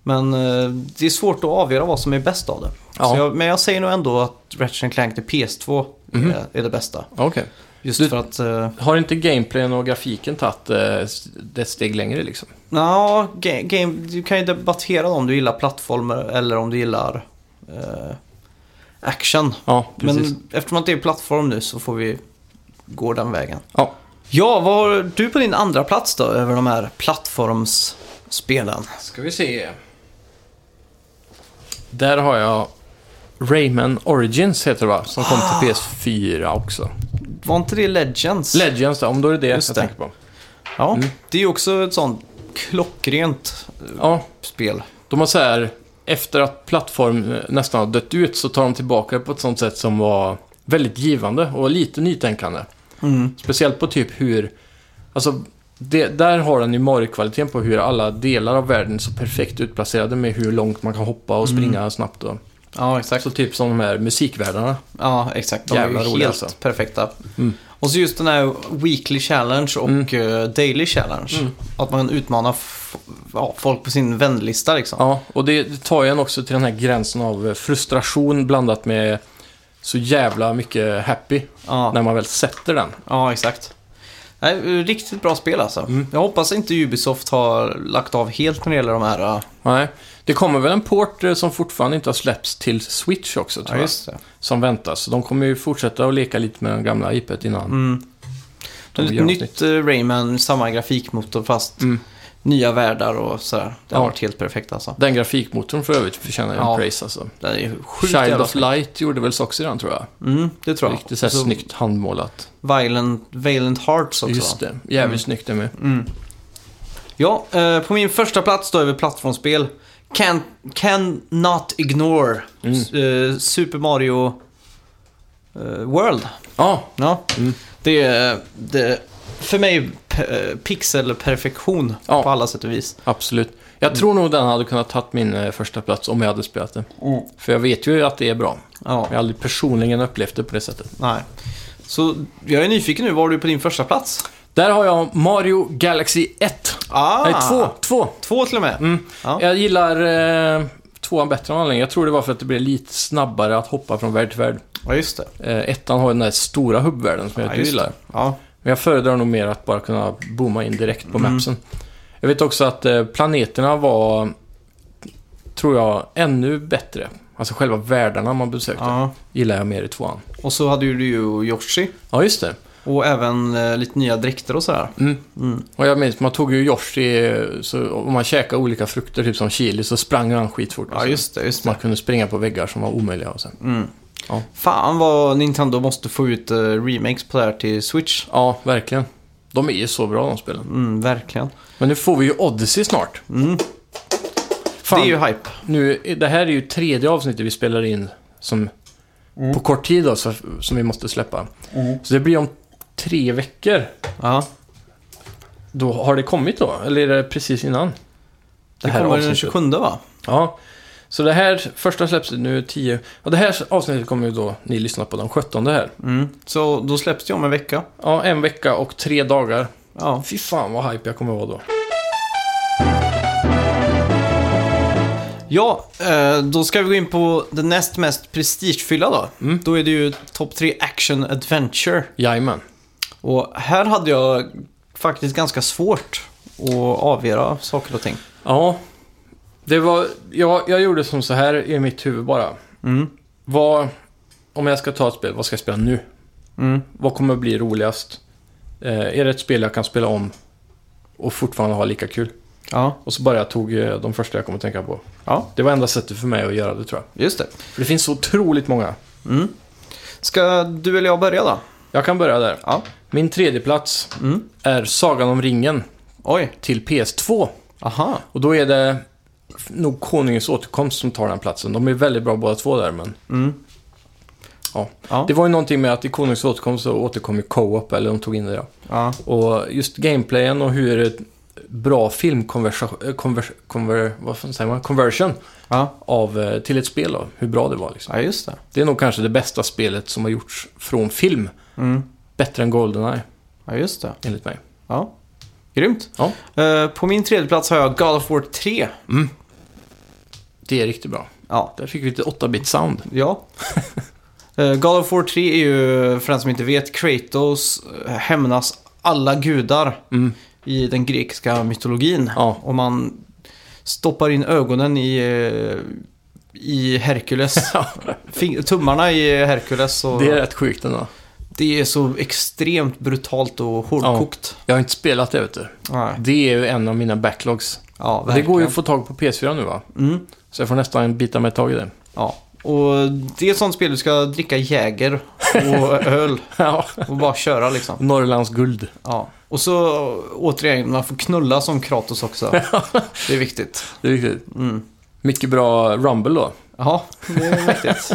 Speaker 2: Men eh, det är svårt att avgöra vad som är bäst av det.
Speaker 1: Ja.
Speaker 2: Så jag, men jag säger nog ändå att Ratchet Clank till PS2 eh, är, är det bästa.
Speaker 1: Okej.
Speaker 2: Just
Speaker 1: Mhm. Du-
Speaker 2: för att... Eh,
Speaker 1: Har inte gameplayen och grafiken tagit eh, s- ett steg längre liksom?
Speaker 2: Nja, ga- game, du kan ju debattera om du gillar plattformar eller om du gillar eh, action.
Speaker 1: Ja, precis.
Speaker 2: Men eftersom att det är plattform nu så får vi gå den vägen.
Speaker 1: Ja.
Speaker 2: Ja, vad har du på din andra plats då över de här plattformsspelen?
Speaker 1: Ska vi se. Där har jag Rayman Origins heter det va? Som kom till PS4 också.
Speaker 2: Var inte det Legends?
Speaker 1: Legends då, om då är det det
Speaker 2: Just
Speaker 1: jag
Speaker 2: det.
Speaker 1: tänker på.
Speaker 2: ja, det är ju också ett sånt klockrent eh,
Speaker 1: Ja,
Speaker 2: spel.
Speaker 1: de har så här, efter att plattform eh, nästan har dött ut så tar de tillbaka det på ett sånt sätt som var väldigt givande och lite nytänkande. Speciellt på typ hur, alltså, det, där har den ju Mario-kvaliteten på hur alla delar av världen är så perfekt utplacerade med hur långt man kan hoppa och springa snabbt. Och,
Speaker 2: Ja, exakt.
Speaker 1: så typ som de här musikvärldarna.
Speaker 2: Ja, exakt. De
Speaker 1: Jävla
Speaker 2: är ju
Speaker 1: roliga
Speaker 2: helt
Speaker 1: alltså.
Speaker 2: perfekta. Och så just den här Weekly Challenge och eh, Daily Challenge. Att man utmanar f- ja, folk på sin vänlista liksom.
Speaker 1: Ja, och det, det tar ju en också till den här gränsen av eh, frustration blandat med så jävla mycket happy
Speaker 2: Ja,
Speaker 1: när man väl sätter den.
Speaker 2: ja exakt. Nej, eh, riktigt bra spel alltså. Jag hoppas inte Ubisoft har lagt av helt när det gäller de här... eh,
Speaker 1: Nej, det kommer väl en port eh, som fortfarande inte har släppts till Switch också tror jag.
Speaker 2: det.
Speaker 1: Som väntas. Så De kommer ju fortsätta att leka lite med den gamla IPet innan.
Speaker 2: Mm.
Speaker 1: de
Speaker 2: Ett
Speaker 1: gör något Mm.
Speaker 2: nytt eh, Rayman, samma grafikmotor fast nya världar och sådär. Det har
Speaker 1: Ja.
Speaker 2: varit helt perfekt alltså.
Speaker 1: Den grafikmotorn för övrigt förtjänar ju en
Speaker 2: Ja.
Speaker 1: praise alltså.
Speaker 2: Det är ju sjukt
Speaker 1: Child
Speaker 2: jävla
Speaker 1: of Light gjorde väl också den tror jag.
Speaker 2: Mm, det tror jag.
Speaker 1: Riktigt så här
Speaker 2: Och så
Speaker 1: snyggt handmålat.
Speaker 2: Violent, Violent Hearts också.
Speaker 1: Just det, jävligt
Speaker 2: Mm.
Speaker 1: snyggt det med.
Speaker 2: Ja, eh, på min första plats då över plattformsspel. Can, can not ignore
Speaker 1: Mm.
Speaker 2: S- eh, Super Mario eh, World.
Speaker 1: Ja,
Speaker 2: Ja.
Speaker 1: Mm.
Speaker 2: Det är det, för mig pe- eh, pixelperfektion
Speaker 1: Ja.
Speaker 2: på alla sätt och vis.
Speaker 1: absolut. Jag tror nog den hade kunnat tagit min eh, första plats om jag hade spelat det. För jag vet ju att det är bra.
Speaker 2: Ja,
Speaker 1: Jag har aldrig personligen upplevt det på det sättet.
Speaker 2: nej. Så jag är nyfiken nu, vad har du på din första plats?
Speaker 1: Där har jag Mario Galaxy 1.
Speaker 2: Ah,
Speaker 1: Nej, Mm. 2. 2.
Speaker 2: Två till och med. Ja.
Speaker 1: Jag gillar eh, tvåan bättre än anledning. Jag tror det var för att det blev lite snabbare att hoppa från värld till värld.
Speaker 2: Ja, just det.
Speaker 1: Eh, ettan har ju den där stora hubbvärlden som jag inte
Speaker 2: just
Speaker 1: gillar.
Speaker 2: det. Ja.
Speaker 1: Men jag föredrar nog mer att bara kunna booma in direkt
Speaker 2: Mm.
Speaker 1: på mapsen. Jag vet också att eh, planeterna var, tror jag, ännu bättre. Alltså själva världarna man besökte
Speaker 2: ja.
Speaker 1: gillar jag mer i tvåan.
Speaker 2: Och så hade ju du ju Yoshi.
Speaker 1: Ja, just det. Mm.
Speaker 2: Och även eh, lite nya dräkter och sådär. Mm.
Speaker 1: Och jag minns, man tog ju Yoshi, eh, så om man käkade olika frukter, typ som chili, så sprang han skitfort.
Speaker 2: Ja, just det. Just det.
Speaker 1: Man kunde springa på väggar som var omöjliga och så.
Speaker 2: Fan vad Nintendo måste få ut eh, remakes på det här till Switch.
Speaker 1: Ja, verkligen. De är ju så bra de spelen.
Speaker 2: Mm, verkligen.
Speaker 1: Men nu får vi ju Odyssey snart. Fan,
Speaker 2: Mm. Det är ju hype.
Speaker 1: nu, det här är ju tredje avsnittet vi spelar in som,
Speaker 2: Mm.
Speaker 1: på kort tid då, så, som vi måste släppa. Så det blir om tre veckor.
Speaker 2: Ja.
Speaker 1: Då Har det kommit då? Eller är det precis innan?
Speaker 2: Det,
Speaker 1: här
Speaker 2: kommer
Speaker 1: avsnittet.
Speaker 2: den 27 va?
Speaker 1: Ja. Så det här första släpps nu 10. Och det här avsnittet kommer ju då ni lyssna på den 17 här.
Speaker 2: Mm. Så då släpps det om en vecka.
Speaker 1: Ja, en vecka och tre dagar.
Speaker 2: Ja.
Speaker 1: Fy fan vad hype jag kommer vara då.
Speaker 2: Ja, eh, då ska vi gå in på det näst mest prestigefyllda då.
Speaker 1: Mm.
Speaker 2: Då är det ju topp 3 action adventure.
Speaker 1: Jajamän.
Speaker 2: Och här hade jag faktiskt ganska svårt att avgöra saker och ting.
Speaker 1: Ja, det var... Jag, jag gjorde som så här i mitt huvud bara.
Speaker 2: Mm.
Speaker 1: Vad... Om jag ska ta ett spel, vad ska jag spela nu?
Speaker 2: Mm.
Speaker 1: Vad kommer att bli roligast? Eh, är det ett spel jag kan spela om och fortfarande ha lika kul?
Speaker 2: Ja.
Speaker 1: Och så bara jag tog eh, de första jag kommer att tänka på.
Speaker 2: ja,
Speaker 1: Det var enda sättet för mig att göra det tror jag.
Speaker 2: just det.
Speaker 1: För det finns så otroligt många.
Speaker 2: Ska du eller jag börja då?
Speaker 1: Jag kan börja där.
Speaker 2: Ja.
Speaker 1: Min tredje plats
Speaker 2: Mm.
Speaker 1: är Sagan om ringen
Speaker 2: Oj.
Speaker 1: till PS2.
Speaker 2: Aha.
Speaker 1: Och då är det nog Konungens återkomst som tar den platsen. De är väldigt bra båda två där, men... Ja.
Speaker 2: Mm. Ja.
Speaker 1: Det var ju någonting med att i Konungens återkomst så återkom ju co-op, eller de tog in det ja.
Speaker 2: Ja.
Speaker 1: Och just gameplayen och hur ett bra filmkonversation... Konver, konver, vad fan säger man? Conversion
Speaker 2: Ja.
Speaker 1: av, eh, till ett spel då, hur bra det var liksom.
Speaker 2: Ja, just det.
Speaker 1: Det är nog kanske det bästa spelet som har gjorts från film.
Speaker 2: Mm.
Speaker 1: Bättre än Goldeneye,
Speaker 2: Ja, just det.
Speaker 1: enligt mig.
Speaker 2: Ja. Grymt.
Speaker 1: Ja.
Speaker 2: Eh, på min tredje plats har jag God of War 3.
Speaker 1: Det är riktigt bra.
Speaker 2: Ja.
Speaker 1: Där fick vi lite 8-bit sound.
Speaker 2: ja. Eh, God of War 3 är ju, för den som inte vet, Kratos eh, hämnas alla gudar
Speaker 1: Mm.
Speaker 2: i den grekiska mytologin.
Speaker 1: Ja.
Speaker 2: Och man stoppar in ögonen i, eh, i Herkules. Fing- tummarna i Herkules. Och
Speaker 1: Det är rätt sjukt ändå.
Speaker 2: det är så extremt brutalt och hårdkokt.
Speaker 1: Jag har inte spelat det, vet du.
Speaker 2: Ja,
Speaker 1: Det är ju en av mina backlogs.
Speaker 2: ja
Speaker 1: Det går ju
Speaker 2: verkligen.
Speaker 1: att få tag på PS4 nu, va?
Speaker 2: Mm.
Speaker 1: Så jag får nästan bita mig tag i det.
Speaker 2: Ja, och det är ett sånt spel du ska dricka Jäger och öl
Speaker 1: Ja.
Speaker 2: och bara köra liksom.
Speaker 1: Norrlands guld.
Speaker 2: Ja. Och så återigen, man får knulla som Kratos också. Det är viktigt.
Speaker 1: Det är riktigt.
Speaker 2: Mm.
Speaker 1: Mycket bra Rumble då.
Speaker 2: Ja, det är viktigt.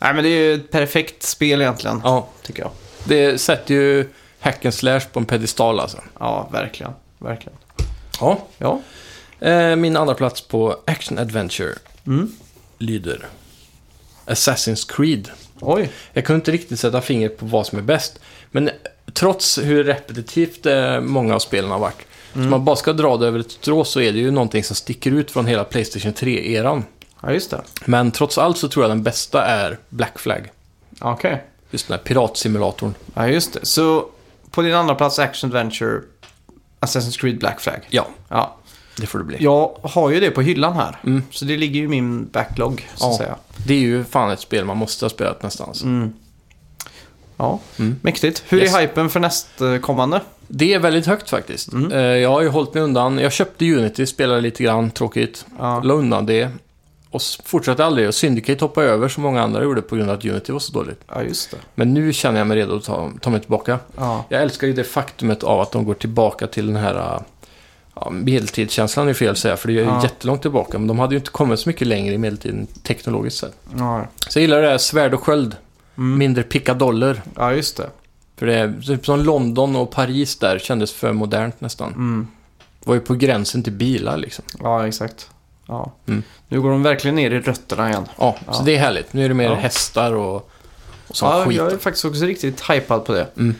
Speaker 2: Nej, men det är ju ett perfekt spel egentligen,
Speaker 1: Ja.
Speaker 2: tycker jag.
Speaker 1: Det sätter ju hack and slash på en pedestal alltså.
Speaker 2: Ja, verkligen. Verkligen.
Speaker 1: Ja.
Speaker 2: Ja.
Speaker 1: Eh, min andra plats på Action Adventure
Speaker 2: Mm.
Speaker 1: lyder Assassin's Creed.
Speaker 2: Oj.
Speaker 1: Jag kunde inte riktigt sätta fingret på vad som är bäst. Men trots hur repetitivt eh, många av spelen har varit.
Speaker 2: Mm.
Speaker 1: Så man bara ska dra det över ett strå så är det ju någonting som sticker ut från hela Playstation 3-eran.
Speaker 2: Ja, just det.
Speaker 1: Men trots allt så tror jag den bästa är Black Flag.
Speaker 2: Okej.
Speaker 1: Just den här piratsimulatorn.
Speaker 2: Ja, just det. Så på din andra plats Action Adventure, Assassin's Creed Black Flag.
Speaker 1: Ja,
Speaker 2: Ja,
Speaker 1: det får det bli.
Speaker 2: Jag har ju det på hyllan här.
Speaker 1: Mm.
Speaker 2: Så det ligger ju i min backlog, så att
Speaker 1: Ja.
Speaker 2: säga.
Speaker 1: Det är ju fan ett spel man måste ha spelat nästan. alltså.
Speaker 2: Mm. Ja,
Speaker 1: Mm.
Speaker 2: mäktigt. Hur
Speaker 1: Yes.
Speaker 2: är hypen för nästkommande?
Speaker 1: Det är väldigt högt faktiskt.
Speaker 2: Mm.
Speaker 1: Eh, Jag har ju hållit mig undan. Jag köpte Unity, spelade lite grann, tråkigt.
Speaker 2: Ja.
Speaker 1: La undan det. Och s- fortsatte aldrig. Och Syndicate hoppade jag över som många andra gjorde på grund av att Unity var så dåligt.
Speaker 2: Ja, just det.
Speaker 1: Men nu känner jag mig redo att ta, ta mig tillbaka.
Speaker 2: Ja,
Speaker 1: Jag älskar ju det faktumet av att de går tillbaka till den här äh, ja, medeltidskänslan är fel att säga, för det är ju
Speaker 2: Ja.
Speaker 1: jättelångt tillbaka. Men de hade ju inte kommit så mycket längre i medeltiden teknologiskt sett.
Speaker 2: ja.
Speaker 1: Så jag gillar det här svärd och sköld.
Speaker 2: Mm.
Speaker 1: Mindre pickadoller.
Speaker 2: ja just det.
Speaker 1: För det är typ som London och Paris där kändes för modernt nästan.
Speaker 2: Mm.
Speaker 1: Var ju på gränsen till bilar liksom.
Speaker 2: Ja, exakt. Ja.
Speaker 1: Mm.
Speaker 2: Nu går de verkligen ner i rötterna igen.
Speaker 1: Ja, så det är härligt. Nu är det mer
Speaker 2: Ja.
Speaker 1: hästar och, och sån
Speaker 2: Ja,
Speaker 1: skit.
Speaker 2: jag är faktiskt också riktigt hypad på det.
Speaker 1: Mm.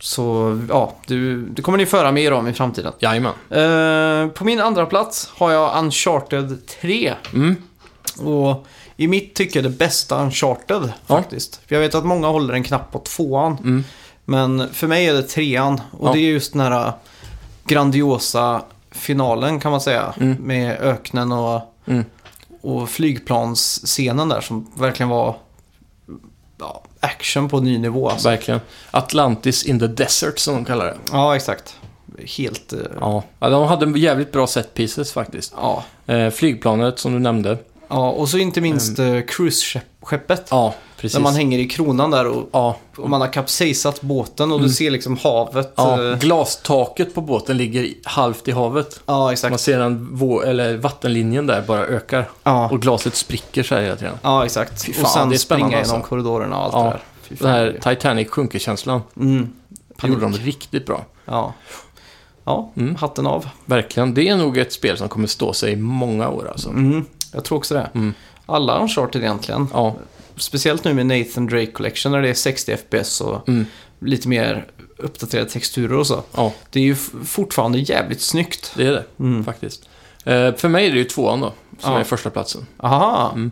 Speaker 2: Så ja, du, det kommer ni föra mer om i framtiden.
Speaker 1: Jajamän.
Speaker 2: Eh, på min andra plats har jag Uncharted 3.
Speaker 1: Mm.
Speaker 2: Och i mitt tycke det bästa Uncharted
Speaker 1: Ja.
Speaker 2: faktiskt. För jag vet att många håller en knapp på tvåan.
Speaker 1: Mm.
Speaker 2: Men för mig är det trean. Och
Speaker 1: Ja.
Speaker 2: det är just den här grandiosa finalen kan man säga.
Speaker 1: Mm.
Speaker 2: Med öknen och,
Speaker 1: Mm.
Speaker 2: och flygplansscenen där som verkligen var ja, action på ny nivå. Alltså.
Speaker 1: Verkligen. Atlantis in the desert som de kallar det.
Speaker 2: Ja, exakt. Helt... eh,
Speaker 1: Ja. ja de hade jävligt bra set pieces faktiskt.
Speaker 2: Ja.
Speaker 1: Eh, flygplanet som du nämnde.
Speaker 2: ja, och så inte minst mm. cruise-skeppet.
Speaker 1: Ja, precis.
Speaker 2: När man hänger i kronan där och
Speaker 1: ja.
Speaker 2: Och man har kapsejsat båten och du ser liksom havet.
Speaker 1: Mm. ja.
Speaker 2: eh,
Speaker 1: Glastaket på båten ligger i- halvt i havet.
Speaker 2: ja
Speaker 1: Man
Speaker 2: exakt.
Speaker 1: ser den vå- eller vattenlinjen där bara ökar.
Speaker 2: Ja.
Speaker 1: Och glaset spricker så här hela tiden.
Speaker 2: ja, exakt.
Speaker 1: Fy
Speaker 2: och
Speaker 1: fan, det är
Speaker 2: sen
Speaker 1: spännande
Speaker 2: springa
Speaker 1: alltså.
Speaker 2: genom korridorerna och allt
Speaker 1: Ja.
Speaker 2: det där. Fy
Speaker 1: Den
Speaker 2: fan, det
Speaker 1: här
Speaker 2: är-
Speaker 1: Titanic sjunker-känslan.
Speaker 2: Mm.
Speaker 1: Det gjorde de riktigt bra.
Speaker 2: Ja, ja
Speaker 1: Mm.
Speaker 2: hatten av.
Speaker 1: Verkligen. Det är nog ett spel som kommer stå sig i många år alltså.
Speaker 2: Mm. Jag tror också det.
Speaker 1: Mm.
Speaker 2: Alla Uncharted egentligen.
Speaker 1: Ja,
Speaker 2: Speciellt nu med Nathan Drake Collection när det är 60 FPS och
Speaker 1: Mm.
Speaker 2: lite mer uppdaterade texturer och så.
Speaker 1: ja,
Speaker 2: Det är ju f- fortfarande jävligt snyggt.
Speaker 1: det är det
Speaker 2: Mm.
Speaker 1: faktiskt. Eh, för mig är det ju tvåan då, som
Speaker 2: Ja.
Speaker 1: är första platsen.
Speaker 2: Aha,
Speaker 1: Mm.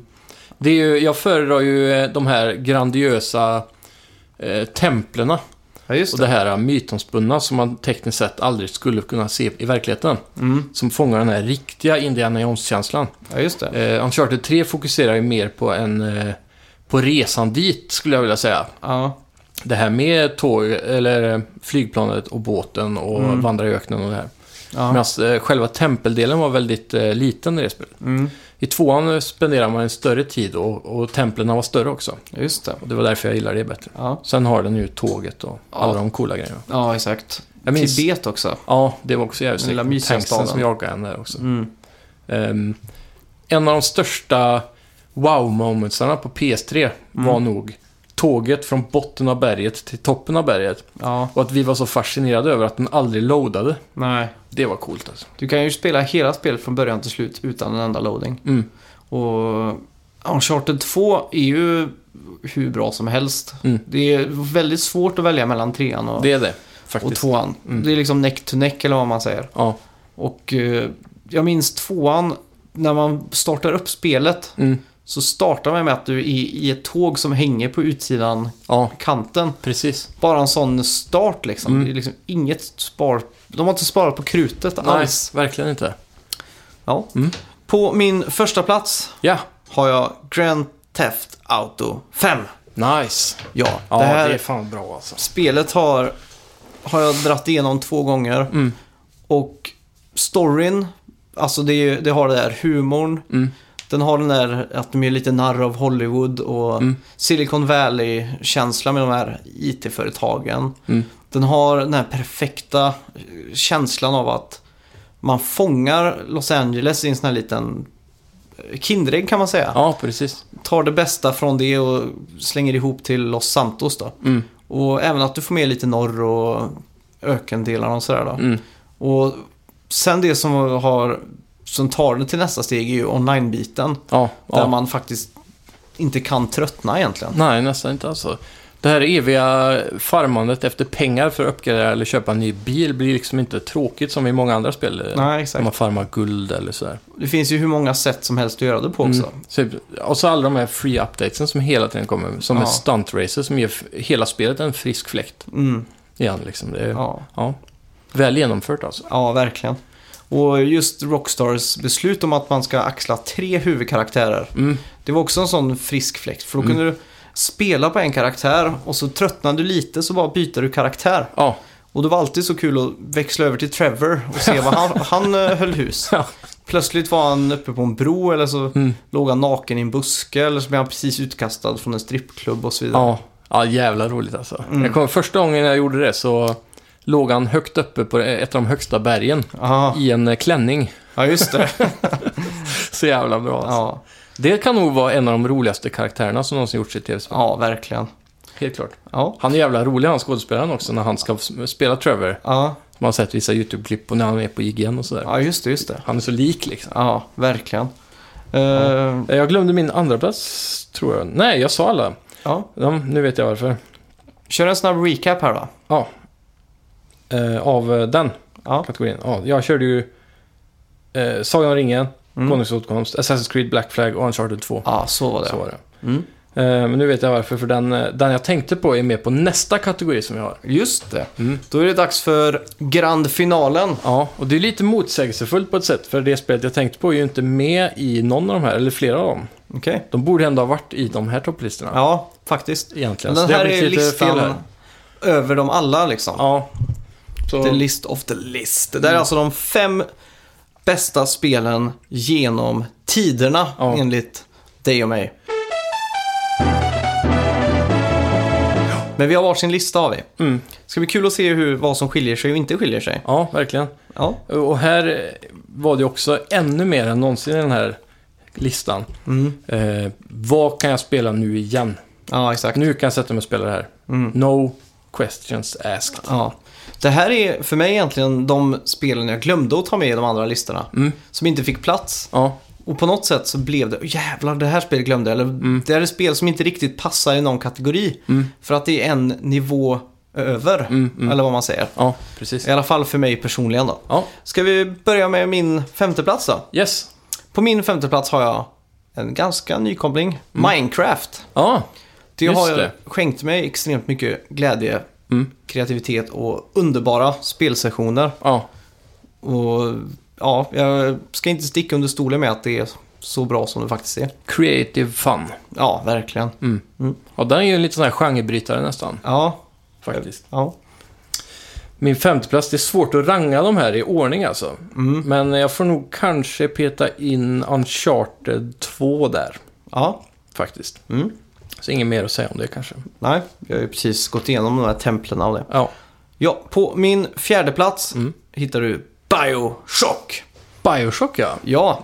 Speaker 1: Det är ju, jag föredrar ju eh, de här grandiösa eh, templerna
Speaker 2: ja just
Speaker 1: och
Speaker 2: det.
Speaker 1: det här eh, mytomspunna som man tekniskt sett aldrig skulle kunna se i verkligheten.
Speaker 2: Mm.
Speaker 1: Som fångar den här riktiga Indiana Jones-känslan.
Speaker 2: Ja just det.
Speaker 1: Eh, Uncharted 3 fokuserar ju mer på en... Eh, på resan dit, skulle jag vilja säga.
Speaker 2: Ja,
Speaker 1: Det här med tåg, eller eh, flygplanet och båten och vandra i öknen och det här.
Speaker 2: Mm. ja.
Speaker 1: Medan eh, själva tempeldelen var väldigt eh, liten i det spelet.
Speaker 2: Mm.
Speaker 1: I tvåan eh, spenderar man en större tid och, och templen var större också.
Speaker 2: ja just det.
Speaker 1: Och det var därför jag gillar det bättre.
Speaker 2: Ja.
Speaker 1: Sen har den ju tåget och alla
Speaker 2: Ja.
Speaker 1: de coola grejerna.
Speaker 2: Ja, exakt.
Speaker 1: Jag minns-
Speaker 2: Tibet också.
Speaker 1: Ja, det var också jävligt
Speaker 2: Den lilla
Speaker 1: snyggt.
Speaker 2: mysiga
Speaker 1: Tanksen
Speaker 2: staden. Mm.
Speaker 1: som jagar en där också. Ehm, en av de största wow-momentsarna på PS3
Speaker 2: Mm.
Speaker 1: var nog tåget från botten av berget till toppen av berget.
Speaker 2: Ja,
Speaker 1: Och att vi var så fascinerade över att den aldrig loadade.
Speaker 2: nej.
Speaker 1: Det var coolt alltså.
Speaker 2: Du kan ju spela hela spelet från början till slut utan en enda loading.
Speaker 1: Mm.
Speaker 2: Och Uncharted 2 är ju hur bra som helst.
Speaker 1: Mm.
Speaker 2: Det är väldigt svårt att välja mellan trean och,
Speaker 1: Det är det. faktiskt.
Speaker 2: och tvåan.
Speaker 1: Mm.
Speaker 2: Det är liksom neck to neck eller vad man säger.
Speaker 1: Ja.
Speaker 2: Och eh, jag minns tvåan, när man startar upp spelet
Speaker 1: Mm.
Speaker 2: så startar man med att du är i ett tåg som hänger på utsidan
Speaker 1: ja,
Speaker 2: kanten.
Speaker 1: precis.
Speaker 2: Bara en sån start liksom.
Speaker 1: Mm.
Speaker 2: Det är liksom inget spar... De har inte sparat på krutet alls.
Speaker 1: Nej, verkligen inte.
Speaker 2: Ja.
Speaker 1: Mm.
Speaker 2: På min första plats
Speaker 1: Ja,
Speaker 2: har jag Grand Theft Auto 5.
Speaker 1: nice.
Speaker 2: Ja,
Speaker 1: Ja,
Speaker 2: det
Speaker 1: det,
Speaker 2: här
Speaker 1: är fan bra alltså.
Speaker 2: spelet har, har jag dratt igenom två gånger.
Speaker 1: Mm.
Speaker 2: Och storyn, alltså det, är ju- det har det där humorn.
Speaker 1: Mm.
Speaker 2: Den har den där att de är lite narr av Hollywood och
Speaker 1: Mm.
Speaker 2: Silicon Valley-känsla med de här IT-företagen.
Speaker 1: Mm.
Speaker 2: Den har den här perfekta eh, känslan av att man fångar Los Angeles i en sån här liten Kinderägg kan man säga.
Speaker 1: Ja, precis.
Speaker 2: Tar det bästa från det och slänger ihop till Los Santos då.
Speaker 1: Mm.
Speaker 2: Och även att du får med lite norr och ökendelarna och sådär då.
Speaker 1: Mm.
Speaker 2: Och sen det som har som tar det till nästa steg är ju online-biten.
Speaker 1: Ja,
Speaker 2: Där
Speaker 1: ja.
Speaker 2: man faktiskt inte kan tröttna egentligen.
Speaker 1: Nej, nästan inte alltså. Det här eviga farmandet efter pengar för att uppgradera eller köpa en ny bil blir liksom inte tråkigt som i många andra spel.
Speaker 2: Nej,
Speaker 1: När
Speaker 2: exakt.
Speaker 1: man farmar guld eller sådär.
Speaker 2: Det finns ju hur många sätt som helst att göra det på också.
Speaker 1: Mm. Så- Och så alla de här free updatesen som hela tiden kommer. Som
Speaker 2: Ja.
Speaker 1: ett stunt racer som ger f- hela spelet en frisk fläkt
Speaker 2: Mm.
Speaker 1: igen. Liksom. Det är, ja.
Speaker 2: Ja.
Speaker 1: Väl genomfört alltså.
Speaker 2: ja, verkligen. Och just Rockstars beslut om att man ska axla tre huvudkaraktärer.
Speaker 1: Mm.
Speaker 2: Det var också en sån frisk fläkt. För då kunde du spela på en karaktär och så tröttnade du lite så bara byter du karaktär.
Speaker 1: Ja,
Speaker 2: Och det var alltid så kul att växla över till Trevor och se vad han, han eh, höll hus.
Speaker 1: Ja.
Speaker 2: Plötsligt var han uppe på en bro eller så
Speaker 1: Mm.
Speaker 2: låg han naken i en buske eller så blev han precis utkastad från en strippklubb och så vidare.
Speaker 1: ja. ja jävla roligt alltså.
Speaker 2: Mm.
Speaker 1: Jag kommer, första gången jag gjorde det så låg han högt uppe på ett av de högsta bergen
Speaker 2: Aha.
Speaker 1: i en eh, klänning.
Speaker 2: Ja, just det.
Speaker 1: Så jävla bra alltså.
Speaker 2: Ja,
Speaker 1: Det kan nog vara en av de roligaste karaktärerna som någonsin gjorts i tv-spel.
Speaker 2: ja verkligen.
Speaker 1: Helt klart.
Speaker 2: Ja.
Speaker 1: Han är jävla rolig han skådespelaren också när han ska s- spela Trevor.
Speaker 2: Ja.
Speaker 1: Man har sett vissa YouTube-klipp och när han är på IGN och sådär.
Speaker 2: ja, just det, just det.
Speaker 1: Han är så lik liksom.
Speaker 2: Ja, verkligen. Eh,
Speaker 1: Eh, Jag glömde min andra plats tror jag. Nej, jag sa alla.
Speaker 2: ja.
Speaker 1: Ja, nu vet jag varför.
Speaker 2: Kör en snabb recap här då.
Speaker 1: Ja. Eh, av eh, den
Speaker 2: Ja.
Speaker 1: kategorin. Ja, jag körde ju eh, Sagan om ringen,
Speaker 2: Mm.
Speaker 1: Konungens återkomst, Assassin's Creed, Black Flag och Uncharted 2.
Speaker 2: Ja, så var det.
Speaker 1: Så var det.
Speaker 2: Mm.
Speaker 1: Eh, men nu vet jag varför, för den, eh, den jag tänkte på är med på nästa kategori som vi har.
Speaker 2: Just det.
Speaker 1: Mm.
Speaker 2: Då är det dags för grand finalen.
Speaker 1: Ja, och det är lite motsägelsefullt på ett sätt, för det spelet jag tänkte på är ju inte med i någon av de här, eller flera av dem.
Speaker 2: Okej.
Speaker 1: De borde ändå ha varit i de här topplistorna.
Speaker 2: Ja, faktiskt.
Speaker 1: Egentligen.
Speaker 2: Men
Speaker 1: Så
Speaker 2: den
Speaker 1: det har
Speaker 2: här
Speaker 1: blivit
Speaker 2: är
Speaker 1: lite fel här.
Speaker 2: listan över dem alla liksom.
Speaker 1: Ja. Mm. Så,
Speaker 2: The list of the list. Det där är alltså de fem bästa spelen genom tiderna
Speaker 1: Ja.
Speaker 2: enligt dig och mig. Men vi har varsin lista har vi.
Speaker 1: Mm.
Speaker 2: Ska bli kul att se hur, vad som skiljer sig och inte skiljer sig.
Speaker 1: ja, verkligen.
Speaker 2: Ja.
Speaker 1: Och här eh, var det också ännu mer än någonsin i den här listan.
Speaker 2: Mm.
Speaker 1: Eh, vad kan jag spela nu igen?
Speaker 2: Ja, exakt.
Speaker 1: Nu kan jag sätta mig och spela det här.
Speaker 2: Mm.
Speaker 1: No questions asked.
Speaker 2: Ja. Det här är för mig egentligen de spelen jag glömde att ta med i de andra listorna.
Speaker 1: Mm.
Speaker 2: Som inte fick plats.
Speaker 1: Ja,
Speaker 2: Och på något sätt så blev det, "Åh, jävlar det här spelet glömde jag. Eller
Speaker 1: Mm.
Speaker 2: det här är spel som inte riktigt passar i någon kategori. För att det är en nivå över,
Speaker 1: Mm,
Speaker 2: eller vad man säger.
Speaker 1: ja precis.
Speaker 2: I alla fall för mig personligen då.
Speaker 1: Ja,
Speaker 2: Ska vi börja med min femteplats då?
Speaker 1: yes.
Speaker 2: På min femteplats har jag en ganska nykomling, Minecraft.
Speaker 1: Ja,
Speaker 2: Det
Speaker 1: Mm. Just
Speaker 2: har
Speaker 1: det.
Speaker 2: skänkt mig extremt mycket glädje,
Speaker 1: Mm.
Speaker 2: kreativitet och underbara spelsessioner.
Speaker 1: ja.
Speaker 2: Och ja, jag ska inte sticka under stolen med att det är så bra som det faktiskt är.
Speaker 1: Creative fun.
Speaker 2: Ja, verkligen.
Speaker 1: Ja, den är ju en liten sån här genrebrytare nästan,
Speaker 2: Ja,
Speaker 1: faktiskt.
Speaker 2: ja.
Speaker 1: Min femteplats, det är svårt att ranga de här i ordning alltså.
Speaker 2: Mm.
Speaker 1: Men jag får nog kanske peta in Uncharted 2 där,
Speaker 2: ja.
Speaker 1: faktiskt.
Speaker 2: Mm.
Speaker 1: Så inget mer att säga om det kanske.
Speaker 2: Nej, jag har ju precis gått igenom de här templen av det.
Speaker 1: Ja.
Speaker 2: Ja, på min fjärde plats hittar du Bioshock.
Speaker 1: Bioshock ja.
Speaker 2: Ja,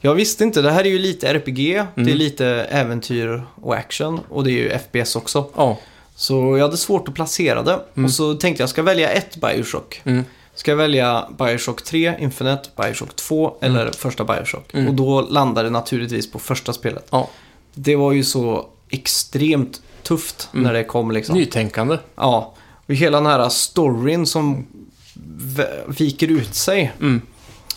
Speaker 2: jag visste inte. Det här är ju lite RPG, det är lite äventyr och action och det är ju FPS också.
Speaker 1: Ja,
Speaker 2: Så jag hade svårt att placera det. Och så tänkte jag, ska jag välja ett Bioshock?
Speaker 1: Mm.
Speaker 2: Ska jag välja Bioshock 3, Infinite, Bioshock 2 eller första Bioshock? Och då landade det naturligtvis på första spelet.
Speaker 1: ja. Mm.
Speaker 2: Det var ju så extremt tufft när det kom liksom.
Speaker 1: nytänkande.
Speaker 2: Ja, Och hela den här storyn som v- viker ut sig.
Speaker 1: Mm.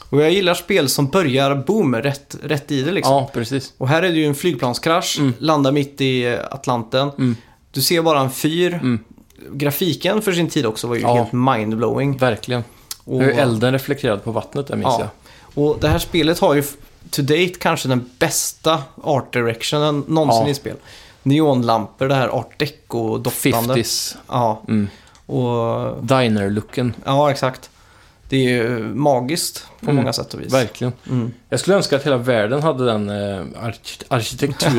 Speaker 2: Och jag gillar spel som börjar boom rätt, rätt i det liksom.
Speaker 1: Ja, precis.
Speaker 2: Och här är det ju en flygplanskrasch,
Speaker 1: Mm.
Speaker 2: landar mitt i eh, Atlanten.
Speaker 1: Mm.
Speaker 2: Du ser bara en fyr.
Speaker 1: Mm.
Speaker 2: Grafiken för sin tid också var ju
Speaker 1: Ja.
Speaker 2: helt mindblowing.
Speaker 1: Verkligen.
Speaker 2: Och,
Speaker 1: Hur elden reflekterad på vattnet där, minns
Speaker 2: Ja. och det här spelet har ju f- to date kanske den bästa art directionen någonsin
Speaker 1: Ja.
Speaker 2: i spel. Neonlampor, det här art
Speaker 1: jag.
Speaker 2: deco-doftande.
Speaker 1: 50s.
Speaker 2: Ja,
Speaker 1: Mm.
Speaker 2: och
Speaker 1: Diner-looken.
Speaker 2: Ja, exakt. Det är ju magiskt på
Speaker 1: Mm.
Speaker 2: många sätt och vis.
Speaker 1: Verkligen.
Speaker 2: Mm.
Speaker 1: Jag skulle önska att hela världen hade den eh, ark- arkitekturen.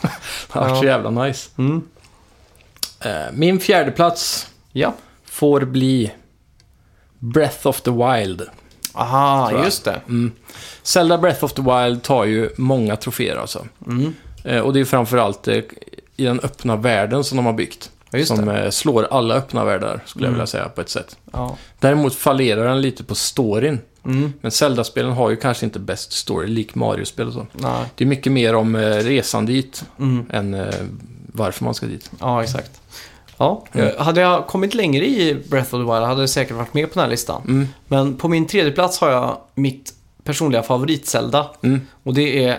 Speaker 1: det hade varit så
Speaker 2: Ja.
Speaker 1: jävla nice.
Speaker 2: Mm.
Speaker 1: Eh, min fjärde plats
Speaker 2: Ja.
Speaker 1: får bli Breath of the Wild. Tror
Speaker 2: Aha,
Speaker 1: jag.
Speaker 2: just det.
Speaker 1: Mm. Zelda Breath of the Wild tar ju många troféer alltså.
Speaker 2: Mm.
Speaker 1: Eh, och det är ju framförallt eh, i den öppna världen som de har byggt.
Speaker 2: Ja, just
Speaker 1: som
Speaker 2: det.
Speaker 1: eh, slår alla öppna världar, skulle jag
Speaker 2: Mm.
Speaker 1: vilja säga, på ett sätt.
Speaker 2: Ja.
Speaker 1: Däremot fallerar den lite på storyn.
Speaker 2: Mm.
Speaker 1: Men Zelda-spelen har ju kanske inte bäst story, lik Mario-spel och så.
Speaker 2: Nej.
Speaker 1: Det är mycket mer om eh, resan dit
Speaker 2: Mm.
Speaker 1: än eh, varför man ska dit.
Speaker 2: Ja, exakt. Ja. Eh,
Speaker 1: Mm.
Speaker 2: Hade jag kommit längre i Breath of the Wild hade det säkert varit med på den här listan.
Speaker 1: Mm,
Speaker 2: Men på min tredje plats har jag mitt personliga favorit-Zelda.
Speaker 1: mm,
Speaker 2: Och det är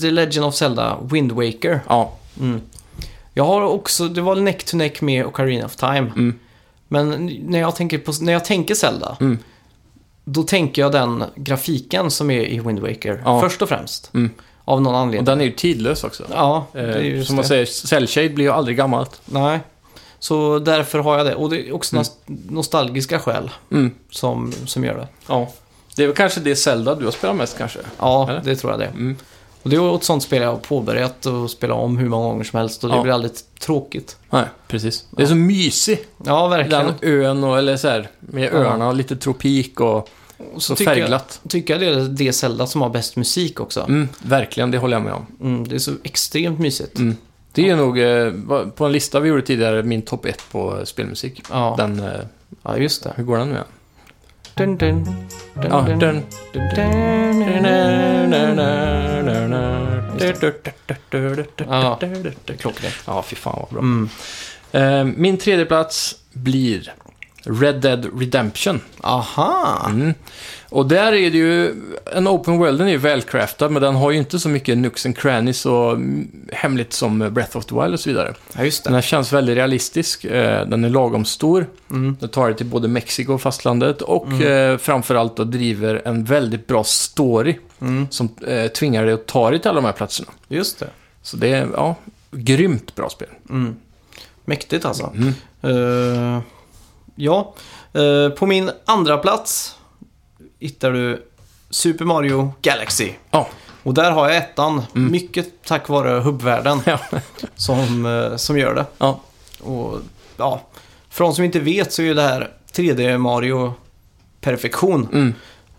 Speaker 2: The Legend of Zelda Wind Waker.
Speaker 1: ja,
Speaker 2: Mm. Jag har också, det var neck to neck med Ocarina of Time.
Speaker 1: Mm.
Speaker 2: Men när jag tänker, på, när jag tänker Zelda,
Speaker 1: Mm.
Speaker 2: då tänker jag den grafiken som är i Wind Waker.
Speaker 1: Ja.
Speaker 2: Först och främst.
Speaker 1: Mm.
Speaker 2: Av någon
Speaker 1: och
Speaker 2: anledning.
Speaker 1: den är ju tidlös också.
Speaker 2: Ja, det är
Speaker 1: Eh,
Speaker 2: just
Speaker 1: som
Speaker 2: det.
Speaker 1: man säger, Cellshade blir ju aldrig gammalt.
Speaker 2: Nej. Så därför har jag det. Och det är också nas- nostalgiska skäl
Speaker 1: Mm.
Speaker 2: som, som gör det.
Speaker 1: Ja. Det är väl kanske det Zelda du har spelat mest kanske?
Speaker 2: Ja,
Speaker 1: Eller?
Speaker 2: det tror jag det.
Speaker 1: Mm.
Speaker 2: Och det är ett sånt spel jag har påbörjat och spelat om hur många gånger som helst. Och det
Speaker 1: Ja.
Speaker 2: blir aldrig tråkigt.
Speaker 1: Nej, precis. Det är så mysig.
Speaker 2: Ja, verkligen.
Speaker 1: Den ön och, eller så här, med
Speaker 2: Ja.
Speaker 1: öarna och lite tropik och
Speaker 2: Och
Speaker 1: så
Speaker 2: tycker jag-
Speaker 1: färgglatt.
Speaker 2: tycker jag det är det Zelda som har bäst musik också. Mm.
Speaker 1: Mm, verkligen, det håller jag med om.
Speaker 2: det är så extremt mysigt.
Speaker 1: Mm. Det är nog, eh, va- på en lista vi gjorde tidigare, min topp 1 på eh, spelmusik.
Speaker 2: Ja.
Speaker 1: Den, eh,
Speaker 2: ja, just det.
Speaker 1: hur går den nu igen?
Speaker 2: Dun, dun, dun,
Speaker 1: Ja,
Speaker 2: dun,
Speaker 1: den.
Speaker 2: dun, dun, dun, dun, dun, dun. Ja. Det är klockrent.
Speaker 1: Ja, fy fan vad bra.
Speaker 2: Mm.
Speaker 1: Eh, Min tredje plats blir Red Dead Redemption.
Speaker 2: Aha!
Speaker 1: Mm. Och där är det ju, en open world den är ju välcraftad, men den har ju inte så mycket nux and crannies och mm, hemligt som Breath of the Wild och så vidare.
Speaker 2: Ja, just
Speaker 1: Den
Speaker 2: det.
Speaker 1: här känns väldigt realistisk, eh, den är lagom stor,
Speaker 2: Mm.
Speaker 1: den tar dig till både Mexiko och fastlandet och eh, framförallt då driver en väldigt bra story
Speaker 2: Mm.
Speaker 1: som eh, tvingar dig att ta dig till alla de här platserna.
Speaker 2: Just det.
Speaker 1: Så det är, ja, grymt bra spel.
Speaker 2: Mm. Mäktigt alltså.
Speaker 1: Mm.
Speaker 2: Eh, ja, Eh, på min andra plats hittar du Super Mario Galaxy.
Speaker 1: Ja.
Speaker 2: Och där har jag ettan,
Speaker 1: Mm.
Speaker 2: mycket tack vare hubbvärlden
Speaker 1: Ja.
Speaker 2: som, eh, som gör det.
Speaker 1: Ja.
Speaker 2: Och ja, för de som inte vet så är ju det här 3D Mario perfektion.
Speaker 1: Mm.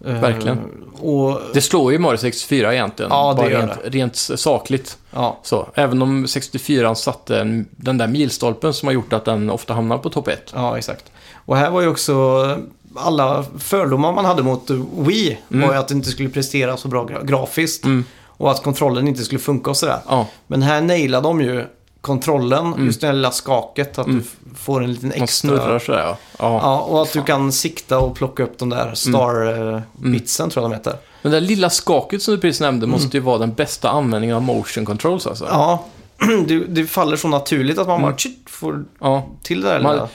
Speaker 2: Eh,
Speaker 1: Verkligen.
Speaker 2: Och
Speaker 1: Det slår ju Mario 64 egentligen.
Speaker 2: Ja, det
Speaker 1: bara
Speaker 2: gör
Speaker 1: rent, rent sakligt.
Speaker 2: ja,
Speaker 1: Så, även om 64 satte en, den där milstolpen som har gjort att den ofta hamnar på topp 1.
Speaker 2: ja, exakt. Och här var ju också alla fördomar man hade mot Wii
Speaker 1: Mm.
Speaker 2: var ju att det inte skulle prestera så bra gra- grafiskt.
Speaker 1: Mm.
Speaker 2: Och att kontrollen inte skulle funka och sådär.
Speaker 1: Ja,
Speaker 2: Men här nailade de ju kontrollen,
Speaker 1: Mm.
Speaker 2: just det här lilla skaket. Att
Speaker 1: Mm.
Speaker 2: du f- får en liten
Speaker 1: man
Speaker 2: extra...
Speaker 1: snurrar sådär ja. ja.
Speaker 2: Ja, och att du kan sikta och plocka upp de där
Speaker 1: Mm.
Speaker 2: star-bitsen tror jag de heter.
Speaker 1: Men det där lilla skaket som du precis nämnde
Speaker 2: Mm.
Speaker 1: måste ju vara den bästa användningen av motion controls alltså.
Speaker 2: Ja, du, det faller så naturligt att man bara
Speaker 1: Mm.
Speaker 2: tjut, får
Speaker 1: Ja.
Speaker 2: till det där
Speaker 1: Man-
Speaker 2: lilla.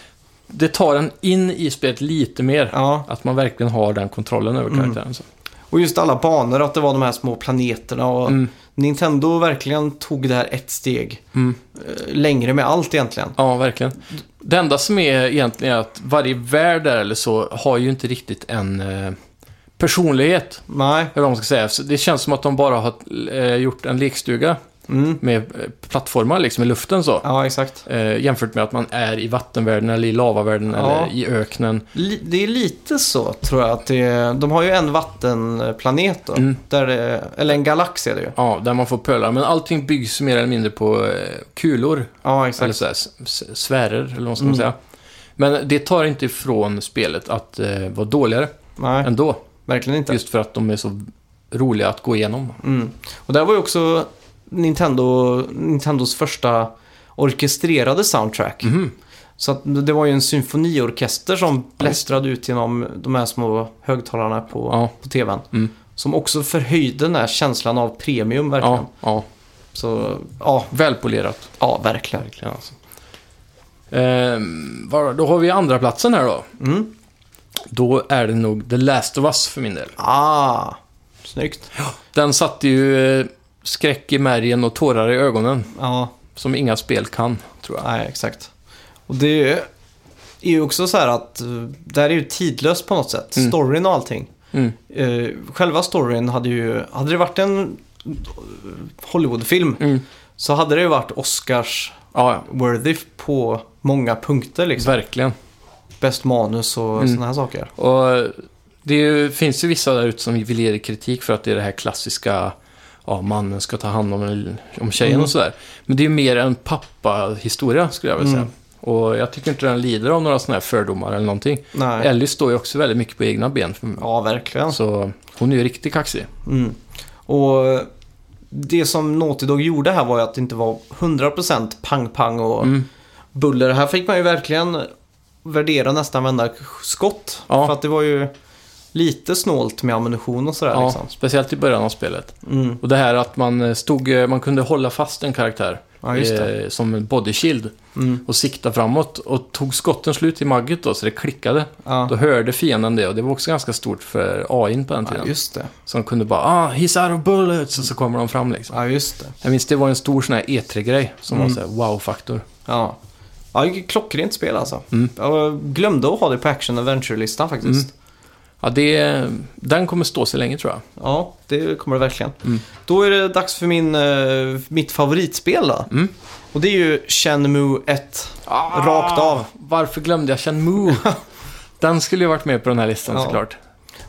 Speaker 1: Det tar en in i spelet lite mer.
Speaker 2: Ja, Mm.
Speaker 1: Att man verkligen har den kontrollen över karaktären. Så.
Speaker 2: och just alla banor, att det var de här små planeterna och
Speaker 1: Mm.
Speaker 2: Nintendo verkligen tog det här ett steg
Speaker 1: Mm.
Speaker 2: eh, längre med allt egentligen.
Speaker 1: Ja, verkligen. Det enda som är egentligen är att varje värld där eller så har ju inte riktigt en eh, personlighet.
Speaker 2: Nej,
Speaker 1: Eller vad man ska säga. Så det känns som att de bara har eh, gjort en lekstuga
Speaker 2: mm.
Speaker 1: med eh, plattformar liksom i luften så.
Speaker 2: ja exakt.
Speaker 1: Eh, jämfört med att man är i vattenvärlden eller i lavavärlden
Speaker 2: Ja.
Speaker 1: eller i öknen.
Speaker 2: Li- det är lite så tror jag att det De har ju en vattenplanet då.
Speaker 1: Mm.
Speaker 2: Där det, eller en galax är det ju.
Speaker 1: Ja, där man får pölar. Men allting byggs mer eller mindre på eh, kulor.
Speaker 2: Ja,
Speaker 1: Eller
Speaker 2: exakt.
Speaker 1: så här, s- s- sfärer eller vad man ska
Speaker 2: Mm.
Speaker 1: säga. Men det tar inte ifrån spelet att eh, vara dåligare
Speaker 2: Nej,
Speaker 1: ändå.
Speaker 2: verkligen inte.
Speaker 1: Just för att de är så roliga att gå igenom.
Speaker 2: Mm. Och där var ju också Nintendo, Nintendos första orkestrerade soundtrack.
Speaker 1: Mhm.
Speaker 2: Så att det var ju en symfoniorkester som blästrade ut genom de här små högtalarna på,
Speaker 1: Ja.
Speaker 2: på tvn.
Speaker 1: Mm.
Speaker 2: Som också förhöjde den här känslan av premium verkligen.
Speaker 1: Ja, ja.
Speaker 2: Så ja,
Speaker 1: Välpolerat.
Speaker 2: ja verkligen.
Speaker 1: Verkligen alltså. Ehm, vad- då har vi andra platsen här då.
Speaker 2: Mm.
Speaker 1: Då är det nog The Last of Us för min del.
Speaker 2: Ah, snyggt.
Speaker 1: Den satte ju eh, skräck i märgen och tårar i ögonen.
Speaker 2: Ja,
Speaker 1: Som inga spel kan, tror jag.
Speaker 2: nej exakt. Och det är ju också så här att eh, det här är ju tidlöst på något sätt.
Speaker 1: Mm.
Speaker 2: Storyn och allting.
Speaker 1: Mm.
Speaker 2: Eh, själva storyn hade ju, hade det varit en eh, Hollywoodfilm
Speaker 1: Mm.
Speaker 2: så hade det ju varit Oscars
Speaker 1: Ja,
Speaker 2: worthy på många punkter
Speaker 1: ja,
Speaker 2: liksom.
Speaker 1: verkligen.
Speaker 2: Bäst manus och
Speaker 1: Mm.
Speaker 2: sådana här saker.
Speaker 1: Och eh, det är ju, finns ju vissa där ute som vill ge det kritik för att det är det här klassiska Ja, mannen ska ta hand om, en- om tjejen
Speaker 2: Mm.
Speaker 1: och sådär. Men det är ju mer en pappa-historia, skulle jag vilja säga.
Speaker 2: Mm.
Speaker 1: Och jag tycker inte den lider av några sådana här fördomar eller någonting.
Speaker 2: Nej.
Speaker 1: Ellie står ju också väldigt mycket på egna ben. För
Speaker 2: Ja, verkligen.
Speaker 1: Så hon är ju riktigt kaxig.
Speaker 2: Mm. Och det som Naughty Dog gjorde här var ju att det inte var 100% pang-pang och
Speaker 1: Mm.
Speaker 2: buller. Här fick man ju verkligen värdera nästan varenda skott.
Speaker 1: Ja.
Speaker 2: För att det var ju lite snålt med ammunition och sådär
Speaker 1: Ja,
Speaker 2: liksom.
Speaker 1: speciellt i början av spelet.
Speaker 2: Mm.
Speaker 1: Och det här att man eh, stod, eh, man kunde hålla fast en karaktär
Speaker 2: Ja, just det.
Speaker 1: eh, som en body shield
Speaker 2: Mm.
Speaker 1: och sikta framåt. Och tog skotten slut i magget då, så det klickade. Då
Speaker 2: Ja.
Speaker 1: hörde fienden det och det var också ganska stort för AI på den
Speaker 2: ja,
Speaker 1: tiden.
Speaker 2: just det.
Speaker 1: så de kunde bara ah, “He's out of bullets” och så kommer de fram liksom.
Speaker 2: Ja, just det.
Speaker 1: Jag minns det var en stor sån här E3-grej som
Speaker 2: Mm.
Speaker 1: var så här wow-faktor.
Speaker 2: Ja. Ja, vilket klockrent spel alltså.
Speaker 1: Mm.
Speaker 2: Jag glömde att ha det på Action Adventure-listan faktiskt.
Speaker 1: Ja, det, den kommer stå sig länge tror jag.
Speaker 2: Ja, det kommer det verkligen.
Speaker 1: Mm.
Speaker 2: Då är det dags för min, eh, mitt favoritspel då.
Speaker 1: Mm.
Speaker 2: Och det är ju Shenmue 1.
Speaker 1: Ah,
Speaker 2: Rakt av.
Speaker 1: Varför glömde jag Shenmue? Den skulle ju varit med på den här listan
Speaker 2: Ja.
Speaker 1: såklart.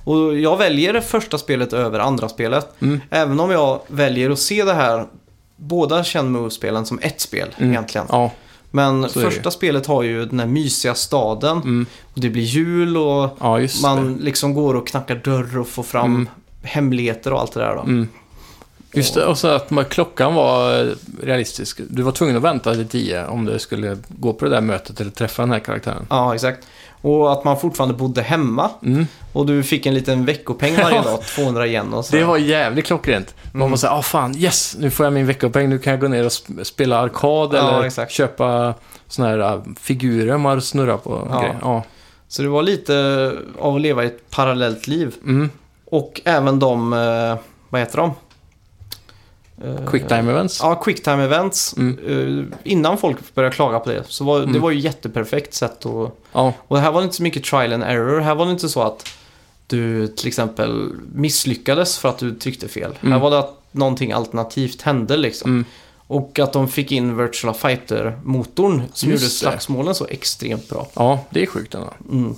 Speaker 2: Och jag väljer det första spelet över andra spelet.
Speaker 1: Mm.
Speaker 2: Även om jag väljer att se det här, båda Shenmue-spelen som ett spel
Speaker 1: Mm.
Speaker 2: egentligen.
Speaker 1: Ja,
Speaker 2: Men
Speaker 1: så är det
Speaker 2: första spelet har ju den här mysiga staden.
Speaker 1: mm.
Speaker 2: Och det blir jul och
Speaker 1: ja just det.
Speaker 2: man liksom går och knackar dörr och får fram
Speaker 1: Mm.
Speaker 2: hemligheter och allt det där då.
Speaker 1: Mm. Just det, och så att man, klockan var eh, realistisk. Du var tvungen att vänta till tio om du skulle gå på det där mötet eller träffa den här karaktären.
Speaker 2: Ja, exakt. Och att man fortfarande bodde hemma.
Speaker 1: Mm.
Speaker 2: Och du fick en liten veckopeng varje
Speaker 1: Ja.
Speaker 2: dag, 200 yen och så.
Speaker 1: Det var jävligt klockrent. Man
Speaker 2: Mm.
Speaker 1: var såhär, ah fan, yes, nu får jag min veckopeng, nu kan jag gå ner och sp- spela arkad
Speaker 2: Ja,
Speaker 1: eller
Speaker 2: exakt.
Speaker 1: köpa såna här eh, figurer man snurrar på. och
Speaker 2: Ja.
Speaker 1: grejer. Ja.
Speaker 2: Så det var lite av att leva i ett parallellt liv.
Speaker 1: Mm.
Speaker 2: Och även de, eh, vad heter de? Eh,
Speaker 1: Quick time events.
Speaker 2: Ja, quicktime events.
Speaker 1: Mm.
Speaker 2: Eh, Innan folk började klaga på det. Så var, det
Speaker 1: Mm.
Speaker 2: var ju jätteperfekt sätt att...
Speaker 1: Ja.
Speaker 2: Och här var det inte så mycket trial and error. Här var det inte så att du till exempel misslyckades för att du tryckte fel.
Speaker 1: Mm.
Speaker 2: Här var det att någonting alternativt hände liksom.
Speaker 1: Mm.
Speaker 2: Och att de fick in Virtual Fighter-motorn som
Speaker 1: Just
Speaker 2: gjorde
Speaker 1: det.
Speaker 2: slagsmålen så extremt bra.
Speaker 1: ja, det är sjukt ändå.
Speaker 2: Mm.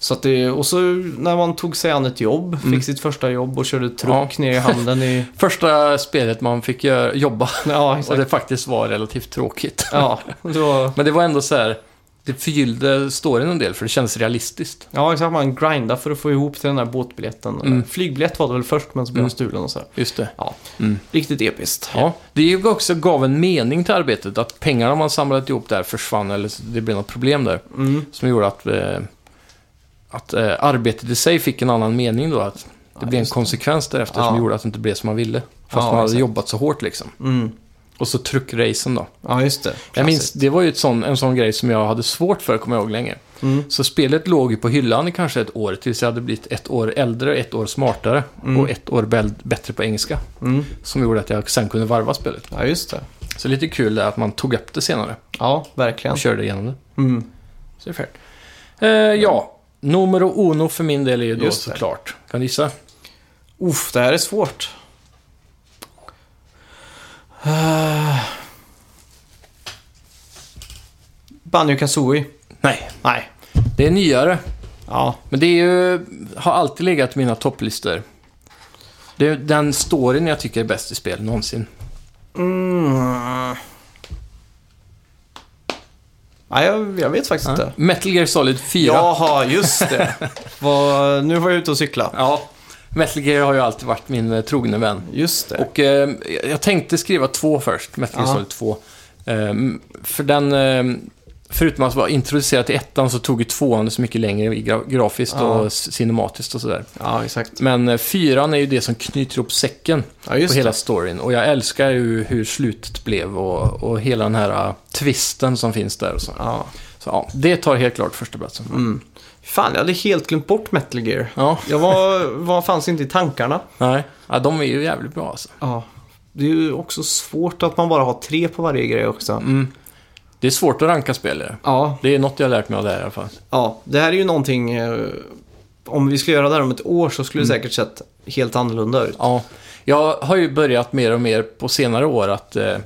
Speaker 2: Så att det, och så när man tog sig an ett jobb,
Speaker 1: Mm.
Speaker 2: fick sitt första jobb och körde truck ner i handen i...
Speaker 1: Första spelet man fick göra, jobba
Speaker 2: Ja,
Speaker 1: och
Speaker 2: exakt.
Speaker 1: det faktiskt var relativt tråkigt.
Speaker 2: Ja, då,
Speaker 1: Men det var ändå så här, det förgyllde storyn en del för det kändes realistiskt.
Speaker 2: ja, exakt. Man grindade för att få ihop till den där båtbiljetten.
Speaker 1: Mm.
Speaker 2: Flygbiljett var det väl först, men så blev
Speaker 1: Mm.
Speaker 2: den stulen och så. här.
Speaker 1: Just det.
Speaker 2: Ja.
Speaker 1: Mm.
Speaker 2: Riktigt episkt.
Speaker 1: Ja. Det ju också gav en mening till arbetet, att pengarna man samlat ihop där försvann eller det blev något problem där.
Speaker 2: Mm.
Speaker 1: Som gjorde att, eh, att eh, arbetet i sig fick en annan mening då. Att det
Speaker 2: Ja,
Speaker 1: blev en
Speaker 2: just det.
Speaker 1: konsekvens därefter som
Speaker 2: Ja.
Speaker 1: gjorde att det inte blev som man ville. Fast
Speaker 2: Ja,
Speaker 1: man hade
Speaker 2: exakt.
Speaker 1: jobbat så hårt liksom.
Speaker 2: Mm.
Speaker 1: Och så tryckracen då.
Speaker 2: Ja, just det.
Speaker 1: Jag minns,
Speaker 2: Klassiskt.
Speaker 1: det var ju ett sån, en sån grej som jag hade svårt för, kommer jag ihåg länge.
Speaker 2: Mm.
Speaker 1: Så spelet låg ju på hyllan i kanske ett år tills jag hade blivit ett år äldre, ett år smartare
Speaker 2: Mm.
Speaker 1: och ett år bäl- bättre på engelska.
Speaker 2: Mm.
Speaker 1: Som gjorde att jag sen kunde varva spelet.
Speaker 2: Ja, just det.
Speaker 1: Så lite kul är att man tog upp det senare
Speaker 2: Ja, verkligen.
Speaker 1: och körde igenom det.
Speaker 2: Mm.
Speaker 1: Så det är färdigt. Eh, ja, numero uno för min del är ju då
Speaker 2: Just det.
Speaker 1: såklart. Kan du gissa?
Speaker 2: Uff, det här är svårt. Uh... Banjo Kazooie.
Speaker 1: Nej,
Speaker 2: Nej.
Speaker 1: det är nyare.
Speaker 2: Ja.
Speaker 1: Men det är ju, har alltid legat i mina topplistor. Det är den storyn jag tycker är bäst i spel någonsin.
Speaker 2: Mm. Nej, jag, jag vet faktiskt
Speaker 1: Ja.
Speaker 2: inte.
Speaker 1: Metal Gear Solid 4.
Speaker 2: Jaha, just det. Vad- nu var jag ute och cykla.
Speaker 1: Ja, Metal Gear har ju alltid varit min eh, trogne vän.
Speaker 2: Just det.
Speaker 1: Och eh, jag tänkte skriva två först, Metal Gear
Speaker 2: Ja.
Speaker 1: Solid 2. Eh, för den eh, förutom att vara introducerad till ettan så tog ju tvåan det så mycket längre i gra- grafiskt
Speaker 2: Ja.
Speaker 1: och s- cinematiskt och sådär.
Speaker 2: Ja, exakt.
Speaker 1: Men eh, fyran är ju det som knyter ihop säcken
Speaker 2: Ja, just
Speaker 1: på hela
Speaker 2: det.
Speaker 1: storyn. Och jag älskar ju hur slutet blev och, och hela den här ah, twisten som finns där och så.
Speaker 2: Ja.
Speaker 1: Så ja, det tar helt klart första platsen.
Speaker 2: Mm. Fan, jag hade helt glömt bort Metal Gear.
Speaker 1: Ja,
Speaker 2: Jag var, var fanns inte i tankarna.
Speaker 1: nej. Ja, de är ju jävligt bra alltså.
Speaker 2: Ja. Det är ju också svårt att man bara har tre på varje grej också.
Speaker 1: Mm. Det är svårt att ranka spel i det.
Speaker 2: Ja,
Speaker 1: Det är något jag har lärt mig av det här i alla fall.
Speaker 2: ja, det här är ju någonting... eh, Om vi skulle göra det här om ett år så skulle det
Speaker 1: Mm.
Speaker 2: säkert sett helt annorlunda ut.
Speaker 1: Ja, jag har ju börjat mer och mer på senare år att eh, eh,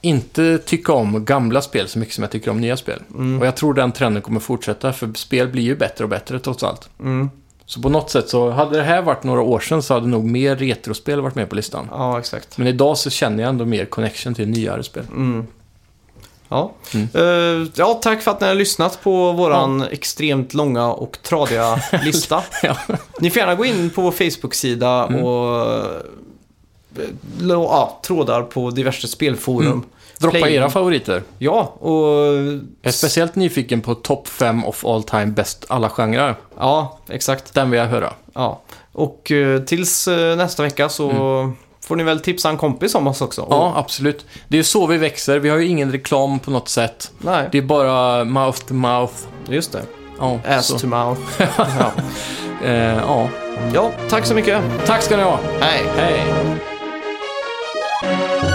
Speaker 1: inte tycka om gamla spel så mycket som jag tycker om nya spel. Och jag tror den trenden kommer fortsätta, för spel blir ju bättre och bättre trots allt.
Speaker 2: Mm.
Speaker 1: Så på något sätt så, hade det här varit några år sedan så hade nog mer retrospel varit med på listan.
Speaker 2: Ja, exakt.
Speaker 1: Men idag så känner jag ändå mer connection till nyare spel.
Speaker 2: Ja.
Speaker 1: Mm.
Speaker 2: Eh, ja, tack för att ni har lyssnat på våran extremt långa och tradiga lista.
Speaker 1: Ja.
Speaker 2: Ni får gärna gå in på vår Facebook-sida
Speaker 1: Mm.
Speaker 2: och eh, lo- ja, trådar på diverse spelforum.
Speaker 1: Mm. Droppa
Speaker 2: Play-
Speaker 1: era favoriter.
Speaker 2: Ja, och...
Speaker 1: Jag är speciellt nyfiken på topp 5 of all time best alla genrer.
Speaker 2: Ja, exakt.
Speaker 1: Den vill jag höra.
Speaker 2: Ja. Och eh, tills eh, nästa vecka så får ni väl tipsa en kompis om oss också.
Speaker 1: Mm. Ja, absolut. Det är ju så vi växer. Vi har ju ingen reklam på något sätt.
Speaker 2: Och, nej,
Speaker 1: Det är bara mouth to mouth.
Speaker 2: just det.
Speaker 1: Ja,
Speaker 2: Ass
Speaker 1: så.
Speaker 2: to mouth. ja.
Speaker 1: Eh, ja.
Speaker 2: ja, tack så mycket.
Speaker 1: Tack ska ni ha.
Speaker 2: Hej.
Speaker 1: Hej.